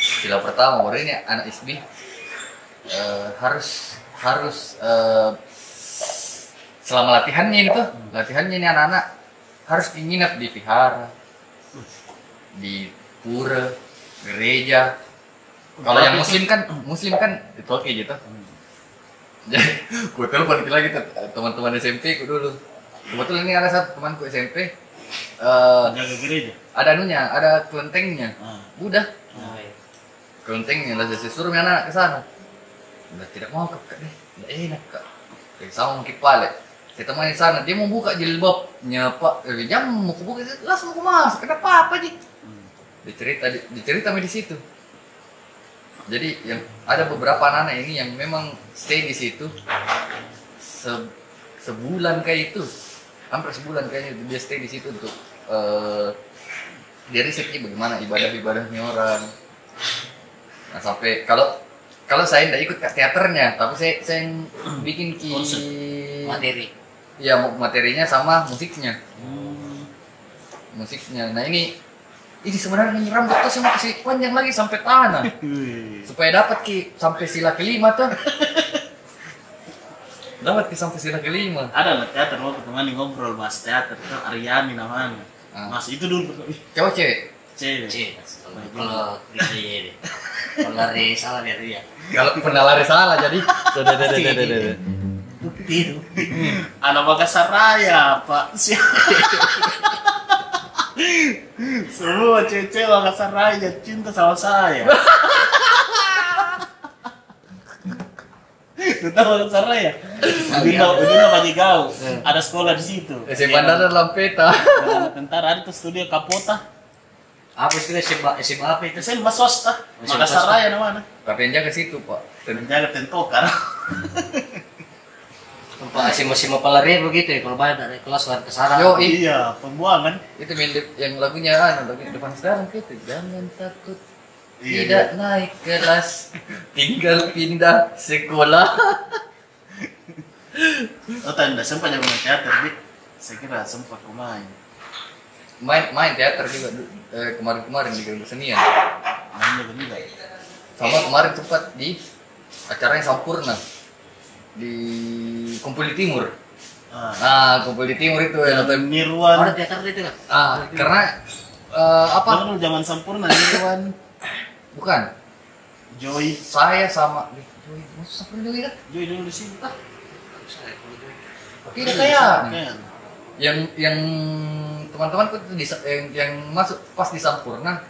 [SPEAKER 3] sila pertama baru ini anak SB eh, harus harus eh, selama latihannya ini tuh latihannya ini anak-anak harus nginep di vihara di pura gereja kalau yang muslim kan muslim kan itu oke gitu jadi gue telepon kita lagi tuh, teman-teman SMP ku dulu kebetulan ini ada satu temanku SMP eh,
[SPEAKER 1] Jaga gereja.
[SPEAKER 3] ada anunya ada kelentengnya
[SPEAKER 1] Ah.
[SPEAKER 3] udah
[SPEAKER 2] Oh, iya.
[SPEAKER 3] kelentengnya lah saya suruh anak ke sana udah tidak mau kak kak deh nggak enak kak kayak sama mungkin pale kita main di sana dia mau buka jilbabnya pak eh, dia mau buka langsung mau masuk kenapa apa sih
[SPEAKER 1] Hmm.
[SPEAKER 3] dicerita di- dicerita sampai di situ jadi yang ada beberapa anak-anak ini yang memang stay di situ Se- sebulan kayak itu hampir sebulan kayaknya dia stay di situ untuk eh, dia risetnya bagaimana ibadah-ibadahnya orang nah sampai kalau kalau saya tidak ikut ke teaternya tapi saya saya yang bikin ki
[SPEAKER 1] Konsep.
[SPEAKER 2] Materi.
[SPEAKER 3] ya materinya sama musiknya
[SPEAKER 1] Hmm.
[SPEAKER 3] musiknya. Nah ini ini sebenarnya ini rambut tuh saya mau kasih panjang lagi sampai tanah
[SPEAKER 1] Wih.
[SPEAKER 3] supaya dapat ki sampai sila kelima tuh. dapat ki sampai sila kelima.
[SPEAKER 1] ada lah teater waktu kemarin ngobrol bahas teater kan Ariani namanya
[SPEAKER 3] Ah.
[SPEAKER 1] mas itu dulu ih,
[SPEAKER 3] Coba cek
[SPEAKER 1] cewek
[SPEAKER 2] C. Kalau bisa iya deh. Kalau dari salah dari dia.
[SPEAKER 3] kalau pernah lari salah jadi. Duh, duh, duh, duh, duh, duh, duh.
[SPEAKER 2] Bukti itu.
[SPEAKER 1] anak Makassaraya pak Si- semua cewek-cewek Makassaraya cinta sama saya Tentang Makassaraya Udina, Udina Pajigau Ada sekolah di situ
[SPEAKER 3] Hmm. Eh, Bandara Lampeta.
[SPEAKER 1] Nah, Tentara ada tuh studio Kapota
[SPEAKER 2] Apa istilah SMA, SMA apa itu?
[SPEAKER 1] Itu mas swasta
[SPEAKER 2] Masih
[SPEAKER 1] Makassaraya namanya
[SPEAKER 3] Tapi yang jaga situ pak. Dan
[SPEAKER 1] Menjaga ah. tentokar
[SPEAKER 2] Tempat SMA-SMA pelarian begitu ya. Kalau banyak dari kelas luar ke sana.
[SPEAKER 3] Yo, i-
[SPEAKER 1] Iya, pembuangan.
[SPEAKER 3] itu main dep- yang lagunya anu lagunya depan sekarang gitu. Jangan takut
[SPEAKER 1] Iya,
[SPEAKER 3] tidak naik kelas tinggal pindah sekolah
[SPEAKER 1] Oh, tanda sempat jago main teater, Dik. Saya kira sempat ku main.
[SPEAKER 3] main main teater juga du- eh, kemarin-kemarin di Grand Kesenian
[SPEAKER 1] Main jago juga. ya.
[SPEAKER 3] sama kemarin sempat di acaranya Sampurna di Kumpul di Timur
[SPEAKER 1] Ah,
[SPEAKER 3] ah Kumpul di Timur itu ya nonton
[SPEAKER 2] Ada
[SPEAKER 1] Nirwan.
[SPEAKER 2] teater itu kan?
[SPEAKER 3] ah karena eh, apa
[SPEAKER 1] Apa dulu zaman sempurna Nirwan,
[SPEAKER 3] bukan
[SPEAKER 1] Joy.
[SPEAKER 3] saya sama Ih, Joy, maksud Sampurna juga kan?
[SPEAKER 1] Joy dulu di sini. Ah,
[SPEAKER 3] tidak kayak
[SPEAKER 1] Kan.
[SPEAKER 3] yang yang teman-temanku tuh di, yang, yang masuk pas di Sampurna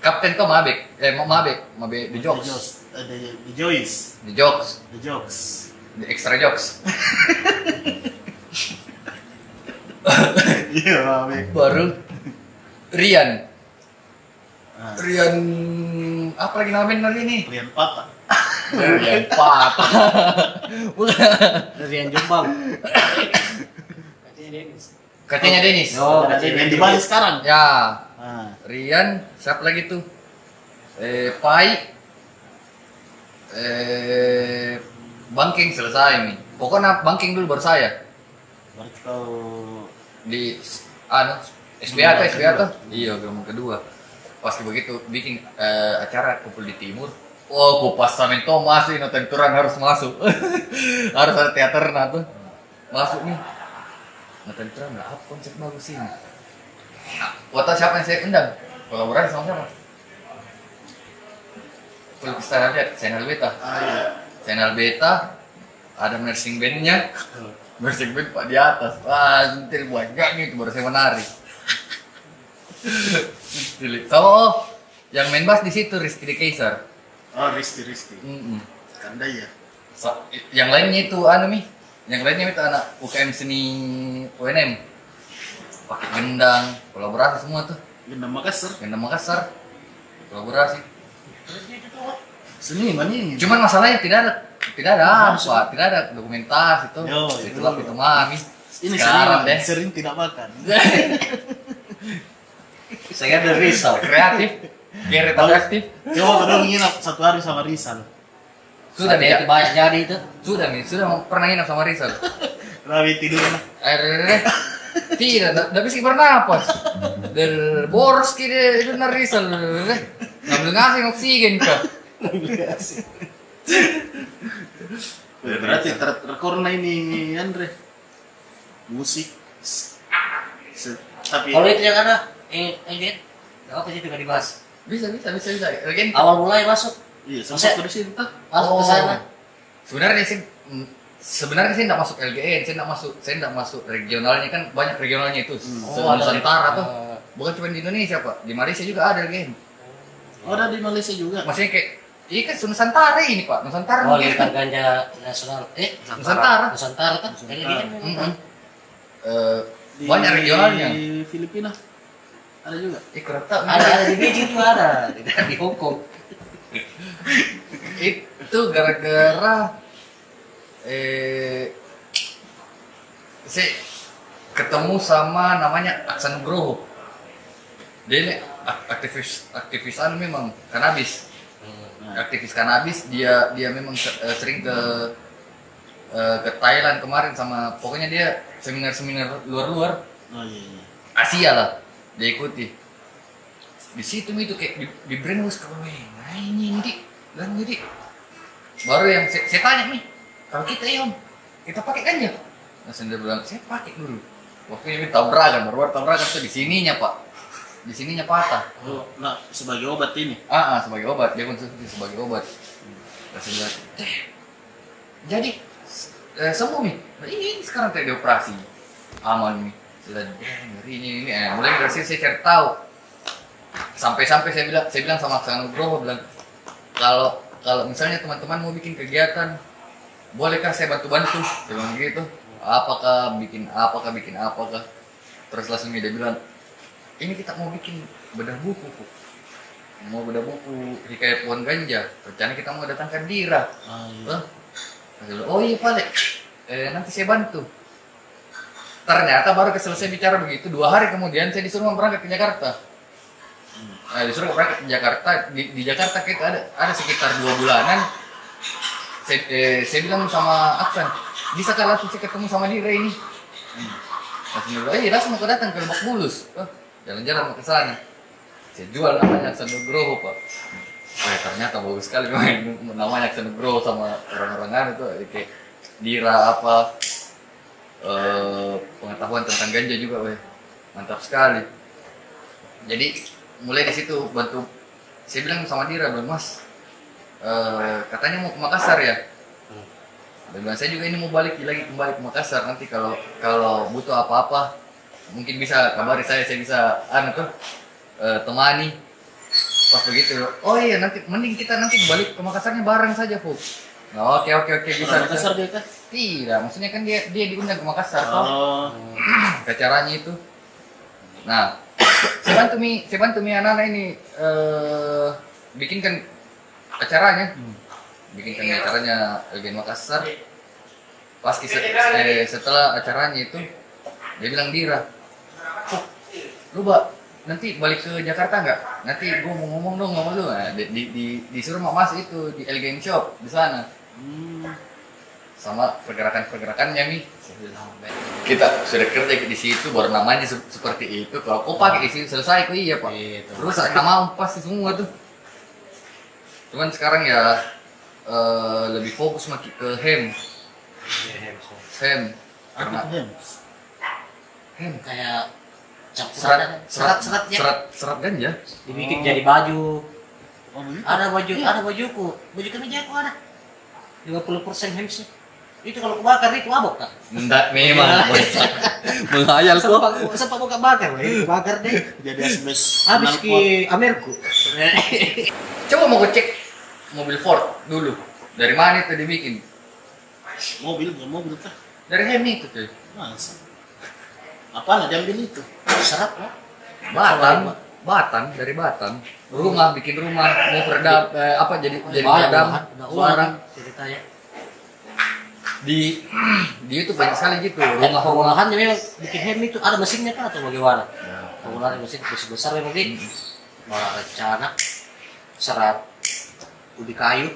[SPEAKER 3] kapten tuh Mabek eh Ma- Mabek Mabek the
[SPEAKER 1] The Jokes.
[SPEAKER 3] Jokes
[SPEAKER 1] Eh, The, the Joys.
[SPEAKER 3] the Jokes
[SPEAKER 1] The Jokes.
[SPEAKER 3] the extra Jokes
[SPEAKER 1] Iya, Mami.
[SPEAKER 3] baru Rian
[SPEAKER 1] Ah,
[SPEAKER 3] Rian apa lagi namanya hari ini?
[SPEAKER 1] Rian Pata.
[SPEAKER 3] Rian patah. Bukan.
[SPEAKER 2] Dari yang Jombang.
[SPEAKER 3] Katanya Denis.
[SPEAKER 2] Oh,
[SPEAKER 1] Ada
[SPEAKER 2] berarti
[SPEAKER 1] yang di Bali sekarang.
[SPEAKER 3] Ya,
[SPEAKER 1] Ah,
[SPEAKER 3] Rian siapa lagi tuh? Eh, Pai. Eh, Bangking selesai nih. Pokoknya Bangking dulu baru saya
[SPEAKER 1] baru tahu
[SPEAKER 3] di anu SBA tuh SBA tuh iya gelombang kedua pasti begitu bikin eh, acara kumpul di timur Oh, kupas samin Thomas ini nonton kurang harus masuk. harus ada teater nah tuh. Masuk nih. Nonton kurang nggak apa konsep bagus ini. Nah, Kota siapa yang saya undang? Kolaborasi sama siapa? Pelukis tanah liat, Senal Beta.
[SPEAKER 1] ah iya
[SPEAKER 3] Senal Beta, ada nursing bandnya. Nursing band pak di atas. Wah, sentil banyak nih, itu baru saya menarik. Sentil. Sama oh, yang main bass di situ Rizky De Kaiser.
[SPEAKER 1] oh Risti Risti
[SPEAKER 3] Mm-mm.
[SPEAKER 1] kanda ya
[SPEAKER 3] Sa- yang lainnya itu anu mi yang lainnya itu anak UKM seni UNM pakai gendang kolaborasi semua tuh
[SPEAKER 1] Gendam Makassar
[SPEAKER 3] gendang Makassar kolaborasi
[SPEAKER 1] seniman ini
[SPEAKER 3] cuman masalahnya tidak ada tidak ada apa tidak ada dokumentasi tuh
[SPEAKER 1] Yo,
[SPEAKER 3] itulah
[SPEAKER 1] itu.
[SPEAKER 3] itu mami
[SPEAKER 1] ini ya.
[SPEAKER 3] sekarang
[SPEAKER 1] seniman
[SPEAKER 3] deh
[SPEAKER 1] sering tidak makan
[SPEAKER 2] Saya ada risau.
[SPEAKER 3] kreatif biar tetap
[SPEAKER 1] Bagus.
[SPEAKER 3] aktif
[SPEAKER 1] coba baru Ya, nginap satu hari sama Rizal
[SPEAKER 3] sudah
[SPEAKER 2] Sampai
[SPEAKER 3] deh
[SPEAKER 2] banyak jadi kan, itu.
[SPEAKER 3] sudah mi sudah pernah nginap sama Eh, Rizal
[SPEAKER 1] Rabi tidur
[SPEAKER 3] air air- tidak da- tapi sih bernapas del boros kira itu narisal ngambil ngasih oksigen kah
[SPEAKER 1] Ya, berarti ter terkorna ini Andre musik Se- tapi
[SPEAKER 2] Kalau itu yang ada, eh, eh, Gen, nggak apa sih juga dibahas.
[SPEAKER 3] bisa bisa bisa bisa Again,
[SPEAKER 2] Awal mulai masuk,
[SPEAKER 1] iya sama
[SPEAKER 2] Maksudnya-
[SPEAKER 1] satu di sini tuh
[SPEAKER 2] masuk
[SPEAKER 3] Oh.
[SPEAKER 2] ke sana.
[SPEAKER 3] sebenarnya sih mm, sebenarnya saya tidak masuk LGN saya tidak masuk saya tidak masuk regionalnya kan banyak regionalnya itu Se-
[SPEAKER 2] Hmm. Oh, ada-
[SPEAKER 3] Oh, Nusantara tuh
[SPEAKER 2] eh,
[SPEAKER 3] bukan cuma di Indonesia pak di Malaysia juga ada LGN
[SPEAKER 1] oh ada di Malaysia juga
[SPEAKER 3] maksudnya kayak iya kan Nusantara ini pak Nusantara
[SPEAKER 2] Oh,
[SPEAKER 3] mungkin.
[SPEAKER 2] lingkar ganja nasional. Eh,
[SPEAKER 3] Nusantara.
[SPEAKER 2] Nusantara kan? Kayaknya
[SPEAKER 1] Nusantara.
[SPEAKER 2] gitu.
[SPEAKER 3] Mm-mm. Eh,
[SPEAKER 1] di
[SPEAKER 3] banyak regionalnya
[SPEAKER 1] Filipina ada juga
[SPEAKER 3] Ih, kurang tahu.
[SPEAKER 2] Ada ada di Beijing tuh ada, di, di Hong Kong.
[SPEAKER 3] itu gara-gara eh si ketemu sama namanya Aksan Nugroho dia ini ak- aktivis aktivisan memang kanabis
[SPEAKER 1] nah,
[SPEAKER 3] aktivis kanabis dia dia memang se- eh, sering ke eh, ke Thailand kemarin sama pokoknya dia seminar-seminar luar-luar
[SPEAKER 1] oh iya, iya.
[SPEAKER 3] Asia lah dia ikuti di situ Mi, itu kayak di, di brainwash kalau "Weh, nah ini ini Dik. dan jadi baru yang saya, saya tanya nih kalau kita ya, Om, kita pakai kan ya nah saya bilang saya pakai dulu waktunya ini tabrakan baru baru tabrakan tuh di sininya pak di sininya patah
[SPEAKER 1] Oh, nah sebagai obat ini
[SPEAKER 3] ah, ah, sebagai obat dia konsumsi sebagai obat nah, saya bilang "Teh, jadi s- eh, sembuh nih nah, ini, ini sekarang teh dioperasi aman nih sudah ngeri ini ini eh, mulai dari situ saya cari tahu sampai-sampai saya bilang saya bilang sama Kang Bro bilang kalau kalau misalnya teman-teman mau bikin kegiatan bolehkah saya bantu-bantu saya bilang gitu apakah bikin apakah bikin apakah terus langsung dia bilang ini kita mau bikin bedah buku Fu. mau bedah buku hikayat pohon ganja rencana kita mau datangkan Dira
[SPEAKER 1] ah, iya.
[SPEAKER 3] Hah? Kata dia, Oh iya Pak Lek. eh, nanti saya bantu. Ternyata baru selesai bicara begitu, dua hari kemudian saya disuruh berangkat ke Jakarta. Nah, disuruh berangkat ke Jakarta, di, di Jakarta kita ada, ada sekitar dua bulanan. Saya, eh, saya bilang sama Aksan, bisa kalau langsung saya ketemu sama Dira ini? Hmm. Langsung dia bilang, eh langsung aku datang ke Lebak Bulus. Oh, Jalan-jalan mau ke sana. Saya jual namanya Aksan Nugroho, Pak. Wah, Nah, ternyata bagus sekali main namanya Action Bro sama orang-orang lain itu kayak dira apa eh, pengetahuan tentang ganja juga weh mantap sekali jadi mulai di situ bantu saya bilang sama dira bilang mas eh, katanya mau ke Makassar ya dan bilang saya juga ini mau balik lagi kembali ke Makassar nanti kalau kalau butuh apa-apa mungkin bisa kabari saya saya bisa anu tuh eh, temani pas begitu oh iya nanti mending kita nanti balik ke Makassarnya bareng saja Fu Nah, oke oke oke bisa
[SPEAKER 1] Orang
[SPEAKER 3] bisa
[SPEAKER 1] Makassar dia kan
[SPEAKER 3] tidak maksudnya kan dia dia diundang ke Makassar toh
[SPEAKER 1] oh
[SPEAKER 3] ke acaranya itu nah saya bantu mi saya bantu mi anak-anak ini eh bikinkan acaranya bikinkan acaranya Elgen Makassar pas kis- eh, setelah acaranya itu dia bilang Dira "Oh, lu Mbak, nanti balik ke Jakarta nggak nanti gua mau ngomong dong ngomong lu nah, di, di, di, disuruh sama mas itu di Elgen Shop di sana
[SPEAKER 1] hmm.
[SPEAKER 3] sama pergerakan-pergerakannya mi saya bilang "Bet, kita sudah kerja di situ baru namanya se- seperti itu kalau kau pakai isi selesai kok iya pak
[SPEAKER 2] Gitu.
[SPEAKER 3] terus nama ampas sih semua tuh cuman sekarang ya eh, lebih fokus maki- ke E hem iya, hem E karena
[SPEAKER 1] Hmm,
[SPEAKER 3] hem
[SPEAKER 2] kayak campuran serat
[SPEAKER 3] serat serat
[SPEAKER 2] serat ya
[SPEAKER 3] serat serat kan ganja
[SPEAKER 2] dibikin jadi baju
[SPEAKER 1] Oh, begitu?
[SPEAKER 2] ada baju
[SPEAKER 3] Iya.
[SPEAKER 2] ada bajuku baju kemeja aku ada 50% persen hemsnya itu kalau kebakar itu mabok kan
[SPEAKER 3] enggak memang
[SPEAKER 2] Iya.
[SPEAKER 3] menghayal kok
[SPEAKER 2] sempat sempat buka bakar wah ini bakar deh
[SPEAKER 1] jadi asbes
[SPEAKER 2] habis
[SPEAKER 1] kenal pot.
[SPEAKER 2] ke Ameriku
[SPEAKER 3] coba mau gue cek mobil Ford dulu dari mana itu dibikin
[SPEAKER 1] mobil bukan mobil tah
[SPEAKER 3] dari hem itu cuy
[SPEAKER 1] masa apa lah jambin itu
[SPEAKER 2] serap lah
[SPEAKER 3] Batan, Batan dari Batan. Rumah bikin rumah mau peredam eh, apa jadi jadi peredam suara
[SPEAKER 2] orang ceritanya
[SPEAKER 3] di di itu banyak sekali gitu
[SPEAKER 2] rumah
[SPEAKER 3] rumah.
[SPEAKER 2] perumahan memang bikin hem itu ada mesinnya kan atau bagaimana pengolahan mesin besi besar memang ini Wah, rencana serap ubi kayu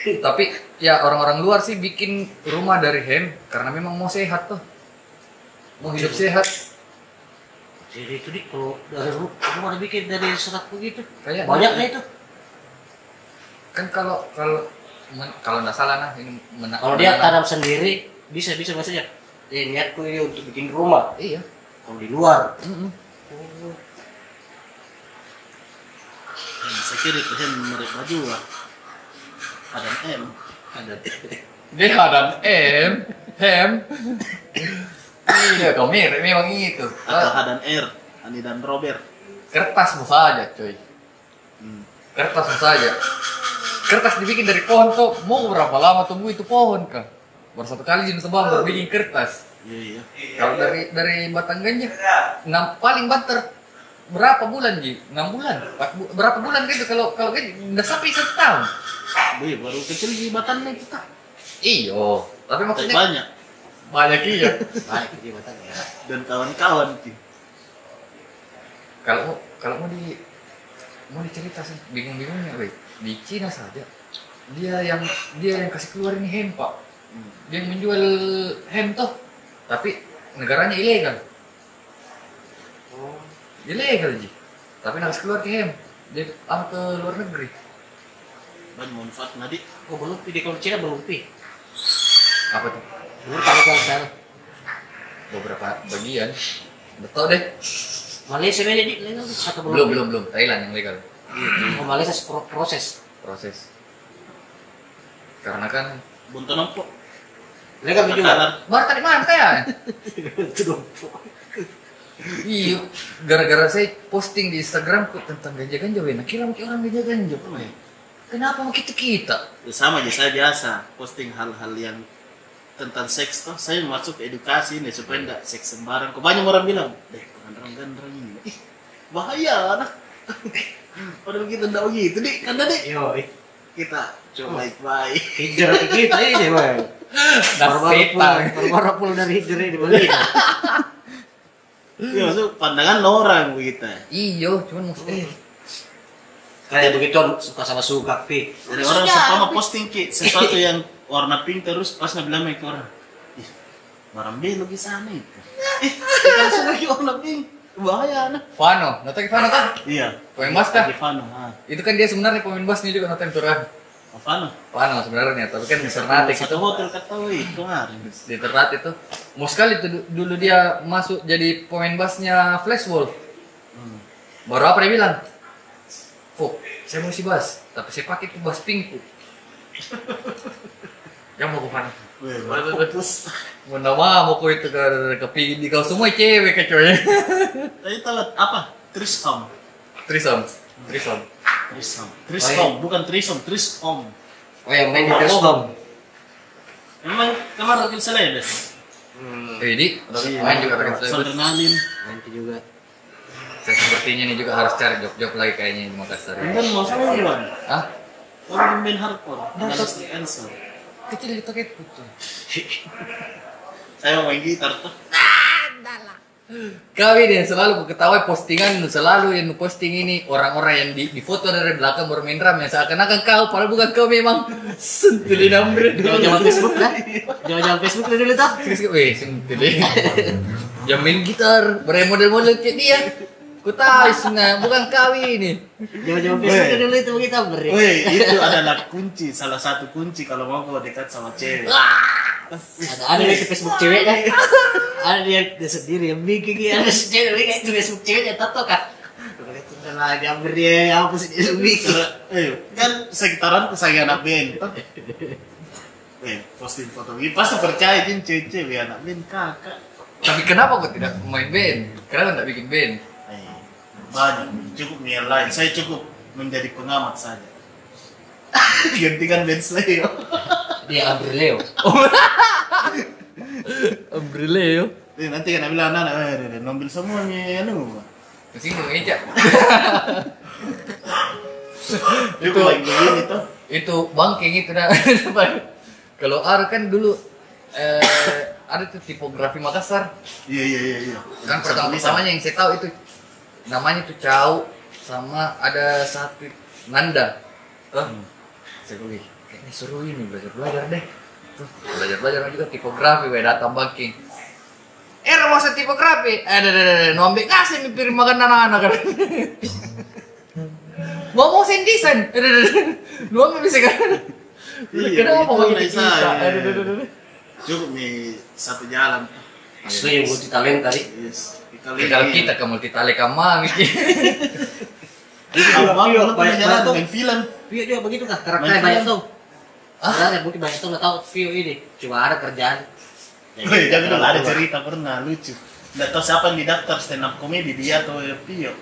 [SPEAKER 3] Tapi ya orang-orang luar sih bikin rumah dari hem karena memang mau sehat tuh. Mau hidup sehat
[SPEAKER 2] jadi itu nih kalau dari ru- rumah ada bikin dari serat begitu
[SPEAKER 3] kayak
[SPEAKER 2] banyak deh itu
[SPEAKER 3] kan kalau kalau men- kalau nggak salah nah ini mena-
[SPEAKER 2] kalau dia tanam
[SPEAKER 3] menanam-
[SPEAKER 2] sendiri bisa bisa maksudnya dia niatku ini untuk bikin rumah
[SPEAKER 3] iya.
[SPEAKER 2] kalau di luar
[SPEAKER 3] Mm-mm.
[SPEAKER 1] Hmm, saya kira itu yang merek baju lah ada M
[SPEAKER 2] ada
[SPEAKER 3] Dia dan M, hem. Iya, kau mirip memang gitu. itu.
[SPEAKER 1] atau H dan R Ani dan Robert
[SPEAKER 3] Kertas musa aja, coy.
[SPEAKER 1] hmm.
[SPEAKER 3] kertas saja kertas dibikin dari pohon tuh mau berapa lama tunggu itu pohon kah baru satu kali jenis tebang baru bikin kertas
[SPEAKER 1] iya iya
[SPEAKER 3] kalau dari dari batang ganja enam paling banter berapa bulan ji enam bulan Empat bu- berapa bulan gitu kalau kalau ganja nggak sampai satu tahun
[SPEAKER 1] Wih, baru kecil di batannya kita
[SPEAKER 3] iyo tapi
[SPEAKER 1] Tapi
[SPEAKER 3] maksudnya
[SPEAKER 1] banyak
[SPEAKER 3] banyak iya
[SPEAKER 2] baik jadi batang ya
[SPEAKER 1] dan kawan-kawan Ki.
[SPEAKER 3] kalau kalau mau di mau dicerita sih bingung-bingungnya weh di Cina saja dia yang dia yang kasih keluar ini hem pak
[SPEAKER 1] Hmm.
[SPEAKER 3] dia yang menjual hem toh tapi negaranya ilegal ilegal ji tapi nak kasih keluar ke hem dia apa ke luar negeri
[SPEAKER 1] dan manfaat nadi
[SPEAKER 2] oh belum pi di kalau Cina belum pi
[SPEAKER 3] apa tuh
[SPEAKER 2] belum kalau kalau sana
[SPEAKER 3] beberapa bagian nggak tahu deh
[SPEAKER 2] Malaysia mana jadi legal tuh atau belum
[SPEAKER 3] belum belum belum Thailand yang legal
[SPEAKER 2] oh, Malaysia pro- proses
[SPEAKER 3] proses karena kan
[SPEAKER 1] bonton nampak
[SPEAKER 2] legal
[SPEAKER 1] Tekanan.
[SPEAKER 2] juga
[SPEAKER 3] baru tadi mana ya
[SPEAKER 2] itu dong
[SPEAKER 3] Iya, gara-gara saya posting di Instagram kok tentang ganja ganja, wena kira mungkin orang ganja ganja, weh. Kenapa mau kita kita?
[SPEAKER 1] ya sama aja saya biasa posting hal-hal yang tentang seks toh saya masuk ke edukasi nih supaya enggak seks sembarang kebanyakan orang bilang deh gandreng gandreng ini ih bahaya anak padahal kita enggak begitu dik kan tadi
[SPEAKER 2] yo
[SPEAKER 1] kita coba baik-baik
[SPEAKER 2] hijrah kita ini bang Nah, baru-baru pulang baru-baru pulang dari hijrah di Malaysia
[SPEAKER 1] ya maksud pandangan orang kita
[SPEAKER 3] Iyo, cuman Eh, maksudnya
[SPEAKER 2] kayak begitu suka sama suka pi
[SPEAKER 1] dari orang seumpama posting ki sesuatu yang warna pink terus pas nabi bilang ke orang ih barang belo di sana itu ih langsung lagi warna pink bahaya anak
[SPEAKER 3] Fano, nonton Fano kan?
[SPEAKER 1] iya
[SPEAKER 3] Pemain bas kah?
[SPEAKER 1] Di Fano ah
[SPEAKER 3] Itu kan dia sebenarnya pemain basnya juga nonton Turan.
[SPEAKER 1] Fano
[SPEAKER 3] Fano sebenarnya, tapi kan di Ternate
[SPEAKER 1] satu
[SPEAKER 3] itu
[SPEAKER 1] hotel kata wih kemarin
[SPEAKER 3] di Ternate itu mau sekali tuh du- dulu dia masuk jadi pemain basnya Flash Wolf.
[SPEAKER 1] Hmm.
[SPEAKER 3] Baru apa dia bilang? Fok, saya mau si bas, tapi saya pakai tuh bas pinku. Yang mau ke Fano?
[SPEAKER 1] Wih,
[SPEAKER 3] Baru-
[SPEAKER 1] baru terus
[SPEAKER 3] Bunda mah mau ku itu ke ke di kau semua cewek kecoy.
[SPEAKER 1] tadi tahu apa Trisom
[SPEAKER 3] Trisom, Trisom.
[SPEAKER 1] Trisom
[SPEAKER 3] iya.
[SPEAKER 1] Trisom bukan Trisom Trisom
[SPEAKER 3] Oh yang main di Trisom.
[SPEAKER 2] Lobang.
[SPEAKER 1] memang kamar Rakyat Selebes
[SPEAKER 3] Eh di, main juga pakai
[SPEAKER 1] Iya,
[SPEAKER 3] selebes.
[SPEAKER 1] Sondernalin
[SPEAKER 2] nanti juga
[SPEAKER 3] Saya sepertinya ini juga harus cari job-job lagi kayaknya di Makassar. ya.
[SPEAKER 1] kan mau sama gimana?
[SPEAKER 3] Hah?
[SPEAKER 1] Orang main hardcore, harus di answer.
[SPEAKER 3] Kecil di toket putu.
[SPEAKER 1] Saya mau main gitar tuh.
[SPEAKER 3] Kami yang selalu ketawa postingan selalu yang posting ini orang-orang yang di, di foto dari belakang bermain drum yang seakan-akan kau padahal bukan kau memang sentili nomor dua.
[SPEAKER 2] Jangan-jangan Facebook lah. Jangan-jangan Facebook lah dulu tuh.
[SPEAKER 3] Terus gue, weh, sentili. Yang main gitar, bermain model-model kayak dia. Ku tahu isinya, bukan kau ini.
[SPEAKER 2] Jangan-jangan Facebook lah
[SPEAKER 1] Weh.
[SPEAKER 2] dulu itu kita beri.
[SPEAKER 1] Woi, itu adalah kunci, salah satu kunci kalau mau kau dekat sama cewek.
[SPEAKER 2] Ada ada di Facebook cewek kan? Ada dia, dia sendiri yang bikin dia ada si cewek kayak di Facebook cewek dia tato kan. Kalau itu udah lah dia beri ya apa sih dia bikin.
[SPEAKER 1] Eh, kan sekitaran kesayangan anak Ben. toh. Eh, posting foto ini pasti percaya jin cewek-cewek anak Ben kakak.
[SPEAKER 3] Tapi kenapa kau tidak main band? Kenapa tidak bikin band?
[SPEAKER 1] Eh, banyak, cukup nih lain. Saya cukup menjadi pengamat saja. Gantikan Ben Slayo.
[SPEAKER 2] Dia ambil Leo.
[SPEAKER 3] Umbrella yo.
[SPEAKER 1] Eh, nanti kan bilang anak, eh, deh, deh, nombil semuanya, anu.
[SPEAKER 3] Mesti mau ngejak.
[SPEAKER 1] Cukup lagi begini tuh.
[SPEAKER 3] itu bangking itu dah kalau Ar kan dulu eh, ada tuh tipografi Makassar
[SPEAKER 1] Iya, iya, iya, iya.
[SPEAKER 3] kan pertama pertamanya yang saya tahu itu namanya tuh Cau sama ada satu Nanda Tuh, saya gue "Wih, kayaknya seru ini belajar belajar deh Tuh, belajar belajar juga tipografi kayak data banking eh masa tipografi eh deh deh deh nombek kasih mimpir makan anak-anak ngomong sendisan eh deh deh deh nombek bisa kan
[SPEAKER 1] Iya, itu
[SPEAKER 3] kenapa mau
[SPEAKER 1] udah
[SPEAKER 3] gitu kita
[SPEAKER 1] saya.
[SPEAKER 3] eh deh deh deh deh
[SPEAKER 1] Cukup nih satu jalan.
[SPEAKER 2] Asli yang multi talent tadi.
[SPEAKER 1] Yes. Kita
[SPEAKER 3] Tapi kalau kita ke multitale kamang
[SPEAKER 1] Abang
[SPEAKER 2] Iya,
[SPEAKER 1] lu pernah
[SPEAKER 2] banyak
[SPEAKER 1] jalan
[SPEAKER 2] banget tuh.
[SPEAKER 1] dengan film.
[SPEAKER 2] Iya dia begitu kan
[SPEAKER 1] Main
[SPEAKER 2] karakternya banyak
[SPEAKER 1] film.
[SPEAKER 2] tuh. Ah, mungkin banyak tuh nggak tahu view ini. Cuma ada kerjaan.
[SPEAKER 3] Iya,
[SPEAKER 1] Woi, jangan dulu ada
[SPEAKER 2] Keluar.
[SPEAKER 1] cerita pernah lucu. Nggak tahu siapa yang didaftar stand up comedy dia atau Pio.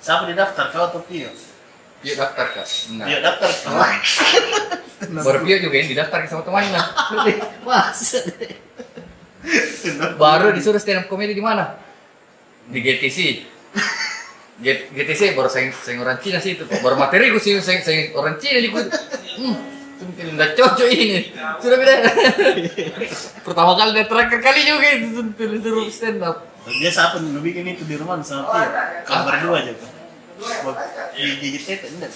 [SPEAKER 1] Siapa didaftar kau atau Pio?
[SPEAKER 3] Yuk daftar kak
[SPEAKER 1] Pio
[SPEAKER 3] Enggak
[SPEAKER 1] daftar.
[SPEAKER 3] Oh. Baru Pio juga yang didaftar sama temannya
[SPEAKER 2] Wah,
[SPEAKER 1] Stand up.
[SPEAKER 3] Baru disuruh stand up comedy di mana? Di GTC. G- GTC baru saing, saing orang Cina sih itu. Baru materi gue sih saing, saing orang Cina ikut. Hmm, suntil nggak cocok ini. Sudah beda. Pertama kali dan terakhir kali juga itu suntil disuruh stand up.
[SPEAKER 1] Dia siapa yang lu bikin itu di rumah sama Pio? Kau berdua aja kan.
[SPEAKER 3] Iya.
[SPEAKER 1] Gigit itu enggak.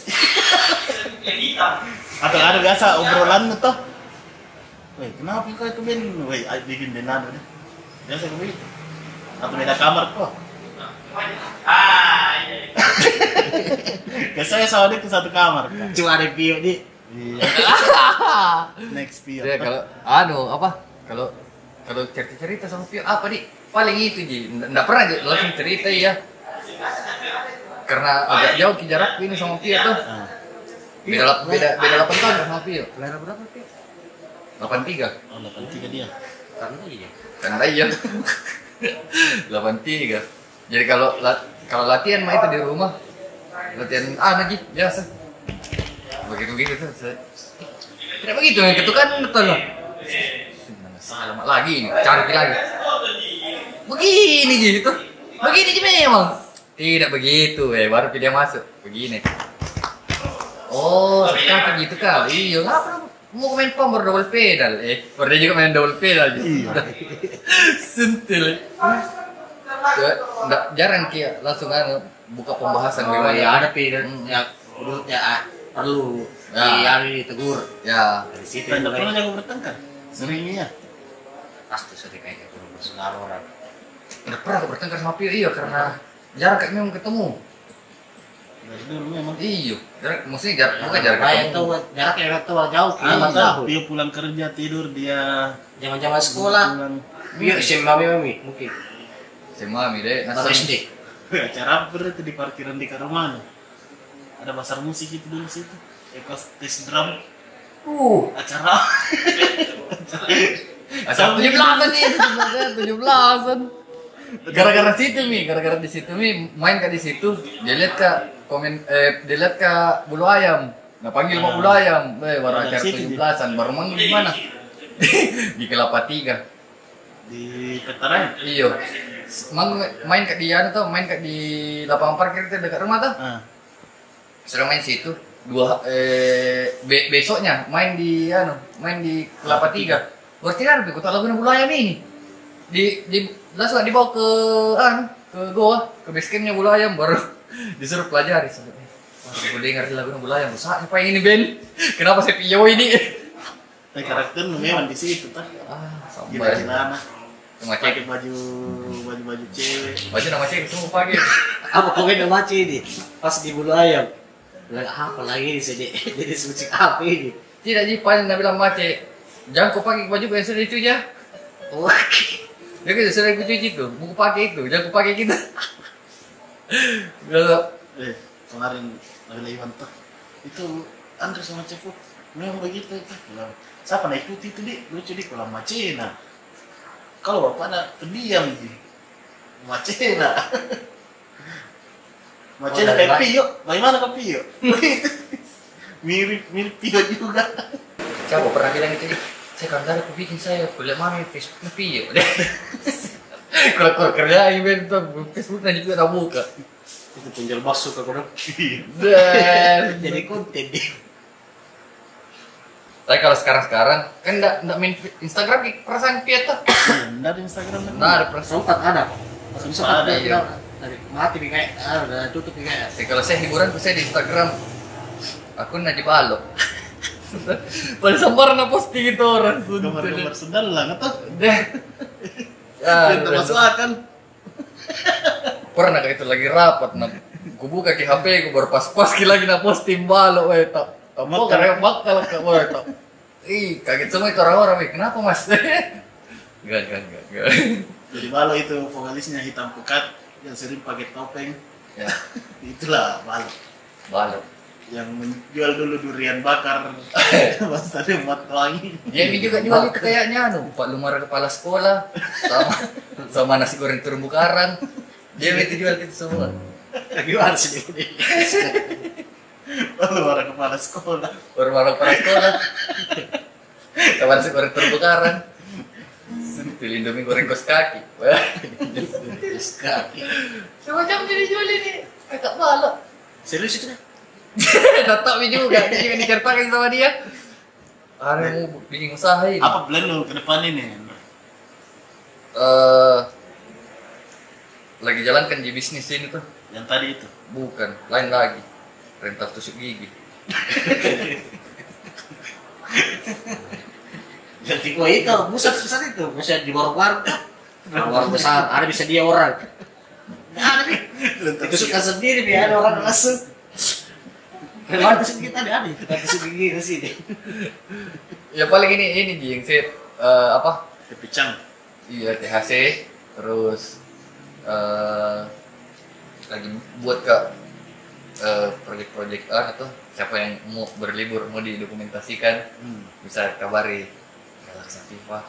[SPEAKER 1] Atau ada biasa obrolan tuh. Woi, kenapa kau itu Ben? Woi, ay- bikin Ben ada deh. Biasa kau begitu. Atau beda kamar kok. Biasanya sama dia ke satu kamar. Kak.
[SPEAKER 2] cuma ada view ini.
[SPEAKER 1] Iya. Next Pio.
[SPEAKER 3] Dia kalau anu apa? Kalau kalau cerita cerita sama Pio apa nih? Paling itu ji, nggak pernah Ji, langsung cerita ya. Karena agak jauh ki jarak ini sama Pio tuh.
[SPEAKER 1] Nah,
[SPEAKER 3] Beda lap- beda beda 8 tahun sama Pio.
[SPEAKER 2] Kelahiran berapa view?
[SPEAKER 3] 83.
[SPEAKER 1] oh, 83 dia.
[SPEAKER 2] Karena iya.
[SPEAKER 3] Karena iya. 83. Jadi kalau la- kalau latihan mah itu di rumah latihan ah lagi biasa. Begitu begitu tuh. saya- Tidak begitu kan itu kan betul lah. Salah mak lagi, cari lagi. Begini gitu. Begini aja memang. Tidak begitu, eh baru pilih masuk. Begini. Oh, sekarang begitu kau. Iya, ngapa mau main pom baru double pedal? Eh, baru dia juga main double pedal.
[SPEAKER 1] Iya.
[SPEAKER 3] Sentil. Enggak jarang kia langsung kan buka
[SPEAKER 2] Oh,
[SPEAKER 3] pembahasan memang.
[SPEAKER 2] ya ada pilihan ya menurutnya ah, perlu
[SPEAKER 3] Ya.
[SPEAKER 2] ya. ditegur
[SPEAKER 3] Ya.
[SPEAKER 2] dari situ
[SPEAKER 1] Tanda pernah
[SPEAKER 2] mulai
[SPEAKER 1] jago bertengkar. Seringnya.
[SPEAKER 2] pasti sudah kayak gitu bersaudara orang
[SPEAKER 3] Enggak pernah aku bertengkar sama Pio iya karena jarang kayak memang ketemu.
[SPEAKER 1] Dari dulu memang.
[SPEAKER 3] Iya, jarang maksudnya jarang bukan jarang
[SPEAKER 2] jarak iya.
[SPEAKER 3] ketemu.
[SPEAKER 2] tahu jarak yang tahu jauh
[SPEAKER 1] Ah,
[SPEAKER 2] lima
[SPEAKER 1] maka
[SPEAKER 2] tahun
[SPEAKER 1] Pio pulang kerja tidur dia
[SPEAKER 2] zaman zaman sekolah
[SPEAKER 1] pulang
[SPEAKER 2] biar SMA Iya, mami mami mungkin
[SPEAKER 3] Sama mami deh,
[SPEAKER 2] atau SD
[SPEAKER 1] acara ber itu di parkiran di Karumano ada pasar musik itu dulu situ ekos test drum
[SPEAKER 3] Uh,
[SPEAKER 1] acara
[SPEAKER 3] asal tujuh belasan nih, tujuh belasan. Gara-gara situ mi, gara-gara di situ mi main kak di situ, dia lihat kak komen, eh dia lihat kak bulu ayam, nah panggil mau bulu ayam, eh
[SPEAKER 1] Dari
[SPEAKER 3] baru acara
[SPEAKER 1] situ,
[SPEAKER 3] tujuh belasan, baru manggil di mana? di kelapa tiga.
[SPEAKER 1] di Petaran
[SPEAKER 3] Iyo, mang Iya. main kak di anu tuh, main kak di lapangan parkir itu dekat rumah tuh.
[SPEAKER 1] ah
[SPEAKER 3] Sudah main situ dua eh be- ya, besoknya main di anu main di kelapa tiga berarti kan ikut lagu bulu ayam ini di di langsung dibawa ke an ke goa ke base campnya bola ayam baru disuruh pelajari sebenarnya Wah, gue dengar di lagu bola ayam rusak apa ini Ben kenapa saya pinjau ini
[SPEAKER 1] Nah, karakter memang di situ tah.
[SPEAKER 3] ah sampai
[SPEAKER 1] Gila-gilaan. ah.
[SPEAKER 3] Cuma cek.
[SPEAKER 1] Pakai baju baju-baju cewek.
[SPEAKER 3] Baju nama cek semua pagi
[SPEAKER 2] apa komen sama Ci ini pas di bulu ayam bilang apa lagi ini jadi jadi suci apa ini
[SPEAKER 3] tidak sih paling nabi bilang mace jangan kau pakai baju yang sudah dicuci ya
[SPEAKER 2] oh
[SPEAKER 3] dia kan sudah dicuci itu mau kau pakai itu jangan kau pakai kita Gak
[SPEAKER 1] Eh, kemarin Nabila Iwanto. Itu Andre sama Cepu. Memang begitu itu. Bilang, Siapa naik putih itu, Dik? Lucu, Dik. Kalau Macena. Kalau Bapak nak pendiam, Dik. Macena. Macena
[SPEAKER 3] Oh, dari
[SPEAKER 1] kayak
[SPEAKER 3] lain.
[SPEAKER 1] Pio. Bagaimana ke Pio? mirip, mirip Pio juga.
[SPEAKER 3] siapa pernah bilang itu Dik? saya kan dari aku bikin saya kuliah mana Facebook tapi ya kalau kau kerja event tuh Facebook nanti juga tak buka
[SPEAKER 4] Itu tinggal masuk ke kono.
[SPEAKER 1] Iya.
[SPEAKER 3] dan
[SPEAKER 2] jadi konten dia
[SPEAKER 3] tapi kalau sekarang sekarang kan ndak ndak main Instagram Dik. perasaan piet tuh
[SPEAKER 1] Nggak ada Instagram. kan?
[SPEAKER 3] nah ada perasaan
[SPEAKER 2] sempat ada masuk sempat
[SPEAKER 1] Ada,
[SPEAKER 2] ada
[SPEAKER 3] iya.
[SPEAKER 2] dari mati nih kayak ah, udah tutup nih kayak
[SPEAKER 3] Ya, kalau saya hiburan saya di Instagram. Aku Najib Alok. Pada sambar na posting itu orang
[SPEAKER 1] Gambar-gambar
[SPEAKER 3] suntuk.
[SPEAKER 1] sendal lah, nggak tahu.
[SPEAKER 3] Deh. Ah,
[SPEAKER 1] Tidak masuk akal.
[SPEAKER 3] pernah kayak itu lagi rapat na ku buka ke HP ku baru pas-pas ki lagi na posting balok we tak
[SPEAKER 1] Makal.
[SPEAKER 3] mau karena bakal ke we tak ih kaget semua itu orang-orang weh kenapa mas enggak enggak enggak enggak
[SPEAKER 1] Jadi Balo itu vokalisnya hitam pekat yang sering pakai topeng.
[SPEAKER 3] ya
[SPEAKER 1] Itulah Balo.
[SPEAKER 3] balok
[SPEAKER 1] yang menjual dulu durian bakar Mas tadi buat wangi
[SPEAKER 3] Ya ini juga jual itu kayaknya anu, Pak Lumara kepala sekolah sama sama nasi goreng terumbu karang. Dia itu jual itu semua.
[SPEAKER 2] gimana sih ini
[SPEAKER 1] lalu orang kepala sekolah
[SPEAKER 3] Orang-orang kepala sekolah. Sama nasi goreng terumbu karang. Pilih Indomie goreng kos kaki. Wah,
[SPEAKER 2] sekali
[SPEAKER 3] Semacam jadi jual ini. Kakak balok.
[SPEAKER 2] serius itu kan
[SPEAKER 3] Datang mi juga. Dia juga diceritakan sama dia. Anu mau bikin usaha ini.
[SPEAKER 1] apa plan lu ke depan ini
[SPEAKER 3] Eh, lagi jalankan di bisnis ini tuh.
[SPEAKER 1] yang tadi itu
[SPEAKER 3] Bukan, lain lagi. Rental tusuk gigi.
[SPEAKER 2] jadi gua Oh, itu buset besar itu bisa di warung warung Nah, warung besar ada bisa dia orang ada nih itu suka sendiri nih ada orang langsung Lewat tusuk kita nih ada kita tusuk gigi ke sini
[SPEAKER 3] Ya paling ini ini Ji, yang saya eh, apa?
[SPEAKER 1] kepicang
[SPEAKER 3] Iya THC terus eh lagi buat ke eh, proyek-proyek ah atau siapa yang mau berlibur mau didokumentasikan
[SPEAKER 1] hmm.
[SPEAKER 3] bisa kabari Relaxativa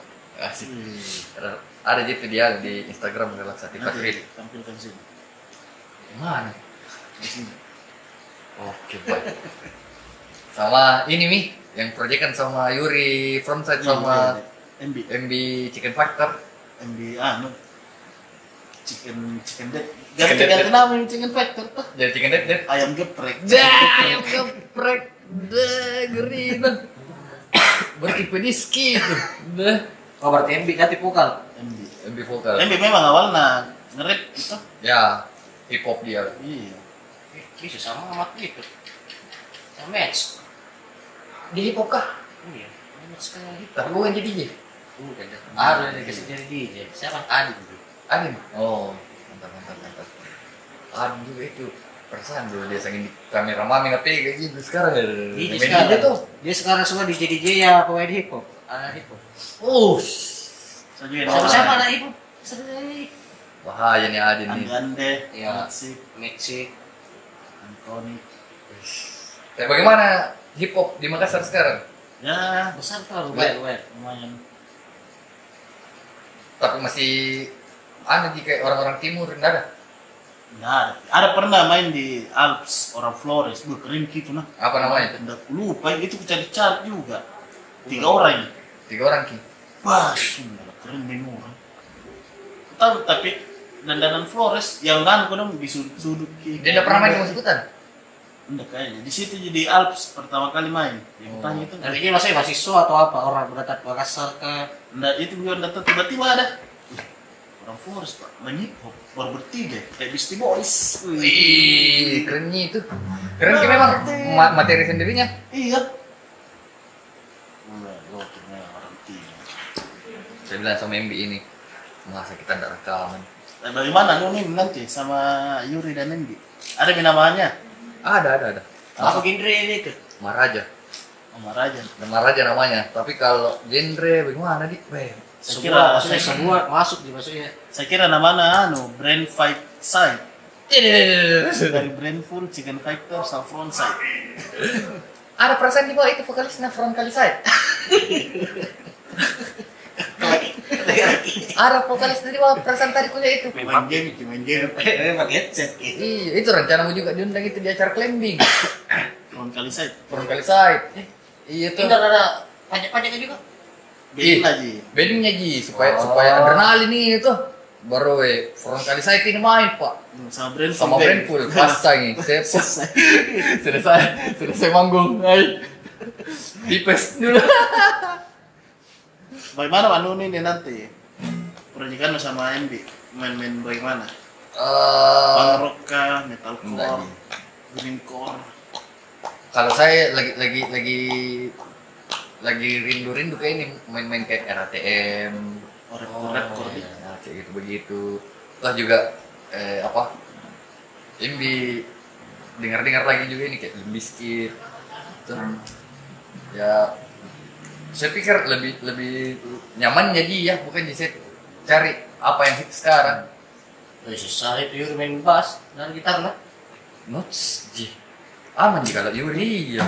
[SPEAKER 3] asik
[SPEAKER 1] Wih.
[SPEAKER 3] Rel- ada gitu dia di Instagram Relaxativa
[SPEAKER 1] nanti
[SPEAKER 3] Grill
[SPEAKER 1] tampilkan sini
[SPEAKER 3] mana
[SPEAKER 1] di sini
[SPEAKER 3] oke baik sama ini mi yang proyek kan sama Yuri Fromside sama
[SPEAKER 1] MB
[SPEAKER 3] MB Chicken Factor
[SPEAKER 1] MB ah no chicken chicken dead
[SPEAKER 3] Chicken
[SPEAKER 1] ganti
[SPEAKER 3] dead.
[SPEAKER 1] ganti nama yang chicken factor tuh
[SPEAKER 3] jadi Chicken Dead Dead
[SPEAKER 1] ayam geprek
[SPEAKER 3] Dah, ayam geprek. Dah, geri dah. Bertipe diski itu. Dah.
[SPEAKER 2] oh berarti MB nanti vokal
[SPEAKER 1] MB
[SPEAKER 3] MB vokal.
[SPEAKER 1] MB memang awalnya ngerap itu
[SPEAKER 3] Ya, hip hop dia.
[SPEAKER 1] iya
[SPEAKER 2] Bisa sama sama gitu. Sama match. Di hip hop kah? Iya. Match kan gitu.
[SPEAKER 3] Tapi bukan jadi dia.
[SPEAKER 2] Udah dah. Ah, udah dikasih jadi DJ. Siapa? Adi.
[SPEAKER 3] Adin. Oh, mantap mantap mantap. Adin juga itu. Perasaan dulu dia saking di kamera mami nggak pega gitu sekarang ya.
[SPEAKER 2] DJ
[SPEAKER 3] Main
[SPEAKER 2] sekarang
[SPEAKER 3] dia
[SPEAKER 2] tuh. Dia sekarang semua DJ DJ ya pemain hip hop. Ah, hip hop.
[SPEAKER 3] Oh,
[SPEAKER 1] saya juga
[SPEAKER 2] Siapa
[SPEAKER 3] Bahaya.
[SPEAKER 2] siapa ada hip hop? Siapa lagi?
[SPEAKER 3] bahaya nih Adin nih.
[SPEAKER 1] Ande,
[SPEAKER 2] Iya.
[SPEAKER 1] Natsik,
[SPEAKER 2] Match.
[SPEAKER 1] Antoni.
[SPEAKER 3] Tapi Eh, bagaimana hip hop di Makassar sekarang?
[SPEAKER 1] Ya,
[SPEAKER 2] Besar tuh lumayan lumayan.
[SPEAKER 1] lumayan.
[SPEAKER 3] Tapi masih aneh di kayak orang-orang timur nggak ada.
[SPEAKER 1] Nggak ada. Ada pernah main di Alps, orang Flores. Duh, keren gitu nah.
[SPEAKER 3] Apa namanya?
[SPEAKER 1] Nggak lupa, itu cari cat juga. Tiga orang. ya.
[SPEAKER 3] Tiga orang ki.
[SPEAKER 1] Wah, sumpah, keren main orang. Tahu, tapi dandanan Flores yang kan aku dong di sudut-sudut.
[SPEAKER 3] Dia nggak pernah main di masuk hutan.
[SPEAKER 1] Nggak kayaknya. Di situ jadi Alps pertama kali main. Yang
[SPEAKER 3] Oh.
[SPEAKER 1] tanya itu. Nah,
[SPEAKER 2] Tapi dia masih mahasiswa atau apa? Orang berdatang ke Makassar ke
[SPEAKER 1] Nggak, itu gue datang tiba-tiba ada. Wih, orang Forest pak menyipop baru bertiga kayak Beastie Boys
[SPEAKER 3] Wih, kerennya itu. Keren kira bang, ma- materi sendirinya.
[SPEAKER 1] iya Mulai gokil memang orang tiga
[SPEAKER 3] Saya bilang sama MB ini, masa kita tidak rekaman.
[SPEAKER 1] Eh, bagaimana Nunin nanti sama Yuri dan Nendi ada namanya
[SPEAKER 3] Ada, ada, Ah, ada.
[SPEAKER 2] Apa genre ini tuh?
[SPEAKER 3] Maraja.
[SPEAKER 1] Omar aja
[SPEAKER 3] Ada Maraja namanya. Tapi kalau genre bagaimana, Dik? Weh,
[SPEAKER 1] saya
[SPEAKER 2] Semua,
[SPEAKER 1] kira
[SPEAKER 2] maksudnya semua masuk di maksudnya.
[SPEAKER 1] saya kira namanya anu Brand Fight Side dari Brand Full Chicken Fighter Saffron Side
[SPEAKER 3] Ada perasaan di bawah itu vokalisnya Front kali saya. Ada vokalis di bawah perasaan tadi punya itu.
[SPEAKER 1] main game main game
[SPEAKER 2] Memang headset gitu.
[SPEAKER 3] Iya, itu rencanamu juga diundang itu di acara climbing.
[SPEAKER 1] Saffron kali Side
[SPEAKER 3] Front kali saya. Iya tuh.
[SPEAKER 2] Tidak ada pajak-pajaknya juga.
[SPEAKER 1] beda
[SPEAKER 3] Ih.
[SPEAKER 1] lagi
[SPEAKER 3] Bandingnya Ji, supaya
[SPEAKER 2] Oh.
[SPEAKER 3] supaya adrenalin ini itu. Baru we, front kali saya ini main pak
[SPEAKER 1] sama Brand
[SPEAKER 3] Sama
[SPEAKER 1] Full.
[SPEAKER 3] Brandful, pasang ini Saya sudah saya, sudah saya manggung Hai Tipes dulu
[SPEAKER 1] Bagaimana Pak Nuni nih nanti? Proyekan lu sama Andy main-main bagaimana?
[SPEAKER 3] Eh,
[SPEAKER 1] Punk rock kah,
[SPEAKER 3] enggak,
[SPEAKER 1] metalcore,
[SPEAKER 3] Ji.
[SPEAKER 1] greencore?
[SPEAKER 3] Kalau saya lagi lagi lagi lagi rindu-rindu kayak ini main-main kayak RATM
[SPEAKER 1] Oh, rapcore, rapcore
[SPEAKER 3] ya,
[SPEAKER 1] gitu.
[SPEAKER 3] kayak gitu begitu Terus juga eh, apa Imbi dengar-dengar lagi juga ini kayak biskit Terus, ya saya pikir lebih lebih nyaman jadi ya bukan jadi saya cari apa yang hit sekarang
[SPEAKER 2] Eh, susah itu Yuri main bass dan gitar lah.
[SPEAKER 3] Notes Ji. Aman jika kalau Yuri ya.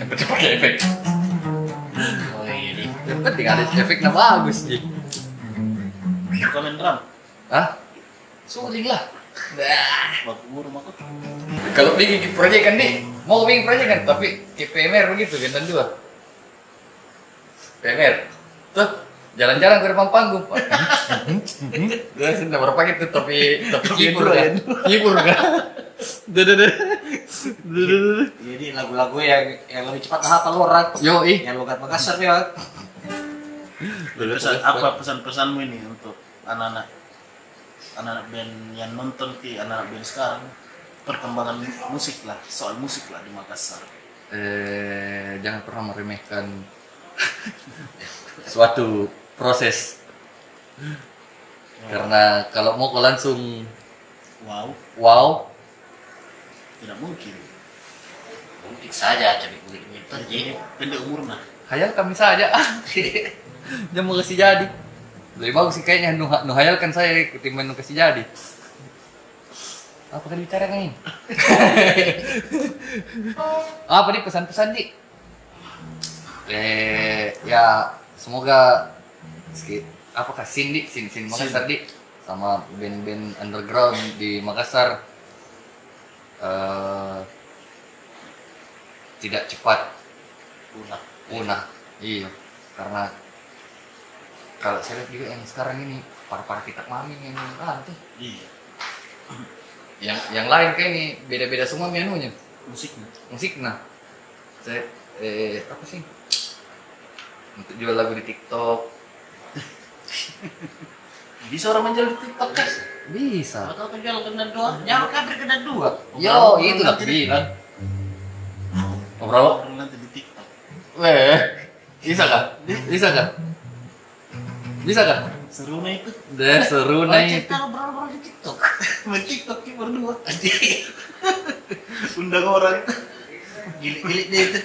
[SPEAKER 3] Yang penting pakai efek.
[SPEAKER 2] Oh iya nih.
[SPEAKER 3] Yang penting ada efeknya bagus Ji.
[SPEAKER 1] Suka main drum?
[SPEAKER 3] Hah? Suling lah. Nah.
[SPEAKER 1] Bagus umur rumah aku.
[SPEAKER 3] Kalau bikin proyek kan di, mau bikin proyek kan tapi ke PMR begitu kan, gendong dua. PMR. Tuh jalan-jalan ke depan panggung pak. Gue sudah berapa gitu tapi tapi hibur kan, hibur kan.
[SPEAKER 2] Jadi lagu-lagu yang yang lebih cepat hafal orang.
[SPEAKER 3] Yo ih.
[SPEAKER 2] Yang logat Makassar ya.
[SPEAKER 1] Pesan, apa pesan-pesanmu ini untuk anak-anak? Anak-anak band yang nonton di anak-anak band sekarang perkembangan musik lah, soal musik lah di Makassar.
[SPEAKER 3] eh, jangan pernah meremehkan suatu proses karena kalau mau kau langsung
[SPEAKER 1] Wow,
[SPEAKER 3] wow
[SPEAKER 1] tidak mungkin.
[SPEAKER 2] Mungkin saja tapi kulit minta
[SPEAKER 1] Jadi Iya. pendek nah. umurnya.
[SPEAKER 3] hayal kami saja jangan mau kasih jadi lebih bagus sih kayaknya nu, nu hayalkan saya ketimbang nu kasih jadi apa kan bicara ini apa nih pesan-pesan di eh ya semoga sedikit apa kasin di sin sin Makassar di sama band-band underground di Makassar eh tidak cepat
[SPEAKER 1] Punah.
[SPEAKER 3] punah iya karena kalau saya lihat juga yang sekarang ini para para kita mami yang ah, nanti
[SPEAKER 1] Iya,
[SPEAKER 3] yang yang lain kayak ini beda-beda semua menunya
[SPEAKER 1] musiknya.
[SPEAKER 3] musik nah saya eh, apa sih untuk jual lagu di TikTok
[SPEAKER 1] Bisa orang menjual di TikTok kan?
[SPEAKER 3] bisa
[SPEAKER 2] Atau penjual kena dua, jangan kabur Ya, kan kena dua.
[SPEAKER 3] yo itu lah bilang ngobrol
[SPEAKER 1] Orang nanti di TikTok.
[SPEAKER 3] weh bisa gak bisa gak bisa gak
[SPEAKER 1] Seru nih itu.
[SPEAKER 3] deh seru
[SPEAKER 2] Orang
[SPEAKER 3] nih
[SPEAKER 2] cerita obrol-obrol Eh, di TikTok.
[SPEAKER 1] Main TikTok ya berdua. Undang orang.
[SPEAKER 2] Gilik-gilik dia itu.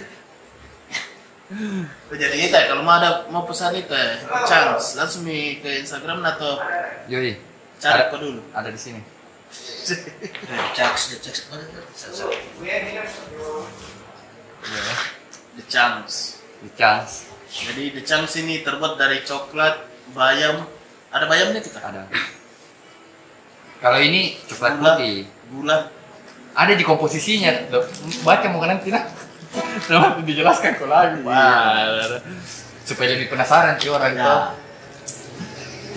[SPEAKER 1] Jadi itu ya, kalau mau ada mau pesan itu ya, chance langsung mi ke Instagram atau
[SPEAKER 3] yoi
[SPEAKER 1] cari
[SPEAKER 3] Ada-
[SPEAKER 1] kau dulu.
[SPEAKER 3] ada di sini
[SPEAKER 2] Eh, Caks, caks, caks.
[SPEAKER 1] The Chance.
[SPEAKER 3] Iya, ya. di chance
[SPEAKER 1] Jadi The Chance ini terbuat dari coklat, bayam. Ada bayamnya kita.
[SPEAKER 3] ada kalau ini coklat
[SPEAKER 1] Gula.
[SPEAKER 3] putih
[SPEAKER 1] Gula.
[SPEAKER 3] ada di komposisinya Loh, baca makanan kita Coba dijelaskan kok lagi Wah, supaya lebih penasaran sih orang itu
[SPEAKER 1] Ya.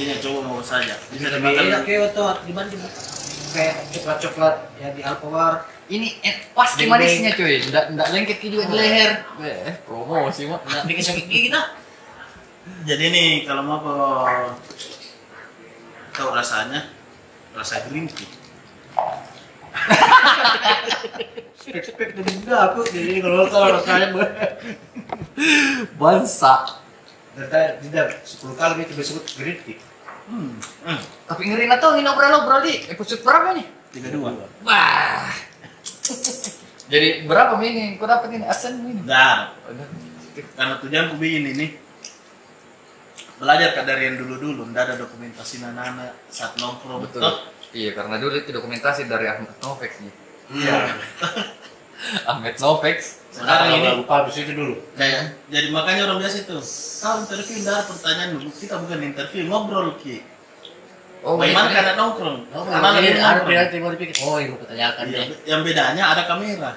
[SPEAKER 1] Intinya coba mau saja. Bisa
[SPEAKER 2] Lebih enak
[SPEAKER 1] dimakan.
[SPEAKER 2] ya tuh dibanding kayak coklat-coklat yang di Alfawar.
[SPEAKER 3] ini eh, pas di
[SPEAKER 2] Deng-deng.
[SPEAKER 3] manisnya cuy nggak nggak lengket
[SPEAKER 2] gitu
[SPEAKER 3] juga di leher eh promosi mah
[SPEAKER 2] Nggak bikin sakit gigi kita.
[SPEAKER 1] Jadi nih kalau mau ke tahu rasanya rasa green tea
[SPEAKER 2] spek-spek dari benda aku jadi kalau tahu rasanya ber- bangsa
[SPEAKER 1] dan tidak sepuluh kali itu disebut green tea
[SPEAKER 3] Tapi ngeri nggak tahu ini obrol-obrol di episode berapa nih?
[SPEAKER 1] tiga dua
[SPEAKER 3] Wah. Jadi berapa Mi, ini? Kau dapat ini asen ini?
[SPEAKER 1] nah karena tujuan aku bikin ini belajar kan dari yang dulu dulu ndak ada dokumentasi anak-anak saat nongkrong
[SPEAKER 3] Betul.
[SPEAKER 1] toh?
[SPEAKER 3] Iya karena dulu itu dokumentasi dari Ahmed Novex nih.
[SPEAKER 1] iya
[SPEAKER 3] Ahmed Novex.
[SPEAKER 1] sekarang ini
[SPEAKER 4] lupa habis itu dulu.
[SPEAKER 1] kayak jadi makanya orang biasa itu kau interview ndak ada pertanyaan dulu kita bukan interview ngobrol ki
[SPEAKER 3] Oh,
[SPEAKER 1] Bagaimana
[SPEAKER 3] iya.
[SPEAKER 1] karena nongkrong
[SPEAKER 2] Oh,
[SPEAKER 1] Karena lagi
[SPEAKER 2] ini ada
[SPEAKER 1] nongkrong.
[SPEAKER 2] pilihan timur pikir, oh ini pertanyaan
[SPEAKER 3] Kan
[SPEAKER 1] Iya,
[SPEAKER 3] ya.
[SPEAKER 2] deh.
[SPEAKER 1] yang bedanya ada kamera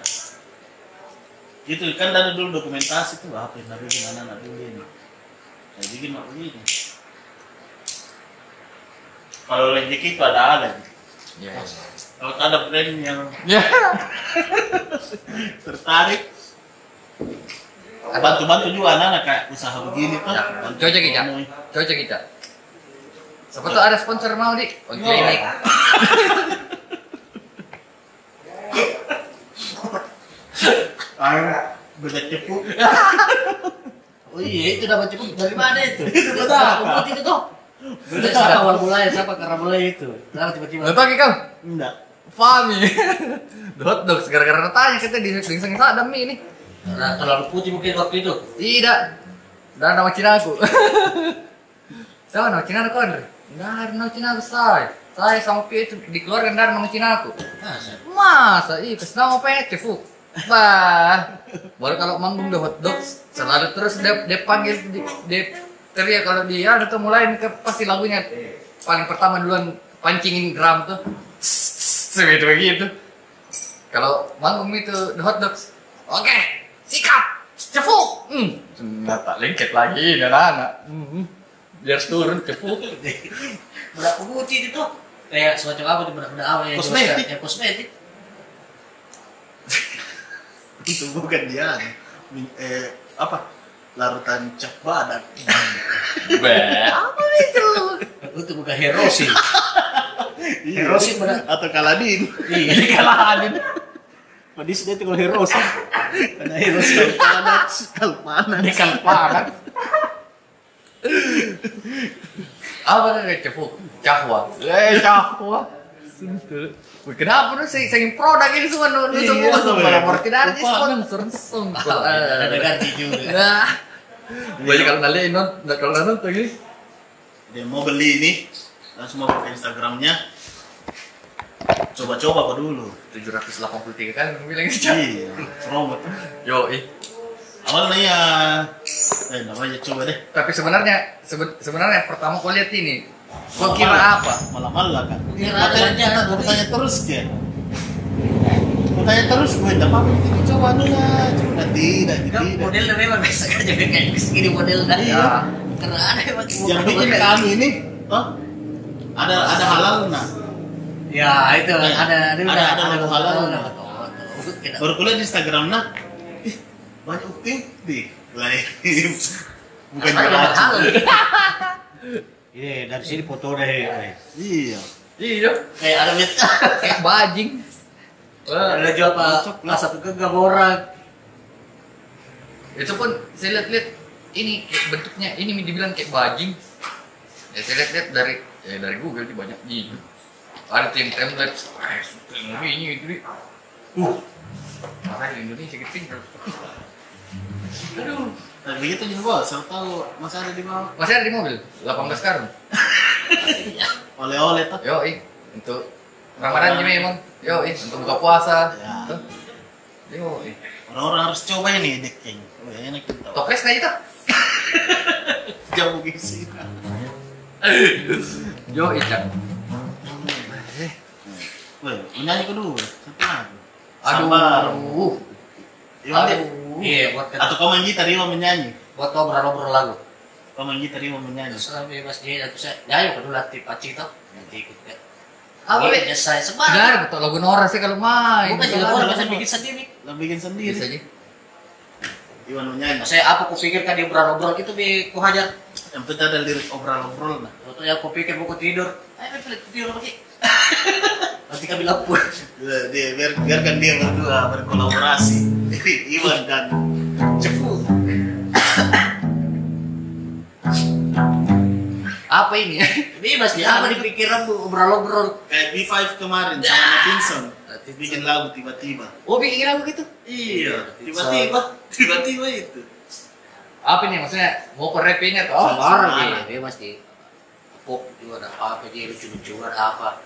[SPEAKER 1] gitu kan dari dulu dokumentasi tuh apa yang nabi gimana nabi ini nah bikin mak begini kalau rezeki itu ada ada
[SPEAKER 3] Iya.
[SPEAKER 1] kalau ada brand yang
[SPEAKER 3] Iya.
[SPEAKER 1] tertarik bantu-bantu juga anak-anak kayak usaha begini tuh
[SPEAKER 3] Ya,
[SPEAKER 1] bantu
[SPEAKER 3] cocok kita.
[SPEAKER 1] promoin.
[SPEAKER 3] Cocok kita. Siapa tuh ada sponsor mau di? On klinik.
[SPEAKER 1] ayo beda cepu
[SPEAKER 2] Oh iya itu dapat cukup dari mana itu? Itu tahu, aku itu tuh. Itu siapa awal mulanya, siapa karena mulai itu? Lalu tiba-tiba
[SPEAKER 3] Lo tau kau?
[SPEAKER 1] enggak
[SPEAKER 3] Fami. Dot dog. Gara-gara tanya kita di di sini sadam Mi, ini.
[SPEAKER 2] Nah, terlalu putih mungkin waktu itu.
[SPEAKER 3] Tidak. Dan nama Cina aku. Tahu nama Cina aku Andre? Nggak ada nama Cina aku saya. Saya sama Pi itu dikeluarkan dari nama Cina aku.
[SPEAKER 2] Masa?
[SPEAKER 3] Masa iya kasih nama PT Fuk. Bah. Baru kalau manggung the hot dog selalu terus dia, dia panggil di- dia teriak kalau dia ada tuh mulai nih, ke- pasti lagunya paling pertama duluan pancingin drum tuh. Segitu begitu. Kalau manggung itu the hot dogs. Oke, sikap. Cefu. Hmm. Nata lengket lagi dan anak. Hmm. Biar turun cefu.
[SPEAKER 2] Bedak putih itu tuh. Kayak semacam apa tuh bedak-bedak apa yang
[SPEAKER 3] Kosmetik.
[SPEAKER 2] dibuat- Ya kosmetik.
[SPEAKER 1] itu bukan dia Min- eh apa larutan cap badan
[SPEAKER 3] Bah. Apa itu?
[SPEAKER 2] Itu bukan herosin. Herosin bedak.
[SPEAKER 1] atau kaladin
[SPEAKER 2] Iya, dikalahin.
[SPEAKER 4] Padis dia tinggal heroes.
[SPEAKER 1] Karena harus kalpanas, kalpanas.
[SPEAKER 3] kan
[SPEAKER 2] Dekan parah.
[SPEAKER 3] Apa tadi cepu? Cahwa. Eh, cahwa. Sentul. Wih, kenapa lu sih sayang produk ini semua nu nu
[SPEAKER 1] Iya,
[SPEAKER 3] semua semua
[SPEAKER 1] iya.
[SPEAKER 3] nomor tidak ada di
[SPEAKER 1] Lupa.
[SPEAKER 3] sponsor sumpah.
[SPEAKER 2] Ada ganti juga.
[SPEAKER 3] Nah. Banyak kalau nali non, nggak kalau nonton gini.
[SPEAKER 1] Dia mau beli ini, langsung mau buka Instagramnya. Coba-coba apa dulu?
[SPEAKER 3] 783 kan gua bilang sih.
[SPEAKER 1] Iya, promo.
[SPEAKER 3] Yo, ih.
[SPEAKER 1] Awalnya ya, eh namanya coba deh.
[SPEAKER 3] Tapi sebenarnya sebe- sebenarnya pertama gua lihat ini. Gua kira apa?
[SPEAKER 1] Malah-malah kan.
[SPEAKER 2] Iya,
[SPEAKER 1] Makanya
[SPEAKER 2] iya,
[SPEAKER 1] kita
[SPEAKER 2] iya.
[SPEAKER 1] gua tanya terus kan. Gua tanya terus gue tidak apa coba dulu lah. Coba tidak,
[SPEAKER 2] Kan
[SPEAKER 1] tidak.
[SPEAKER 2] modelnya memang biasa aja kayak segini model dah.
[SPEAKER 1] Iya.
[SPEAKER 2] Karena ada emang
[SPEAKER 1] Yang bikin kami ini, toh ada ada halal nah.
[SPEAKER 2] Ya, itu ada ada
[SPEAKER 1] Ada-
[SPEAKER 2] udah-
[SPEAKER 1] ada logo halal.
[SPEAKER 2] ada logo halal. Kita-
[SPEAKER 1] baru kuliah di Instagram nah ih, banyak ukti ukti lain bukan
[SPEAKER 2] Ada logo
[SPEAKER 1] jelajah
[SPEAKER 2] halal.
[SPEAKER 4] Iya, dari sini foto deh.
[SPEAKER 1] iya
[SPEAKER 3] Iya,
[SPEAKER 2] Kayak ada minta.
[SPEAKER 3] kayak bajing. Wah.
[SPEAKER 2] Ada jual pak
[SPEAKER 1] Cocok lah.
[SPEAKER 2] pas satu genggam orang.
[SPEAKER 3] itu pun saya lihat-lihat ini kayak bentuknya ini dibilang kayak bajing ya saya lihat-lihat dari ya dari Google sih banyak gitu ada tim template eh suka yang ini ini itu uh makanya di Indonesia gitu aduh
[SPEAKER 1] tapi Nah, begitu juga bos saya tahu masih ada di bawah
[SPEAKER 3] masih ada di mobil 18 karung
[SPEAKER 1] oleh oleh tak
[SPEAKER 3] yo untuk Ramadan sih memang yo untuk buka puasa
[SPEAKER 1] Ya.
[SPEAKER 3] yo
[SPEAKER 1] orang orang harus coba ini deking oh, ya, enak kita
[SPEAKER 3] toples nggak itu
[SPEAKER 1] jauh gisi
[SPEAKER 3] yo ikan
[SPEAKER 1] Weh, menyanyi kedua satu lagu Sabar.
[SPEAKER 3] aduh
[SPEAKER 1] Iwan deh.
[SPEAKER 3] aduh
[SPEAKER 2] Iya, buat kita-
[SPEAKER 1] atau kau main gitar Iwan menyanyi
[SPEAKER 2] buat obrol-obrol lagu.
[SPEAKER 1] kau main gitar Iwan menyanyi
[SPEAKER 2] Terus lah, bebas dia satu saya. Ya, ayo perlu latih pacik toh. Nanti ikut kan.
[SPEAKER 3] Apa, Be?
[SPEAKER 2] Boleh nyesai sebar.
[SPEAKER 3] Benar, betul lagu Nora sih kalau main.
[SPEAKER 2] Bukan
[SPEAKER 1] Iya,
[SPEAKER 2] jalan kan orang
[SPEAKER 1] iya.
[SPEAKER 2] bisa bikin sendiri.
[SPEAKER 1] lah bikin sendiri
[SPEAKER 3] Bisa aja.
[SPEAKER 1] Iwan menyanyi.
[SPEAKER 2] Saya apa ku pikirkan dia obrol-obrol gitu bi ku hajar.
[SPEAKER 1] Yang penting ada lirik obrol-obrol nah.
[SPEAKER 2] Waktu yang ku pikir buku tidur. Ayo bi pelit tidur lagi. Nanti kami lapor.
[SPEAKER 1] Dia, dia- biar, biarkan dia berdua berkolaborasi. Iwan dan
[SPEAKER 2] Cepu.
[SPEAKER 3] Apa ini ya?
[SPEAKER 2] Bebas dia apa di pikiran bu obrol-obrol.
[SPEAKER 1] kayak B5 Eh, kemarin sama Natinson bikin lagu tiba-tiba.
[SPEAKER 3] Oh bikin lagu gitu?
[SPEAKER 1] Iya, tiba-tiba, tiba-tiba itu.
[SPEAKER 3] Apa ini maksudnya? Mau ke rap ini atau apa?
[SPEAKER 2] Sabar
[SPEAKER 1] sabar.
[SPEAKER 2] bi. Bebas di. Pop juga ada apa dia lucu-lucuan apa.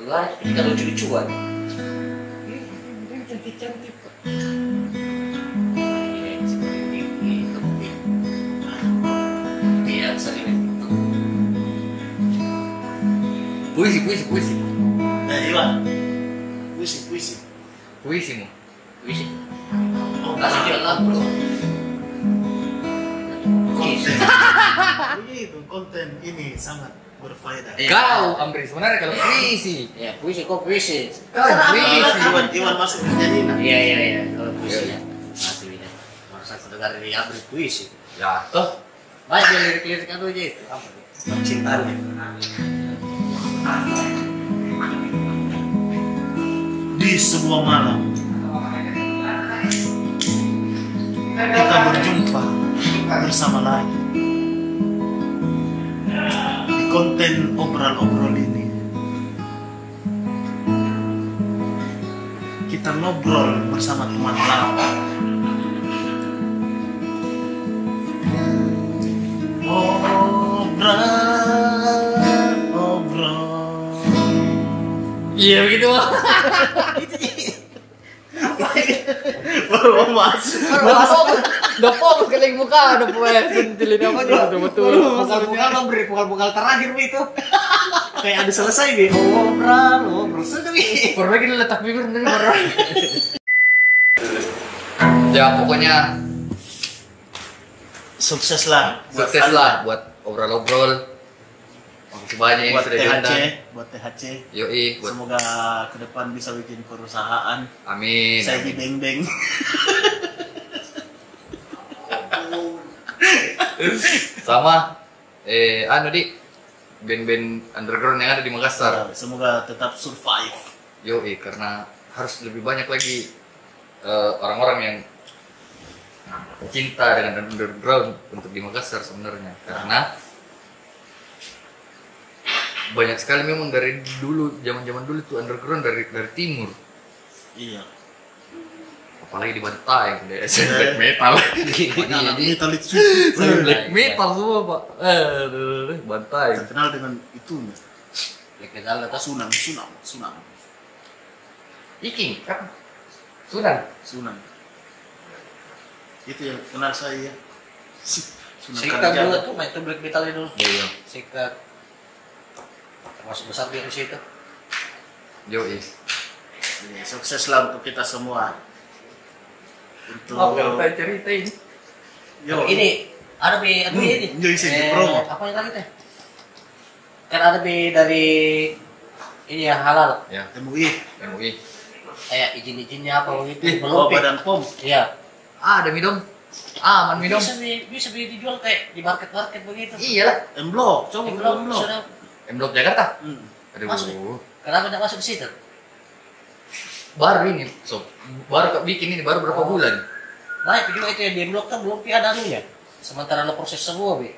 [SPEAKER 2] Gua kita lucu-lucuan. Iya, Cantik-cantik. Ini seperti ini, ini, Iya, sering itu.
[SPEAKER 3] Puisi, puisi, puisi.
[SPEAKER 1] Nah, Iwan, puisi, puisi.
[SPEAKER 3] Puisi mu.
[SPEAKER 2] Wis,
[SPEAKER 1] Oh,
[SPEAKER 2] langsung
[SPEAKER 1] nah,
[SPEAKER 2] jalan bro.
[SPEAKER 1] konten. Begitu, konten Eh, ini sangat berfaedah.
[SPEAKER 2] Iya.
[SPEAKER 3] Kau, Amri, sebenarnya kalau puisi.
[SPEAKER 2] Ya, puisi kok puisi.
[SPEAKER 3] Kau
[SPEAKER 1] Iwan,
[SPEAKER 3] puisi.
[SPEAKER 1] Iwan, Iwan masuk kerja Nina.
[SPEAKER 2] Iya, iya, iya. Kalau puisi ya. Masih ya. Masa aku dengar dari Abri puisi.
[SPEAKER 3] Ya, toh.
[SPEAKER 2] Banyak dia lirik-lirik itu aja itu. Apa dia?
[SPEAKER 1] Nah, Cinta Di sebuah malam Kita berjumpa bersama lagi Di konten obrol-obrol ini Kita ngobrol bersama teman lama Obrol, obrol
[SPEAKER 3] Iya begitu.
[SPEAKER 1] baru mau masuk
[SPEAKER 3] Udah fokus ke link muka, udah fokus centilin apa aja betul-betul.
[SPEAKER 2] Pukal-pukal memberi pukal-pukal terakhir Bi, itu.
[SPEAKER 4] Kayak ada selesai deh.
[SPEAKER 2] Obral, obral. Sudah bi.
[SPEAKER 3] Perbaiki letak bibir nanti marah. ya pokoknya
[SPEAKER 1] sukses lah buat
[SPEAKER 3] sukses lah buat obrol-obrol. Makasih banyak yang
[SPEAKER 1] buat
[SPEAKER 3] sudah
[SPEAKER 1] THC
[SPEAKER 3] diundang.
[SPEAKER 1] buat THC
[SPEAKER 3] Yoi, buat
[SPEAKER 1] semoga ke depan bisa bikin perusahaan
[SPEAKER 3] amin.
[SPEAKER 1] saya di beng beng
[SPEAKER 3] Sama eh anu di band-band underground yang ada di Makassar.
[SPEAKER 1] semoga tetap survive
[SPEAKER 3] Yoi, karena harus lebih banyak lagi eh, orang-orang yang cinta dengan underground untuk di Makassar sebenarnya karena banyak sekali memang dari dulu zaman-zaman dulu tuh underground dari dari timur
[SPEAKER 1] iya
[SPEAKER 3] apalagi di Bantai dari black metal Iya.
[SPEAKER 1] Anak-anak
[SPEAKER 3] Jadi,
[SPEAKER 1] metal itu
[SPEAKER 3] black metal semua pak eh Bantai
[SPEAKER 1] terkenal dengan itunya
[SPEAKER 2] Lihat dalam atas.
[SPEAKER 1] sunang sunang sunang
[SPEAKER 3] Iking kan Sunan
[SPEAKER 1] sunang itu yang kenal saya ya sunang
[SPEAKER 2] Sikat
[SPEAKER 1] Kalijaga.
[SPEAKER 2] dulu tuh, main tuh black metal dulu.
[SPEAKER 3] Iya.
[SPEAKER 2] Sikat. Termasuk besar dia di situ.
[SPEAKER 1] Jadi,
[SPEAKER 3] Yoi
[SPEAKER 1] Iya, sukses lah untuk kita semua untuk
[SPEAKER 3] Maaf kalau saya ceritain
[SPEAKER 1] Yo.
[SPEAKER 2] ini ada bi ada
[SPEAKER 1] Hmm,
[SPEAKER 2] bi ini. Eh,
[SPEAKER 1] iya, isi di promo.
[SPEAKER 2] Apa yang tadi teh? Kan ada bi dari ini ya halal.
[SPEAKER 3] ya
[SPEAKER 1] MUI
[SPEAKER 3] MUI
[SPEAKER 2] Kayak izin-izinnya apa
[SPEAKER 1] Ih, oh,
[SPEAKER 2] begitu
[SPEAKER 1] bawa
[SPEAKER 2] belum. Bi.
[SPEAKER 1] badan pom
[SPEAKER 2] Iya.
[SPEAKER 3] Ah, ada minum. Ah, man minum.
[SPEAKER 2] Bisa bi bisa bi dijual kayak di market-market begitu.
[SPEAKER 3] Iyalah,
[SPEAKER 1] emblok coba
[SPEAKER 2] Di
[SPEAKER 1] belum
[SPEAKER 2] blok,
[SPEAKER 1] emblok
[SPEAKER 2] sudah.
[SPEAKER 3] M Block Jakarta.
[SPEAKER 1] Hmm.
[SPEAKER 3] Aduh.
[SPEAKER 2] Masuk. Kenapa tidak masuk ke situ?
[SPEAKER 3] Baru ini, sob. Baru ke- bikin ini baru berapa
[SPEAKER 2] Oh.
[SPEAKER 3] bulan?
[SPEAKER 2] Baik, juga itu yang di blok kan belum pi ada anunya. Sementara lo proses semua, Bi.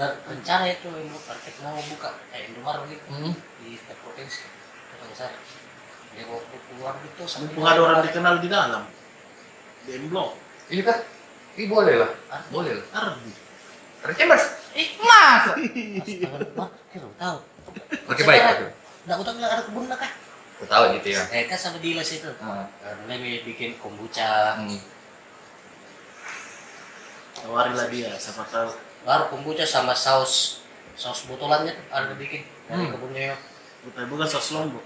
[SPEAKER 2] Dan rencana itu yang mau market mau buka kayak Indomaret gitu
[SPEAKER 3] Hmm.
[SPEAKER 2] di setiap provinsi. Kota besar. Dia mau keluar gitu sampai
[SPEAKER 1] mumpung ada orang dikenal di dalam di emblok
[SPEAKER 3] Ini kan? Ini boleh lah.
[SPEAKER 2] Ah.
[SPEAKER 3] Boleh lah.
[SPEAKER 1] Ardi
[SPEAKER 3] Ada Chambers. Ih, masa?
[SPEAKER 2] Wah, kira tahu.
[SPEAKER 3] Oke, baik.
[SPEAKER 2] Sekarang, Nggak utang bilang ada kebun lah kah?
[SPEAKER 3] Aku tahu gitu ya.
[SPEAKER 2] Eh kan sama Dilas itu.
[SPEAKER 3] Ah.
[SPEAKER 2] Lebih bikin kombucha.
[SPEAKER 3] Hmm.
[SPEAKER 1] tawarilah dia siapa tahu
[SPEAKER 2] Baru kombucha sama saus saus botolannya tuh ada bikin dari
[SPEAKER 3] Hmm.
[SPEAKER 2] kebunnya.
[SPEAKER 1] bukan bukan sos lombok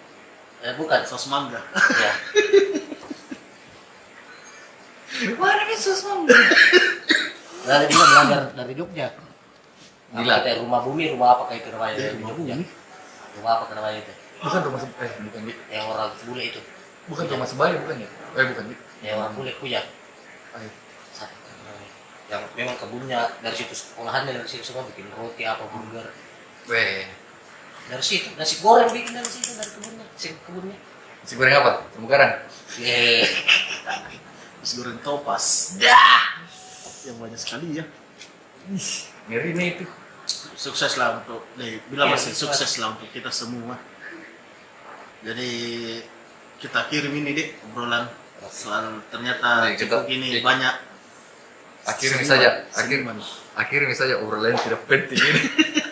[SPEAKER 2] Eh bukan.
[SPEAKER 1] sos mangga
[SPEAKER 2] Ya.
[SPEAKER 3] Mana bisa semua?
[SPEAKER 2] Dari dia belajar dari Jogja.
[SPEAKER 3] Gila.
[SPEAKER 2] Gila. Kita rumah bumi, rumah apa kayak itu namanya
[SPEAKER 1] Iya,
[SPEAKER 2] dari
[SPEAKER 1] rumah
[SPEAKER 2] Jogja.
[SPEAKER 1] bumi.
[SPEAKER 2] Rumah apa namanya itu?
[SPEAKER 3] Bukan rumah sebaya, eh bukan Di.
[SPEAKER 2] Yang orang bule itu.
[SPEAKER 3] Bukan rumah sebaya, bukan ya? Eh bukan Di.
[SPEAKER 2] Yang orang bule punya. Ayo, satu yang memang kebunnya dari situ olahannya dari situ semua bikin roti apa burger
[SPEAKER 3] Weh,
[SPEAKER 2] dari situ nasi goreng bikin dari situ dari kebunnya si kebunnya Eh,
[SPEAKER 3] si goreng apa? Terumbu karang?
[SPEAKER 2] Yeay.
[SPEAKER 1] Terus goreng topas. Yang banyak sekali ya.
[SPEAKER 3] Ngeri nih itu.
[SPEAKER 1] Sukses lah untuk, nih, bilang
[SPEAKER 2] Iya,
[SPEAKER 1] masih
[SPEAKER 2] sukses.
[SPEAKER 1] sukses lah untuk kita semua. Jadi kita kirim ini deh obrolan soal ternyata
[SPEAKER 3] Nih,
[SPEAKER 1] cukup
[SPEAKER 3] kita-
[SPEAKER 1] ini
[SPEAKER 3] iya.
[SPEAKER 1] banyak
[SPEAKER 3] Akhirnya
[SPEAKER 1] seniman-
[SPEAKER 3] saja, akhir,
[SPEAKER 1] seniman.
[SPEAKER 3] akhirnya saja obrolan tidak penting ini.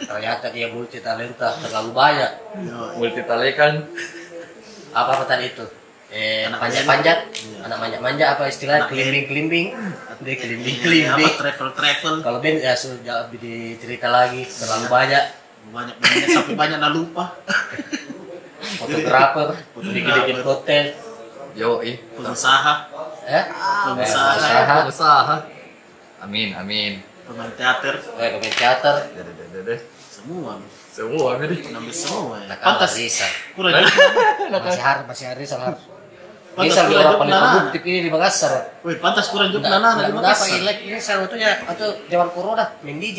[SPEAKER 2] ternyata dia multi talenta terlalu banyak
[SPEAKER 1] Yo,
[SPEAKER 3] Multitalekan.
[SPEAKER 2] apa apa tadi itu eh
[SPEAKER 1] Anak
[SPEAKER 2] panjat panjat
[SPEAKER 1] Iya.
[SPEAKER 2] anak panjat manja apa istilahnya
[SPEAKER 1] Anak
[SPEAKER 2] kelimbing kelimbing dia kelimbing
[SPEAKER 1] eh, apa
[SPEAKER 2] kelimbing
[SPEAKER 1] travel travel
[SPEAKER 2] kalau Ben ya sudah dicerita lagi terlalu banyak
[SPEAKER 1] banyak banyak sampai banyak nah lupa
[SPEAKER 2] fotografer
[SPEAKER 1] Fotografer.
[SPEAKER 2] dikit dikit hotel
[SPEAKER 3] Yo, ih.
[SPEAKER 1] pengusaha
[SPEAKER 2] eh
[SPEAKER 1] Pengusaha.
[SPEAKER 2] pengusaha
[SPEAKER 3] Usaha. Amin, amin.
[SPEAKER 1] pemain teater
[SPEAKER 2] eh pemain teater
[SPEAKER 3] Dadah, dadah, dadah.
[SPEAKER 1] semua
[SPEAKER 3] Semua kan jadi.
[SPEAKER 1] nambah semua ya.
[SPEAKER 2] Nakal
[SPEAKER 1] pantas
[SPEAKER 2] Risa.
[SPEAKER 1] kurang
[SPEAKER 2] masih harus masih harus Risa harus
[SPEAKER 1] Pantas
[SPEAKER 2] Risa
[SPEAKER 1] kurang
[SPEAKER 2] orang
[SPEAKER 1] hidup
[SPEAKER 2] paling
[SPEAKER 1] nana.
[SPEAKER 2] produktif ini Nah, di Makassar
[SPEAKER 1] Wih, pantas kurang juga
[SPEAKER 2] Nggak-
[SPEAKER 1] nana
[SPEAKER 2] nggak-
[SPEAKER 1] dari
[SPEAKER 2] nggak apa
[SPEAKER 1] Makassar.
[SPEAKER 2] ilek ini salah satunya atau zaman corona main DJ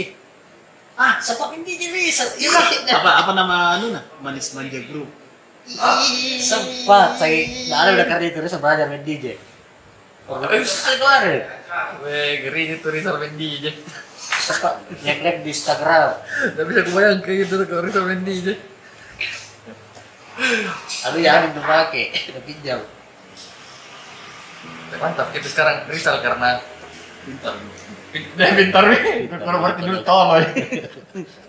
[SPEAKER 2] ah sempat main DJ Risa iya
[SPEAKER 1] Apa apa nama Nuna? Manis Manja Group.
[SPEAKER 2] sempat saya nggak ada udah kerja itu Risa belajar main DJ Orang itu ada
[SPEAKER 3] Weh, ngeri itu Rizal Mendy aja.
[SPEAKER 2] sempat nyek di Instagram
[SPEAKER 3] Gak bisa kebayang kayak gitu kalau Rizal Mendy aja.
[SPEAKER 2] aduh jangan dipakai udah pinjam
[SPEAKER 3] Mantap, itu sekarang Rizal karena
[SPEAKER 1] Pintar.
[SPEAKER 3] pintar pintar nih. Kalau berarti dulu tolol.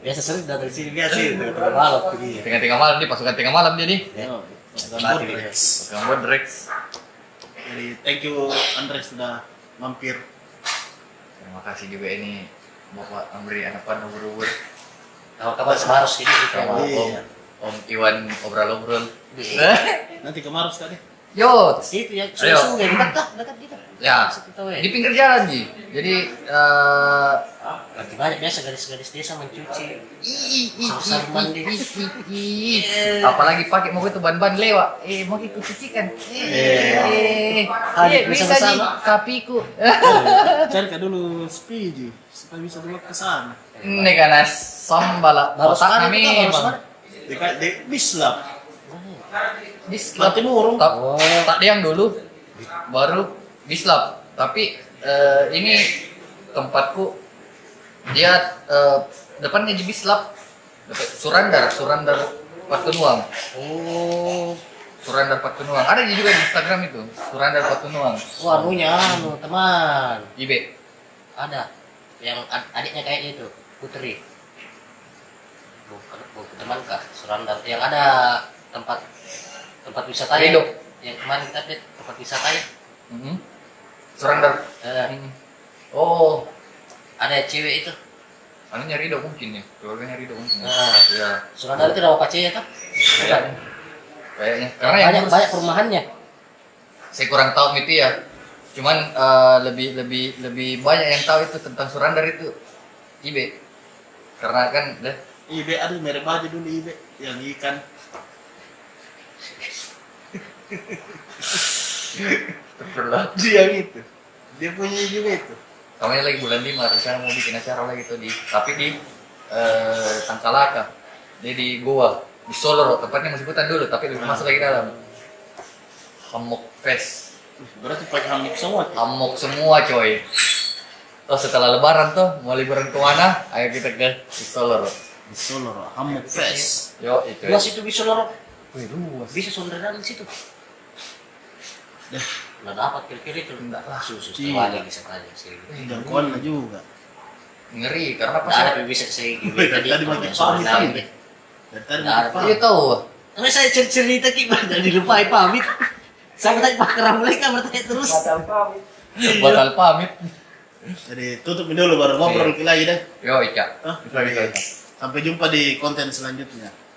[SPEAKER 2] biasa sering datang di sini biasa itu terlalu malam ke dia
[SPEAKER 3] Tengah-tengah malam nih, pasukan tengah malam dia nih.
[SPEAKER 2] Ya.
[SPEAKER 1] Oh, bukan
[SPEAKER 2] Mati.
[SPEAKER 1] Bodrex.
[SPEAKER 3] Pasukan buat Rex.
[SPEAKER 1] Jadi thank you Andres sudah mampir.
[SPEAKER 3] Terima kasih juga ini Bapak Amri Anapan Ubur-Ubur
[SPEAKER 2] Kalau kabar seharus ini gitu ya,
[SPEAKER 3] sama Om,
[SPEAKER 1] Iya.
[SPEAKER 3] Om Iwan Obrol-Obrol
[SPEAKER 2] Iya.
[SPEAKER 3] Eh?
[SPEAKER 1] Nanti ke Maros tadi.
[SPEAKER 3] Yot!
[SPEAKER 2] Itu yang
[SPEAKER 3] Ayo.
[SPEAKER 2] sungai dekat dah, dekat kita.
[SPEAKER 3] Ya,
[SPEAKER 2] Kita weh.
[SPEAKER 3] di pinggir jalan Ji Jadi, eh
[SPEAKER 2] Lagi banyak biasa gadis-gadis desa mencuci.
[SPEAKER 3] ih, ih,
[SPEAKER 2] Sasar mandi.
[SPEAKER 3] ih, ih, ih, ih. Apalagi pakai mau itu ban-ban lewat Eh, mau ikut cucikan
[SPEAKER 2] Iya.
[SPEAKER 3] Eh, eh,
[SPEAKER 2] Hadir
[SPEAKER 3] bisa Ji,
[SPEAKER 2] bersama-sama.
[SPEAKER 3] kapiku
[SPEAKER 1] Cari kak dulu speedy supaya bisa dulu ke sana.
[SPEAKER 3] Ini karena sambala
[SPEAKER 2] Baru
[SPEAKER 3] Otak
[SPEAKER 2] sekarang itu
[SPEAKER 3] kami
[SPEAKER 2] baru
[SPEAKER 3] Bang.
[SPEAKER 2] sekarang.
[SPEAKER 1] Dekat de Bislap.
[SPEAKER 3] Dislap
[SPEAKER 1] Mati murung.
[SPEAKER 3] tak
[SPEAKER 2] Oh.
[SPEAKER 3] tak ada yang dulu baru dislap tapi eh, ini tempatku dia eh, depannya di dislap Dekat surandar surandar patunuang
[SPEAKER 2] Oh,
[SPEAKER 3] surandar patunuang ada di juga di instagram itu surandar patunuang
[SPEAKER 2] oh anunya anu teman.
[SPEAKER 3] ibe
[SPEAKER 2] Ada yang ad- adiknya kayak itu, Putri. Bukan, bukan teman kah? Surandar. Yang ada tempat tempat wisata ya.
[SPEAKER 3] Rido.
[SPEAKER 2] Yang kemarin kita update tempat wisata ya.
[SPEAKER 3] Mhm. surandar
[SPEAKER 2] Eh,
[SPEAKER 3] Mhm. oh
[SPEAKER 2] ada cewek itu.
[SPEAKER 3] anu nyari Rido mungkin ya keluarganya Rido mungkin ya
[SPEAKER 2] Ah.
[SPEAKER 3] Ya,
[SPEAKER 2] Surandar itu nama pacarnya kan?
[SPEAKER 3] kayaknya kayaknya karena yang
[SPEAKER 2] Banyak
[SPEAKER 3] ngurus-
[SPEAKER 2] banyak perumahannya.
[SPEAKER 3] saya kurang tahu itu ya cuman eh, lebih lebih lebih banyak yang tahu itu tentang Surandar itu Ibe karena kan deh
[SPEAKER 1] Ibe Iya, aduh merek baju dulu Ibe yang ikan.
[SPEAKER 3] terperlah
[SPEAKER 1] Dia yang itu. Dia punya juga itu.
[SPEAKER 3] Kamarnya lagi bulan 5 rencana mau bikin acara lagi tuh di tapi di eh, Tangkalaka dia di Goa di Solo tempatnya masih hutan dulu tapi lebih masuk lagi dalam hammock fest
[SPEAKER 1] Berarti pakai hamuk semua. tuh.
[SPEAKER 3] hammock semua coy Tuh setelah lebaran tuh mau liburan kemana ayo kita ke di Solo
[SPEAKER 1] Di Solo hamuk fest.
[SPEAKER 3] yo itu
[SPEAKER 2] Luas itu bisa lorok,
[SPEAKER 3] Wih, luas.
[SPEAKER 2] bisa sonderan di situ.
[SPEAKER 1] Dah.
[SPEAKER 2] Nggak dapat kira-kira itu.
[SPEAKER 3] Enggak lah.
[SPEAKER 2] Susu
[SPEAKER 1] Iya.
[SPEAKER 2] terbanyak bisa tanya sih.
[SPEAKER 1] Dan kawan juga.
[SPEAKER 3] Ngeri karena
[SPEAKER 2] Nggak
[SPEAKER 3] pas
[SPEAKER 2] ada yang bisa saya gitu
[SPEAKER 1] Wih,
[SPEAKER 2] tadi.
[SPEAKER 1] tadi
[SPEAKER 2] kalau
[SPEAKER 1] makin
[SPEAKER 2] yang sonderan
[SPEAKER 1] pahit
[SPEAKER 2] gitu.
[SPEAKER 1] Dan tadi
[SPEAKER 2] Nggak ada
[SPEAKER 1] lupa.
[SPEAKER 3] Iya tahu.
[SPEAKER 2] Tapi saya cer- cerita kibar dan dilupai pamit. Saya bertanya Pak Keram mereka bertanya terus.
[SPEAKER 3] Batal pamit.
[SPEAKER 1] Jadi tutupin dulu baru ngobrol lagi deh.
[SPEAKER 3] Yo Ica.
[SPEAKER 1] Hah?
[SPEAKER 3] Bisa, bisa, bisa.
[SPEAKER 1] Sampai jumpa di konten selanjutnya.